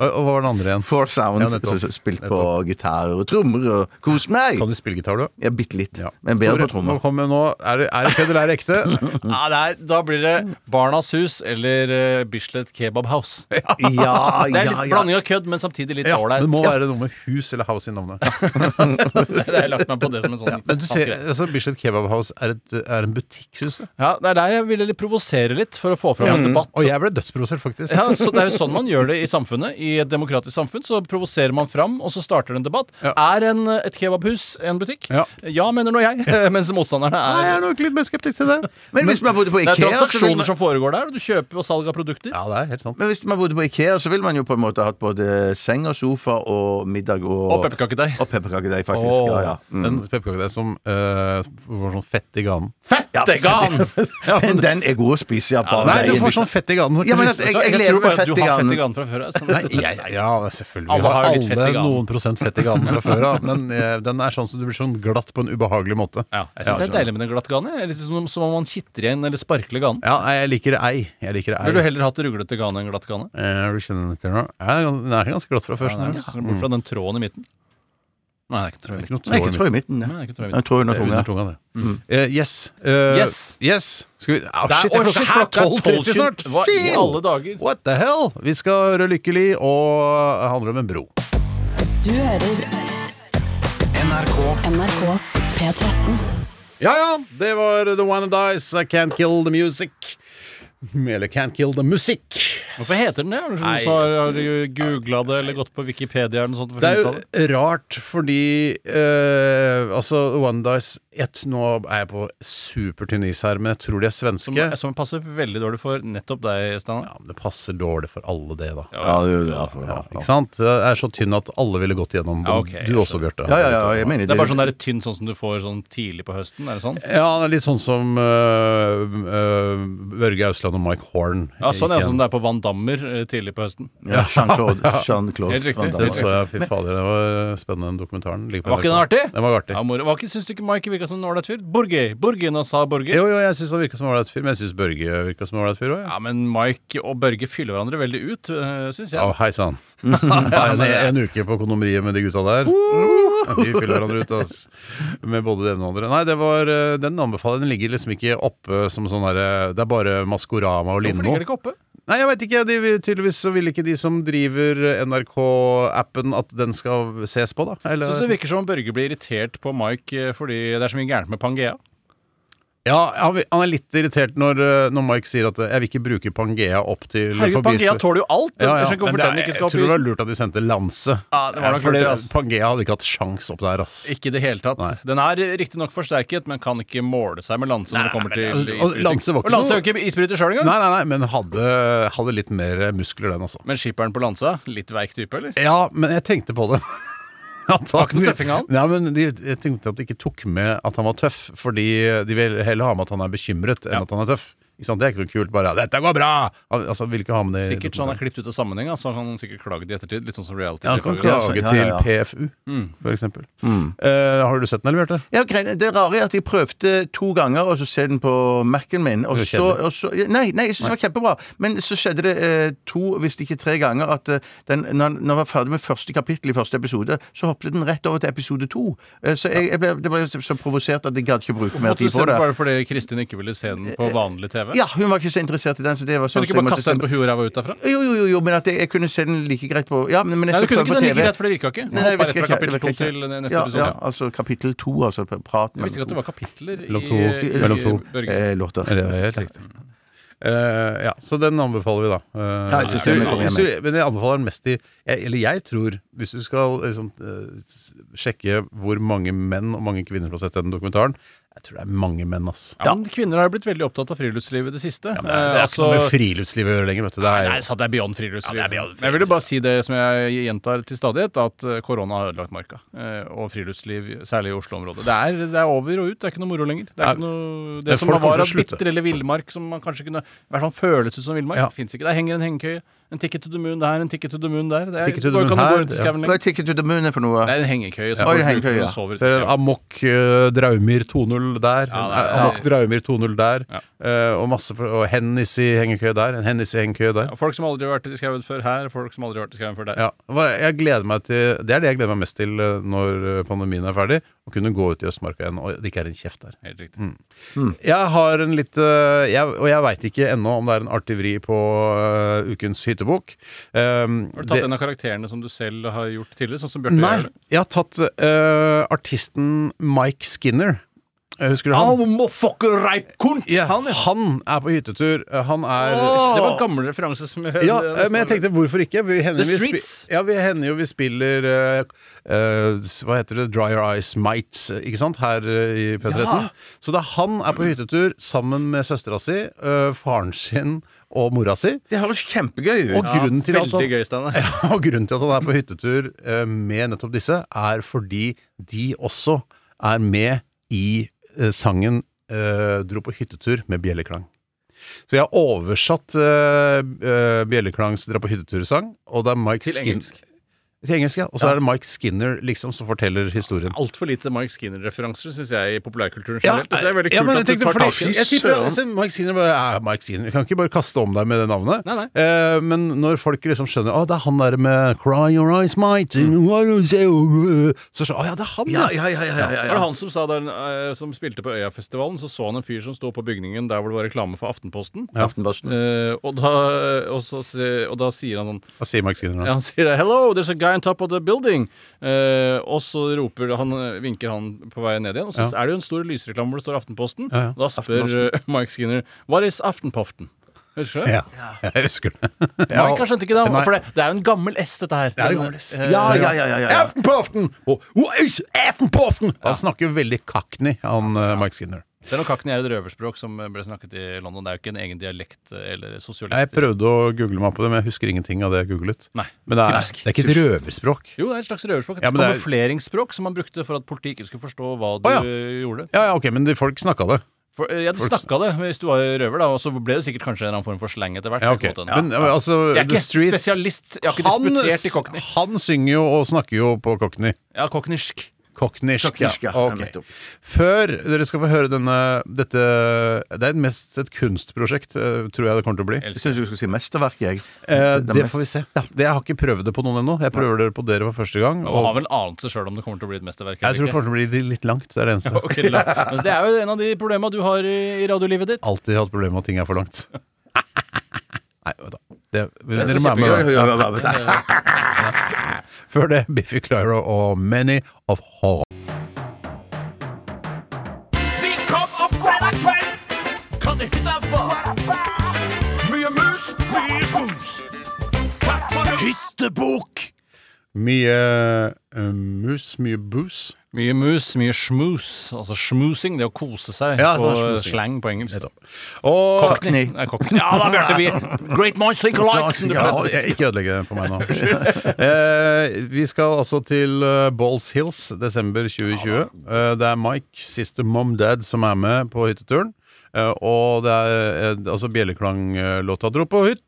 C: Og, og hva var den andre igjen?
D: Foursound,
C: Ja,
D: ja,
C: nettopp.
D: spilt på gitar og trommer og kos meg.
C: Kan du spille gitar, du?
D: Ja, bitte litt.
C: Ja.
D: Men bedre på
C: Tore, Nå
D: trommer.
C: kommer nå Er det er det kødd eller er det ekte?
E: Ja, nei, da blir det Barnas Hus eller eh, Bislett Kebab House. Det
D: Ja,
E: er litt
D: ja, ja.
E: blanding av kødd, men samtidig litt
C: Ja,
E: ålreit.
C: det må
E: Ja,
C: være noe med hus eller house i navnet.
E: det har jeg lagt meg på det som en sånn
C: Men du
E: fast
C: ser,
E: greie.
C: altså Bislett Kebab House er, et, er en butikkhus. det.
E: Ja, Det er der jeg ville litt provosere litt, for å få fram en debatt.
C: Og jeg ble dødsprovosert, faktisk.
E: Ja, så Det er jo sånn man gjør det i samfunnet. I et demokratisk samfunn så provoserer man fram, og så starter det en debatt.
C: Ja.
E: Er en, eh, et kebabhus en butikk?
C: Ja.
E: mener nå jeg. eh, Mens motstanderne
C: Nei, jeg
E: er
C: er nok litt mer skeptisk til det.
D: Men hvis man bodde på
E: Det er
D: Ikea, så vil
E: transaksjoner
D: man
E: som foregår der, og du kjøper og salg av produkter.
C: Ja, det er helt sant.
D: men hvis man bodde på Ikea, så ville man jo på en måte hatt både seng og sofa og middag og
E: Og pepperkakedeig.
D: Og pepperkakedeig, faktisk. Ja, ja. Mm.
C: Den pepperkakedeigen som eh, får sånn fett i ganen.
E: Fettegan!
D: Men den er god å spise, ja. Bare
C: Nei, du
D: deilig.
C: får sånn fett i ganen.
D: Ja, men at jeg, jeg lever med
E: Du har
D: fettigan.
E: fettegan fra før av. sånn-
C: Nei, jeg, ja, selvfølgelig.
E: Alle
C: Vi
E: har jo litt fett i ganen.
C: noen prosent fett i ganen fra før av, men eh, den er sånn som du blir sånn glatt på en ubehagelig måte.
E: Ja, jeg synes det er deilig med den glatt gane. Eller som, som om man kitter igjen eller sparkler ganen.
C: Ja, nei, jeg liker det ei. Jeg liker det ei.
E: Ville du heller hatt ruglete gane enn glatt gane?
C: Eh, du kjenner den litt, nå? Ja, Den er ganske glatt fra før.
E: Nei,
C: sånn her.
E: Bort fra den tråden i midten. Nei, det er ikke tråd i
C: Det er
E: midten.
C: ikke noe tråd i
D: Nei, ikke trå i midten.
E: Nei, det
D: Nei.
E: er ikke tråd i midten.
D: Jeg tror under
C: Det er
D: tunga.
C: Under tunga, det. Eh, yes. Eh,
E: Mm. Yes.
C: yes. Skal vi Au,
E: Det er-
C: Shit, jeg
E: Oi,
C: klokka
E: shit,
C: her
E: klokka er
C: 12.30 snart!
E: 12.20. Hva i
C: Shit.
E: alle dager?
C: What the hell? Vi skal høre Lykkelig, og det handler om en bro.
A: Du hører
B: NRK
A: NRK P13.
C: Ja ja, det var The One and Dies, I Can't Kill The Music. Eller Can't Kill The Musikk.
E: Hvorfor heter den det? Har du,
C: Nei.
E: har, har du googla det eller gått på Wikipedia eller noe sånt? for å
C: Det er
E: finne ut av det?
C: jo rart fordi eh, Altså, One Dies jeg, t- nå er jeg på supertynn is her, men jeg tror de er svenske.
E: Som, som passer veldig dårlig for nettopp deg, Steinar.
C: Ja, men det passer dårlig for alle det, da.
D: Ja, det, er jo det, altså,
C: Ja,
D: ja,
C: ikke sant? Det er så tynn at alle ville gått gjennom den.
E: Ja, ok, jeg
C: du også,
E: skjønner.
C: Bjarte.
D: ja, ja, ja, jeg mener
E: Det er bare sånn der tynn sånn som du får sånn tidlig på høsten. Er det sånn?
C: Ja, det er litt sånn som øh, øh, Børge Ausland og Mike Horn.
E: Ja, sånn er
C: Gikk
E: det
C: igjen.
E: som det er på Van Dammer eh, tidlig på høsten.
D: Ja, Jean-Claude. Jean-Claude
E: Helt riktig.
D: Van Damme.
C: Den så jeg, fy fader, det var spennende, den dokumentaren. Ligger på
E: Var ikke den
C: NRK.
E: artig?
C: Den var artig.
E: Ja, moro. Var ikke, Syns du ikke Mike virka som en ålreit fyr? Borge! Borge, nå sa Borge.
C: Jo, jo, jeg syns han virka som en ålreit fyr, men jeg syns Børge virka som en ålreit fyr òg. Ja.
E: Ja, men Mike og Børge fyller hverandre veldig ut, syns jeg.
C: Å, Hei sann. En, en uke på kondomeriet med de gutta der.
E: Uh!
C: De fyller hverandre ut ass. med både det ene og det andre. Nei, det var, øh, den anbefalingen ligger liksom ikke oppe som sånn derre Det er bare Maskorama og
E: Hvorfor
C: Lindmo.
E: ligger det ikke oppe?
C: Nei, jeg veit ikke. De, vil- tydeligvis så vil ikke de som driver NRK-appen at den skal ses på, da. Eller-
E: Syns det virker som om Børge blir irritert på Mike eh, fordi det er så mye gærent med Pangea.
C: Ja, han vil- han er litt irritert når, eh, når Mike sier at eh, 'jeg vil ikke bruke Pangea opp til
E: Herregud,
C: forbi-
E: Pangea tåler jo alt!
C: Ja,
E: Jeg
C: ja,
E: skjønner ikke
C: men
E: hvorfor
C: det er-
E: den ikke
C: jeg
E: skal
C: tror
E: opp i
C: det var
E: isen.
C: lurt at de sendte Lanse.
E: Ja, det var nok
C: for
E: lurt, altså.
C: det-
E: ass.
C: Pangea hadde ikke hatt sjans opp der, ass.
E: Ikke i det hele tatt.
C: Nei.
E: Den er riktignok forsterket, men kan ikke måle seg med Lanse når det kommer til
C: men- og
E: isbryting.
C: Lanse var ikke
E: Og Lanse
C: noe-
E: er jo ikke isbryter sjøl engang!
C: Nei, nei, nei, men hadde, hadde litt mer eh, muskler, den, altså.
E: Men skipperen på Lanse, litt veik type, eller?
C: Ja, men jeg tenkte på det.
E: ikke noe tøffing, han?
C: Nei, men de, jeg tenkte at de ikke tok med at han var tøff, fordi de vil heller ha med at han er bekymret enn
E: Ja.
C: at han er tøff. Ikke sant? Det er ikke noe kult, bare 'dette går bra'! Al- Altså, vil ikke ha med det i
E: Sikkert sånn, så han er
C: dokumentaren.
E: klippet ut av sammenheng, da, så han kan sikkert klage det i ettertid. Litt sånn som reality.
C: Ja, han kan
E: deltakere.
C: klage
D: Ja, ja, ja.
C: til PFU, for eksempel. Eh, har du sett den, eller, Bjarte?
D: Ja, greiene- Det rare er at jeg prøvde to ganger, og så ser den på Mac-en min. Og
C: Det er
D: så,
C: kjedelig.
D: og så, nei, nei, jeg syns det var kjempebra. Men så skjedde det eh, to, hvis ikke tre ganger, at eh, den, når, når jeg var ferdig med første kapittel i første episode, så hoppet den rett over til episode to. Eh, så jeg, jeg ble, det ble så så provosert at jeg gadd ikke bruke mer
E: Måtte du
D: tid
E: se
D: på det.
E: den bare fordi Kristin ikke ville se den på vanlig TV?
D: Ja, hun var ikke så interessert i den, så det var
E: Kunne
D: sånn så
E: du ikke
D: jeg
E: bare
D: måtte
E: kaste den
D: sende-
E: på huet og ræva ut derfra?
D: jo, jo, jo, jo, men at jeg, jeg kunne se den like greit på Ja, men men jeg
E: Nei, du
D: skal prøve
E: kunne
D: på
E: ikke se
D: TV.
E: den like greit, for det virka ikke.
D: Nei, det
E: Hoppa rett
D: virker
E: fra
D: ikke,
E: kapittel
D: det
E: to
D: virker
E: til
D: ikke.
E: neste
D: ja,
E: episode.
D: Ja, altså kapittel to, altså praten.
E: Jeg visste ikke at det var kapitler i,
C: Mellom to. Mellom
E: i
C: to.
E: Børge.
D: eh, låter.
C: Er det helt riktig? Eh, ja, så den anbefaler vi, da. Eh,
D: Ja, jeg synes den er kommet
C: hvis du, men jeg anbefaler den mest i jeg, Eller jeg tror, hvis du skal liksom, eh, s- sjekke hvor mange menn og mange kvinner som har sett den dokumentaren Jeg tror det er mange menn, ass.
E: Ja, men kvinner har blitt veldig opptatt av friluftsliv i det siste.
C: Det er
E: Eh,
C: ikke noe med friluftsliv å gjøre lenger, vet du. Det er,
E: Nei, så det er beyond friluftsliv. Men jeg ville bare si det som jeg gjentar til stadighet, at eh, korona har ødelagt marka. eh, Og friluftsliv, særlig i Oslo-området. Det, er- det er over og ut, det er ikke noe moro lenger. Det
C: Nei.
E: er ikke noe
C: Men
E: Det som
C: folk kommer
E: var av
C: til å slutte.
E: bitter eller villmark som man kanskje kunne I hvert fall føles ut som villmark.
C: Ja.
E: Det Fins ikke. Der henger en hengekøye. En ticket to the moon der, en ticket to the moon der. Det er,
C: Ticket to the
E: går
C: moon
E: ikke an å
C: her,
E: gå rundt i
C: ja.
E: skauen
D: Hva
E: lenger.
D: er Ticket to the Moon for noe?
E: Det er en hengekøye som
D: Oi,
E: folk bruker
D: hengekøye,
E: når
D: ja.
E: de sover ute
C: Så
E: i
C: er det
E: skauen.
C: Amok eh, Draumir 2-0 der. eh,
E: Ja, det er-
C: Amok Draumir 2-0 der.
E: Ja.
C: eh, og masse for, og Hennis i hengekøye der. En Hennis i hengekøye der.
E: Ja, Folk som aldri har vært i skauen før her, folk som aldri har vært i skauen før der.
C: Ja, hva- jeg gleder meg til Det er det jeg gleder meg mest til eh, når eh, pandemien er ferdig. Å kunne gå ut i Østmarka igjen, og det ikke er en kjeft der.
E: Helt riktig.
C: Jeg har en litt eh, jeg, Og jeg veit ikke ennå om det er en artig vri på eh, ukens hyttebok. Um,
E: Har du
C: det-
E: tatt en av karakterene som du selv har gjort tidligere? Sånn som Bjarte
C: Nei,
E: gjør? det?
C: jeg har tatt eh, artisten Mike Skinner. Eh, Husker du
F: altså,
C: han?
E: motherfucker ripe cunt!
C: Ja,
E: Han,
C: han,
E: ja.
C: er på hyttetur. Eh, Han er
E: Det var en gammel referanse som jeg
C: Ja, eh, men jeg tenkte hvorfor ikke? Vi hender,
E: The
C: vi
E: Streets.
C: spi- ja, vi hender jo vi spiller eh, eh, s- Hva heter det? Dry Your Eyes Mites, eh, ikke sant? Her eh, i P13. Så da han er på hyttetur sammen med søstera si, eh, faren sin og mora si
D: Det høres kjempegøy
C: og
D: ut.
C: grunnen, til at
E: Veldig
C: han,
E: gøy, Steinar.
C: og grunnen til at han er på hyttetur eh, med nettopp disse, er fordi de også er med i eh, sangen eh, 'Dro på hyttetur med bjelleklang'. Så jeg har oversatt eh, eh, Bjelleklangs 'Dra på hyttetur'-sang, og det er Mike
E: Til
C: Skin-
E: engelsk.
C: Til engelsk, ja. Og så er det Mike Skinner liksom som forteller historien.
E: Altfor lite Mike Skinner-referanser, syns jeg, i populærkulturen
C: Ja,
E: generelt. det er veldig
C: ja,
E: kult
C: men jeg
E: at du
C: tenkte,
E: tar tak
C: fordi,
E: i
C: jeg tipper jeg ser Mike Skinner bare er Mike Skinner. Vi kan ikke bare kaste om deg med det navnet.
E: Nei, nei.
C: Eh, men når folk liksom skjønner Å, det er han der med Cry your eyes might
E: Mm.
C: why don't you-" Så skjønner Å ja, det er han, ja!
E: Var det han som sa der, eh, som spilte på Øyafestivalen, så så han en fyr som sto på bygningen der hvor det var reklame for Aftenposten.
D: Aftenposten.
E: Eh, og, da, og, så, se- og da sier han sånn
C: Hva sier Mike Skinner
E: Ja,
C: da?
E: han sier det, 'Hello, there's a guy on top of the building'. Eh, og så roper han, vinker han på vei ned igjen. Og så
C: Ja.
E: er det jo en stor lysreklame hvor det står Aftenposten.
C: Ja, ja.
E: Og da spør eh, Mike Skinner 'What is Aftenpoften?' Eh, Husker du?
C: Ja. Jeg husker det.
E: Mike skjønte ikke det,
C: Nei.
E: for det, det er jo en gammel S, dette her.
C: Det er jo
E: Men,
C: gammel S.
E: eh,
D: Ja, ja, ja, ja, ja, ja.
C: Aftenpoften! Og- og is Aftenpoften! Han snakker veldig cockney, han eh, Mike Skinner.
E: Det er noe kakken er et røverspråk som ble snakket i London. Det er jo ikke en egen dialekt eh, eller
C: Jeg
E: sosiolekt.
C: prøvde å google meg på det, men jeg husker ingenting av det jeg googlet.
E: Nei.
C: Men det er,
E: Typisk.
C: det er ikke et røverspråk.
E: Jo, det er et slags røverspråk. Et
C: Ja, men det er-
E: kamufleringsspråk som man brukte for at politiet ikke skulle forstå hva du
C: ja.
E: eh, gjorde.
C: Ja, ja, ok, men de, folk snakka det.
E: For, eh, ja, du
C: Folk-
E: snakka det hvis du var røver, da, og så ble det sikkert kanskje en annen form for slang etter hvert.
C: Ja, ok.
E: på en måte.
C: Men ja, altså,
E: Jeg er
C: The
E: ikke
C: Streets
E: spesialist. Jeg har ikke
C: han,
E: disputert i cockney.
C: han synger jo og snakker jo på cockney.
E: Ja, cockneysk.
C: Cockneysk,
D: Cockneysk, ja.
C: ja.
D: Ja,
C: Ok.
D: nettopp.
C: Før dere skal få høre denne dette, Det er mest et kunstprosjekt, eh, tror jeg det kommer til å bli.
E: Elsker.
D: Jeg syns du skulle si mesterverk, jeg.
C: Eh,
D: Den
C: det
D: mest-
C: får vi se. Ja, det, jeg har ikke prøvd det på noen ennå. Jeg prøver det på dere for første gang.
E: Og
C: Og
E: har vel anelse sjøl om det kommer til å bli et mesterverk.
C: jeg tror det
E: eller ikke.
C: kommer til å bli litt langt. Det er det eneste.
E: Ok, la- Men det er jo en av de problema du har i i radiolivet ditt.
C: Alltid hatt problemer med at ting er for langt. Nei, vet du. Det,
E: er så
C: dere må være
D: Ja,
C: med.
D: ja, ja, ja, ja.
C: Før det, Biffy Clyro og Many of Horror.
F: Vi kom opp fredag kveld. Kan ikke da være Mye mus, mye bus. Takk for oss. Hyttebok.
C: Mye eh, mus, mye booze.
E: Mye mus, mye schmoose. Altså schmoosing, det å kose seg
C: Ja,
E: på
C: sånn schmoosing.
E: slang på engelsk.
C: Og
E: Cockney. Nei, cockney. Ja da, Bjarte. Vi Great minds think alike. som det
C: Ja,
E: pleier å si.
C: jeg- ikke ødelegge det for meg nå. Eh, vi skal altså til eh, Balls Hills, desember 2020. Eh, det er Mike, siste mom dad, som er med på hytteturen. Eh, og det er eh, altså bjelleklanglåta 'Dro på hyttetur',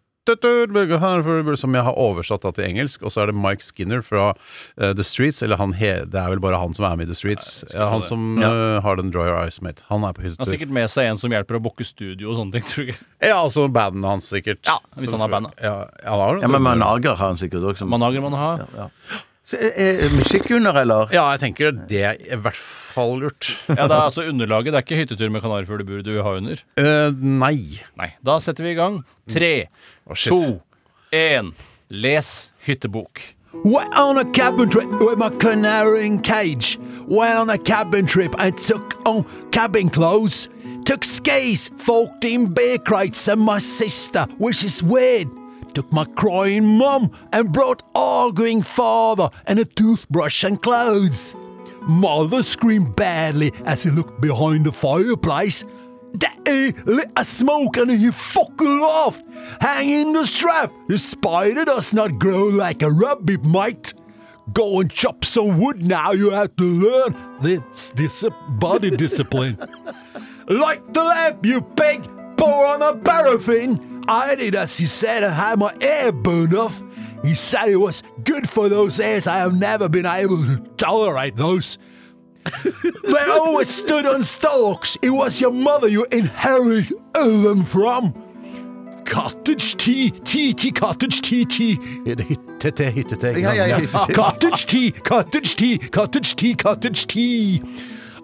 C: Børge Herford», som jeg har oversatt da til engelsk. Og så er det Mike Skinner fra eh, The Streets, eller han he, det er vel bare han som er med i The Streets. Ja, han som eh, har den 'Dry Your Eyes Mate'. Han er på
E: Han har
C: hyttetur.
E: sikkert med seg en som hjelper å booke studio og sånne ting. tror jeg.
C: Ja, altså bandet hans, sikkert.
E: Ja, hvis han har band,
C: Ja, han har
D: Ja, men Manager har han sikkert også.
E: Manager må han ha.
D: Så, eh, er- er Musikkhunder, eller?
C: Ja, jeg tenker det er i hvert fall lurt.
E: Ja, det er altså underlaget. Det er ikke hyttetur med kanarifugl i bur du har under.
C: Eh, nei.
E: Nei. Da setter vi i gang. Tre,
C: shit.
E: to, én. Les hyttebok.
C: We're on a cabin trip with my canary in cage. We're on a cabin trip I took on cabin clothes. Took skis, 14 beer crates and my sister, which is weird. Took my crying mum and brought arguing father and a toothbrush and clothes. Mother screamed badly as he looked behind the fireplace. Daddy lit a smoke and he fucking laughed. Hang in the strap. The spider does not grow like a rabbit might. Go and chop some wood now. You have to learn this dis- body discipline. Light the lamp, you pig! Pour on a paraffin! I did as he said and had my air burned off. He said it was good for those airs. I have never been able to tolerate those. they always stood on stalks. It was your mother you inherited them from. Cottage tea, tea, tea, cottage tea, tea. Hyttete, hyttete.
D: Ja, ja, ja, hyttete.
C: Cottage tea, cottage tea, cottage tea, cottage tea.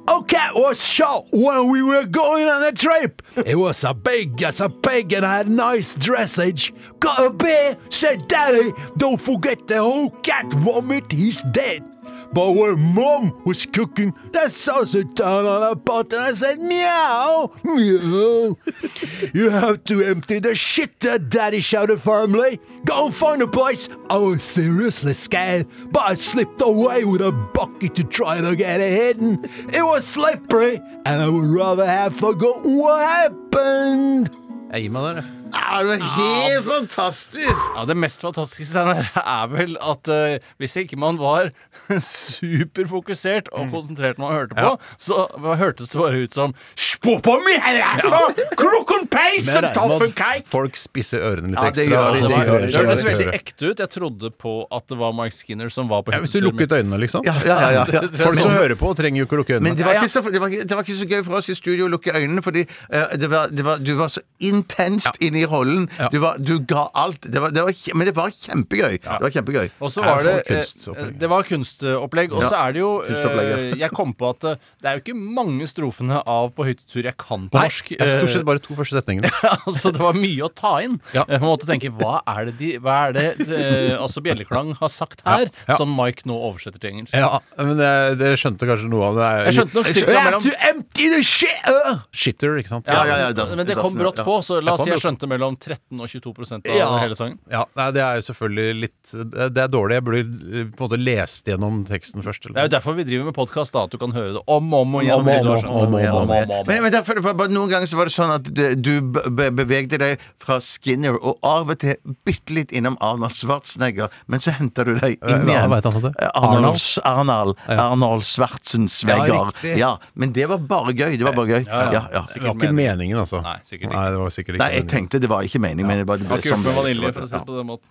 C: A cat was shot when we were going on a trip. It was a big as a pig and had nice dressage. Got a beer, said Daddy, don't forget the whole cat vomit, he's dead. But when Mom was cooking that sausage down on a pot, and I said, Meow, meow. you have to empty the shit that Daddy shouted firmly. Go and find a place. I was seriously scared, but I slipped away with a bucket to try to get it hidden. It was slippery, and I would rather have forgotten what happened. Jeg gir meg der, jeg.
D: Ja, det var helt fantastisk!
E: Ja, Det mest fantastiske Steinar, er vel at eh, hvis ikke man var superfokusert og konsentrert når man hørte på, så hørtes det bare ut som «Spå på meg, her er det noe! Kroken peis og toffelkeik!»
C: folk spisser ørene litt
D: Ja, det ekstra, gjør de, og
E: Det
D: det
E: var-
D: sier
E: det
D: seg
E: hørtes
D: selv.
E: veldig ekte ut. Jeg trodde på at det var Mike Skinner som var på
C: hvis du
E: hyttetur med-
C: lukket øynene, liksom.
D: Ja, ja, ja, ja.
C: Folk
E: sånn
C: som hører på, trenger jo ikke lukke øynene.
D: Men det var, ikke så, det, var, ikke- det var ikke så gøy for oss i studio å lukke øynene, fordi eh, det var, det var, du var så intenst inne i rollen. Du, var, du ga alt. Det var, det var, kje- men det var kjempegøy. Det var kjempegøy.
E: Og så
C: Her
E: var
C: får
E: det eh,
C: kunstopplegg.
E: Det var kunstopplegg. Og så er det jo eh,
D: kunstopplegg, ja.
E: Jeg kom på at eh, det er jo ikke mange strofene av på hyttetur tur jeg kan på
C: Nei,
E: norsk. eh,
C: jeg stort sett bare to første setningene.
E: altså, det var mye å ta inn.
C: Ja.
E: Jeg måtte tenke hva er det, de, hva er det eh, altså Bjelleklang har sagt her,
C: Ja.
E: som Mike nå oversetter til engelsk?
C: Ja, men eh, Dere skjønte kanskje noe av det?
E: Jeg skjønte nok cirka mellom-
C: empty the shit- øh! Shitter, ikke sant?
D: Ja, ja, ja, das-
E: Men det kom
D: dassen,
E: brått
D: ja.
E: på, så la oss si
C: Det
E: jeg
C: kom
E: skjønte mellom 13 og 22 prosent av
C: Ja.
E: hele sangen.
C: Ja, nei, Det er jo selvfølgelig litt Det er dårlig. Jeg burde eh, på en måte lest gjennom teksten først. eller
E: Det er jo derfor vi driver med podkast, at du kan høre det om og om og igjen.
C: Om og
E: til du
C: om,
E: har skjønt
C: om og
E: det.
C: om, om og
D: Men, men derfor, for bare Noen ganger så var det sånn at du, du be- be- bevegde deg fra Skinner og av og til bitte litt innom Arnold Schwarzenegger, men så henter du deg
C: Eh,
D: inn
C: hva
D: igjen.
C: vet han sånn til?
D: Eh, Arnold, Arnold, Arnold Schwarzenegger.
C: Ja, riktig.
D: Ja, men det var bare gøy. Det var bare gøy.
E: ja.
D: Ja, ja.
C: Det var ikke meningen, altså.
E: Nei, sikkert ikke.
C: Nei, det var sikkert ikke
D: Nei, jeg
C: meningen.
D: tenkte det var ikke meningen, men det bare det ble
E: Har ikke gjort med vanilje, for å si
D: sånn.
E: det på den måten.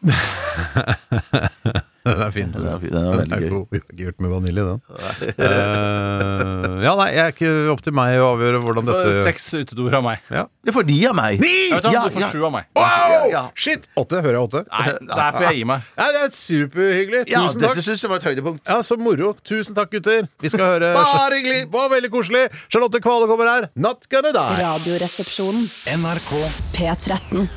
C: Den er fin.
D: Den er fin, den er veldig
C: er
D: gøy.
C: god. Vi har ikke gjort med vanilje, den. Eh, ja, nei, jeg er ikke opp til meg å avgjøre hvordan
E: Så
C: dette
E: Seks utedoer av meg.
D: Det får de av meg.
C: Ni!
E: Jeg vet,
D: Ja,
E: du får
D: ja.
E: sju av meg.
C: Wow!
D: Ja.
C: Shit! Åtte. Hører jeg åtte?
E: Nei, der får jeg gi meg.
C: Nei, det er superhyggelig.
D: Ja,
C: Tusen
D: dette
C: takk.
D: syns jeg var et høydepunkt.
C: Ja, Så moro. Tusen takk, gutter. Vi skal høre
D: Bare hyggelig.
C: Var veldig koselig. Charlotte Kvale kommer her. Not gonna die.
A: Radioresepsjonen.
B: NRK
A: P13.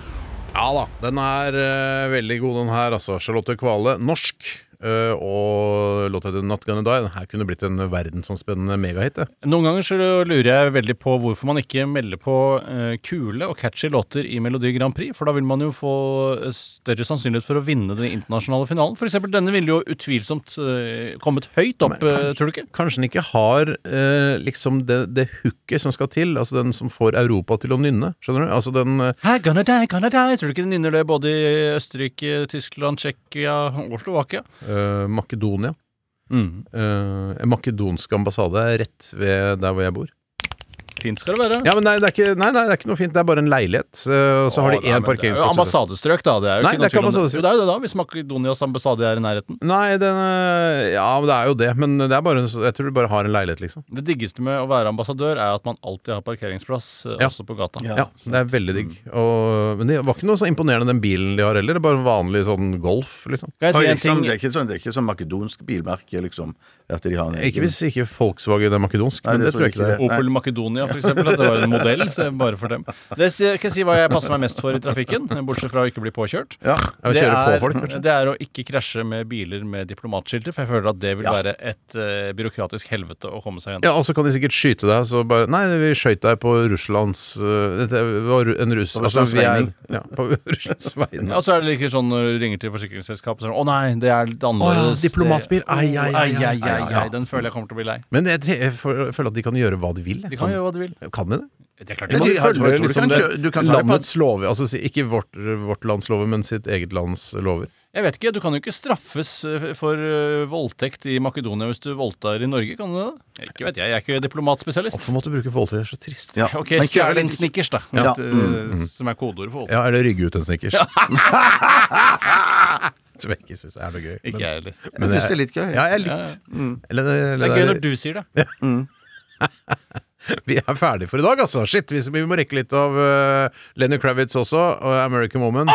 C: Ja da. Den er eh, veldig god, den her, altså. Charlotte Kvale, norsk. eh, og låta heter Not Gonna Die. Den her kunne blitt en verdensomspennende megahit. det.
E: Noen ganger så lurer jeg veldig på hvorfor man ikke melder på eh, kule og catchy låter i Melodi Grand Prix, for da vil man jo få eh, større sannsynlighet for å vinne den internasjonale finalen. For eksempel denne ville jo utvilsomt eh, kommet høyt opp, eh, tror du ikke?
C: Kanskje den ikke har eh, liksom det, det hooket som skal til. Altså den som får Europa til å nynne. Skjønner du? Altså den eh,
E: Hi, gonna die, gonna die. Tror du ikke de nynner det både i Østerrike, Tyskland, Tsjekkia og Slovakia?
C: eh, Makedonia. Eh, en makedonsk ambassade er rett ved der hvor jeg bor.
E: Fint skal det være.
C: Ja, men nei, det er ikke, nei, nei, det er ikke noe fint. Det er bare en leilighet. eh, Og så har
E: Å,
C: de én
E: nei, men det er jo
C: parkeringsplass. ute.
E: Ambassadestrøk, da. Det er jo
C: Nei,
E: ikke noe
C: det er ikke
E: tvil om det.
C: ambassadestrøk.
E: Jo, det er jo det, da, hvis Makedonias ambassade er i nærheten.
C: Nei, den eh, Ja, men det er jo det. Men det er bare, en så- jeg tror du bare har en leilighet, liksom.
E: Det diggeste med å være ambassadør er at man alltid har parkeringsplass, eh,
C: Ja.
E: også på gata.
C: Ja, Det er veldig digg.
E: Mm.
C: Og, men det var ikke noe så imponerende den bilen de har heller. Det er Bare en vanlig sånn Golf, liksom.
E: Kan
D: Det
E: jeg si
D: er
E: en
D: ikke sånn-
E: ting?
D: det er ikke sånn, det er ikke sånn makedonsk bilmerke, liksom. At de har en
C: Ikke hvis ikke Volkswagen er makedonsk, men det tror jeg ikke det er.
E: Opel Makedonia, for eksempel. At det var en modell så det er bare for dem. Det sier- kan jeg si hva jeg passer meg mest for i trafikken, bortsett fra å ikke bli påkjørt.
C: Ja,
E: det,
C: kjøre
E: er,
C: på folk, kanskje.
E: det er å ikke krasje med biler med diplomatskilter, for jeg føler at det vil være et eh, byråkratisk helvete å komme seg gjennom.
C: Ja, Og så kan de sikkert skyte deg. Så bare Nei, vi skøyt deg på Russlands eh, Dette var ru- en russ... altså,
D: På Russlands
C: vi er-
D: veining.
C: Ja, på Russlands veining.
E: Ja, og så er det ikke sånn når du ringer til forsikringsselskapet og sier 'Å nei, det er litt
C: Å
E: annerledes'.
C: ja, diplomatbil. Ai, ai, ai,
E: Ai, ai, ai,
C: ai, ai.
E: ai. Den føler jeg kommer til å bli lei.
C: Men jeg, te- jeg føler at de kan gjøre hva de vil. jeg.
E: De kan gjøre hva de vil.
C: Kan de det?
E: Det er klart
D: Ja,
E: de
C: Man
E: kan.
D: de- jeg
C: følger
D: tror du
C: liksom
D: kan
C: det
D: kjø- du kan ta det på-
C: landets lover. Altså si- ikke vårt, vårt lands lover, men sitt eget lands lover.
E: Jeg vet ikke, Du kan jo ikke straffes eh, for eh, voldtekt i Makedonia hvis du voldtar i Norge, kan du det? Ikke vet jeg, jeg er ikke diplomatspesialist.
C: Hvorfor måtte du bruke voldtekt? Det er så trist.
D: Ja.
E: Ok,
D: Men kjører
E: stjel
D: litt-
E: en snickers, da. Hvis
D: Ja.
E: det, Som er kodeordet for voldtekt.
C: Ja, eller rygge ut en snickers. Som jeg ikke syns er noe gøy. men-
E: Ikke jeg heller.
C: men
D: Jeg syns det er litt gøy.
C: Ja, jeg er litt. Eller, eller,
E: Det er gøy når du sier det.
C: Vi er ferdige for i dag, altså. Shit, vi, vi må rekke litt av eh, Lenny Kravitz også, og American Woman.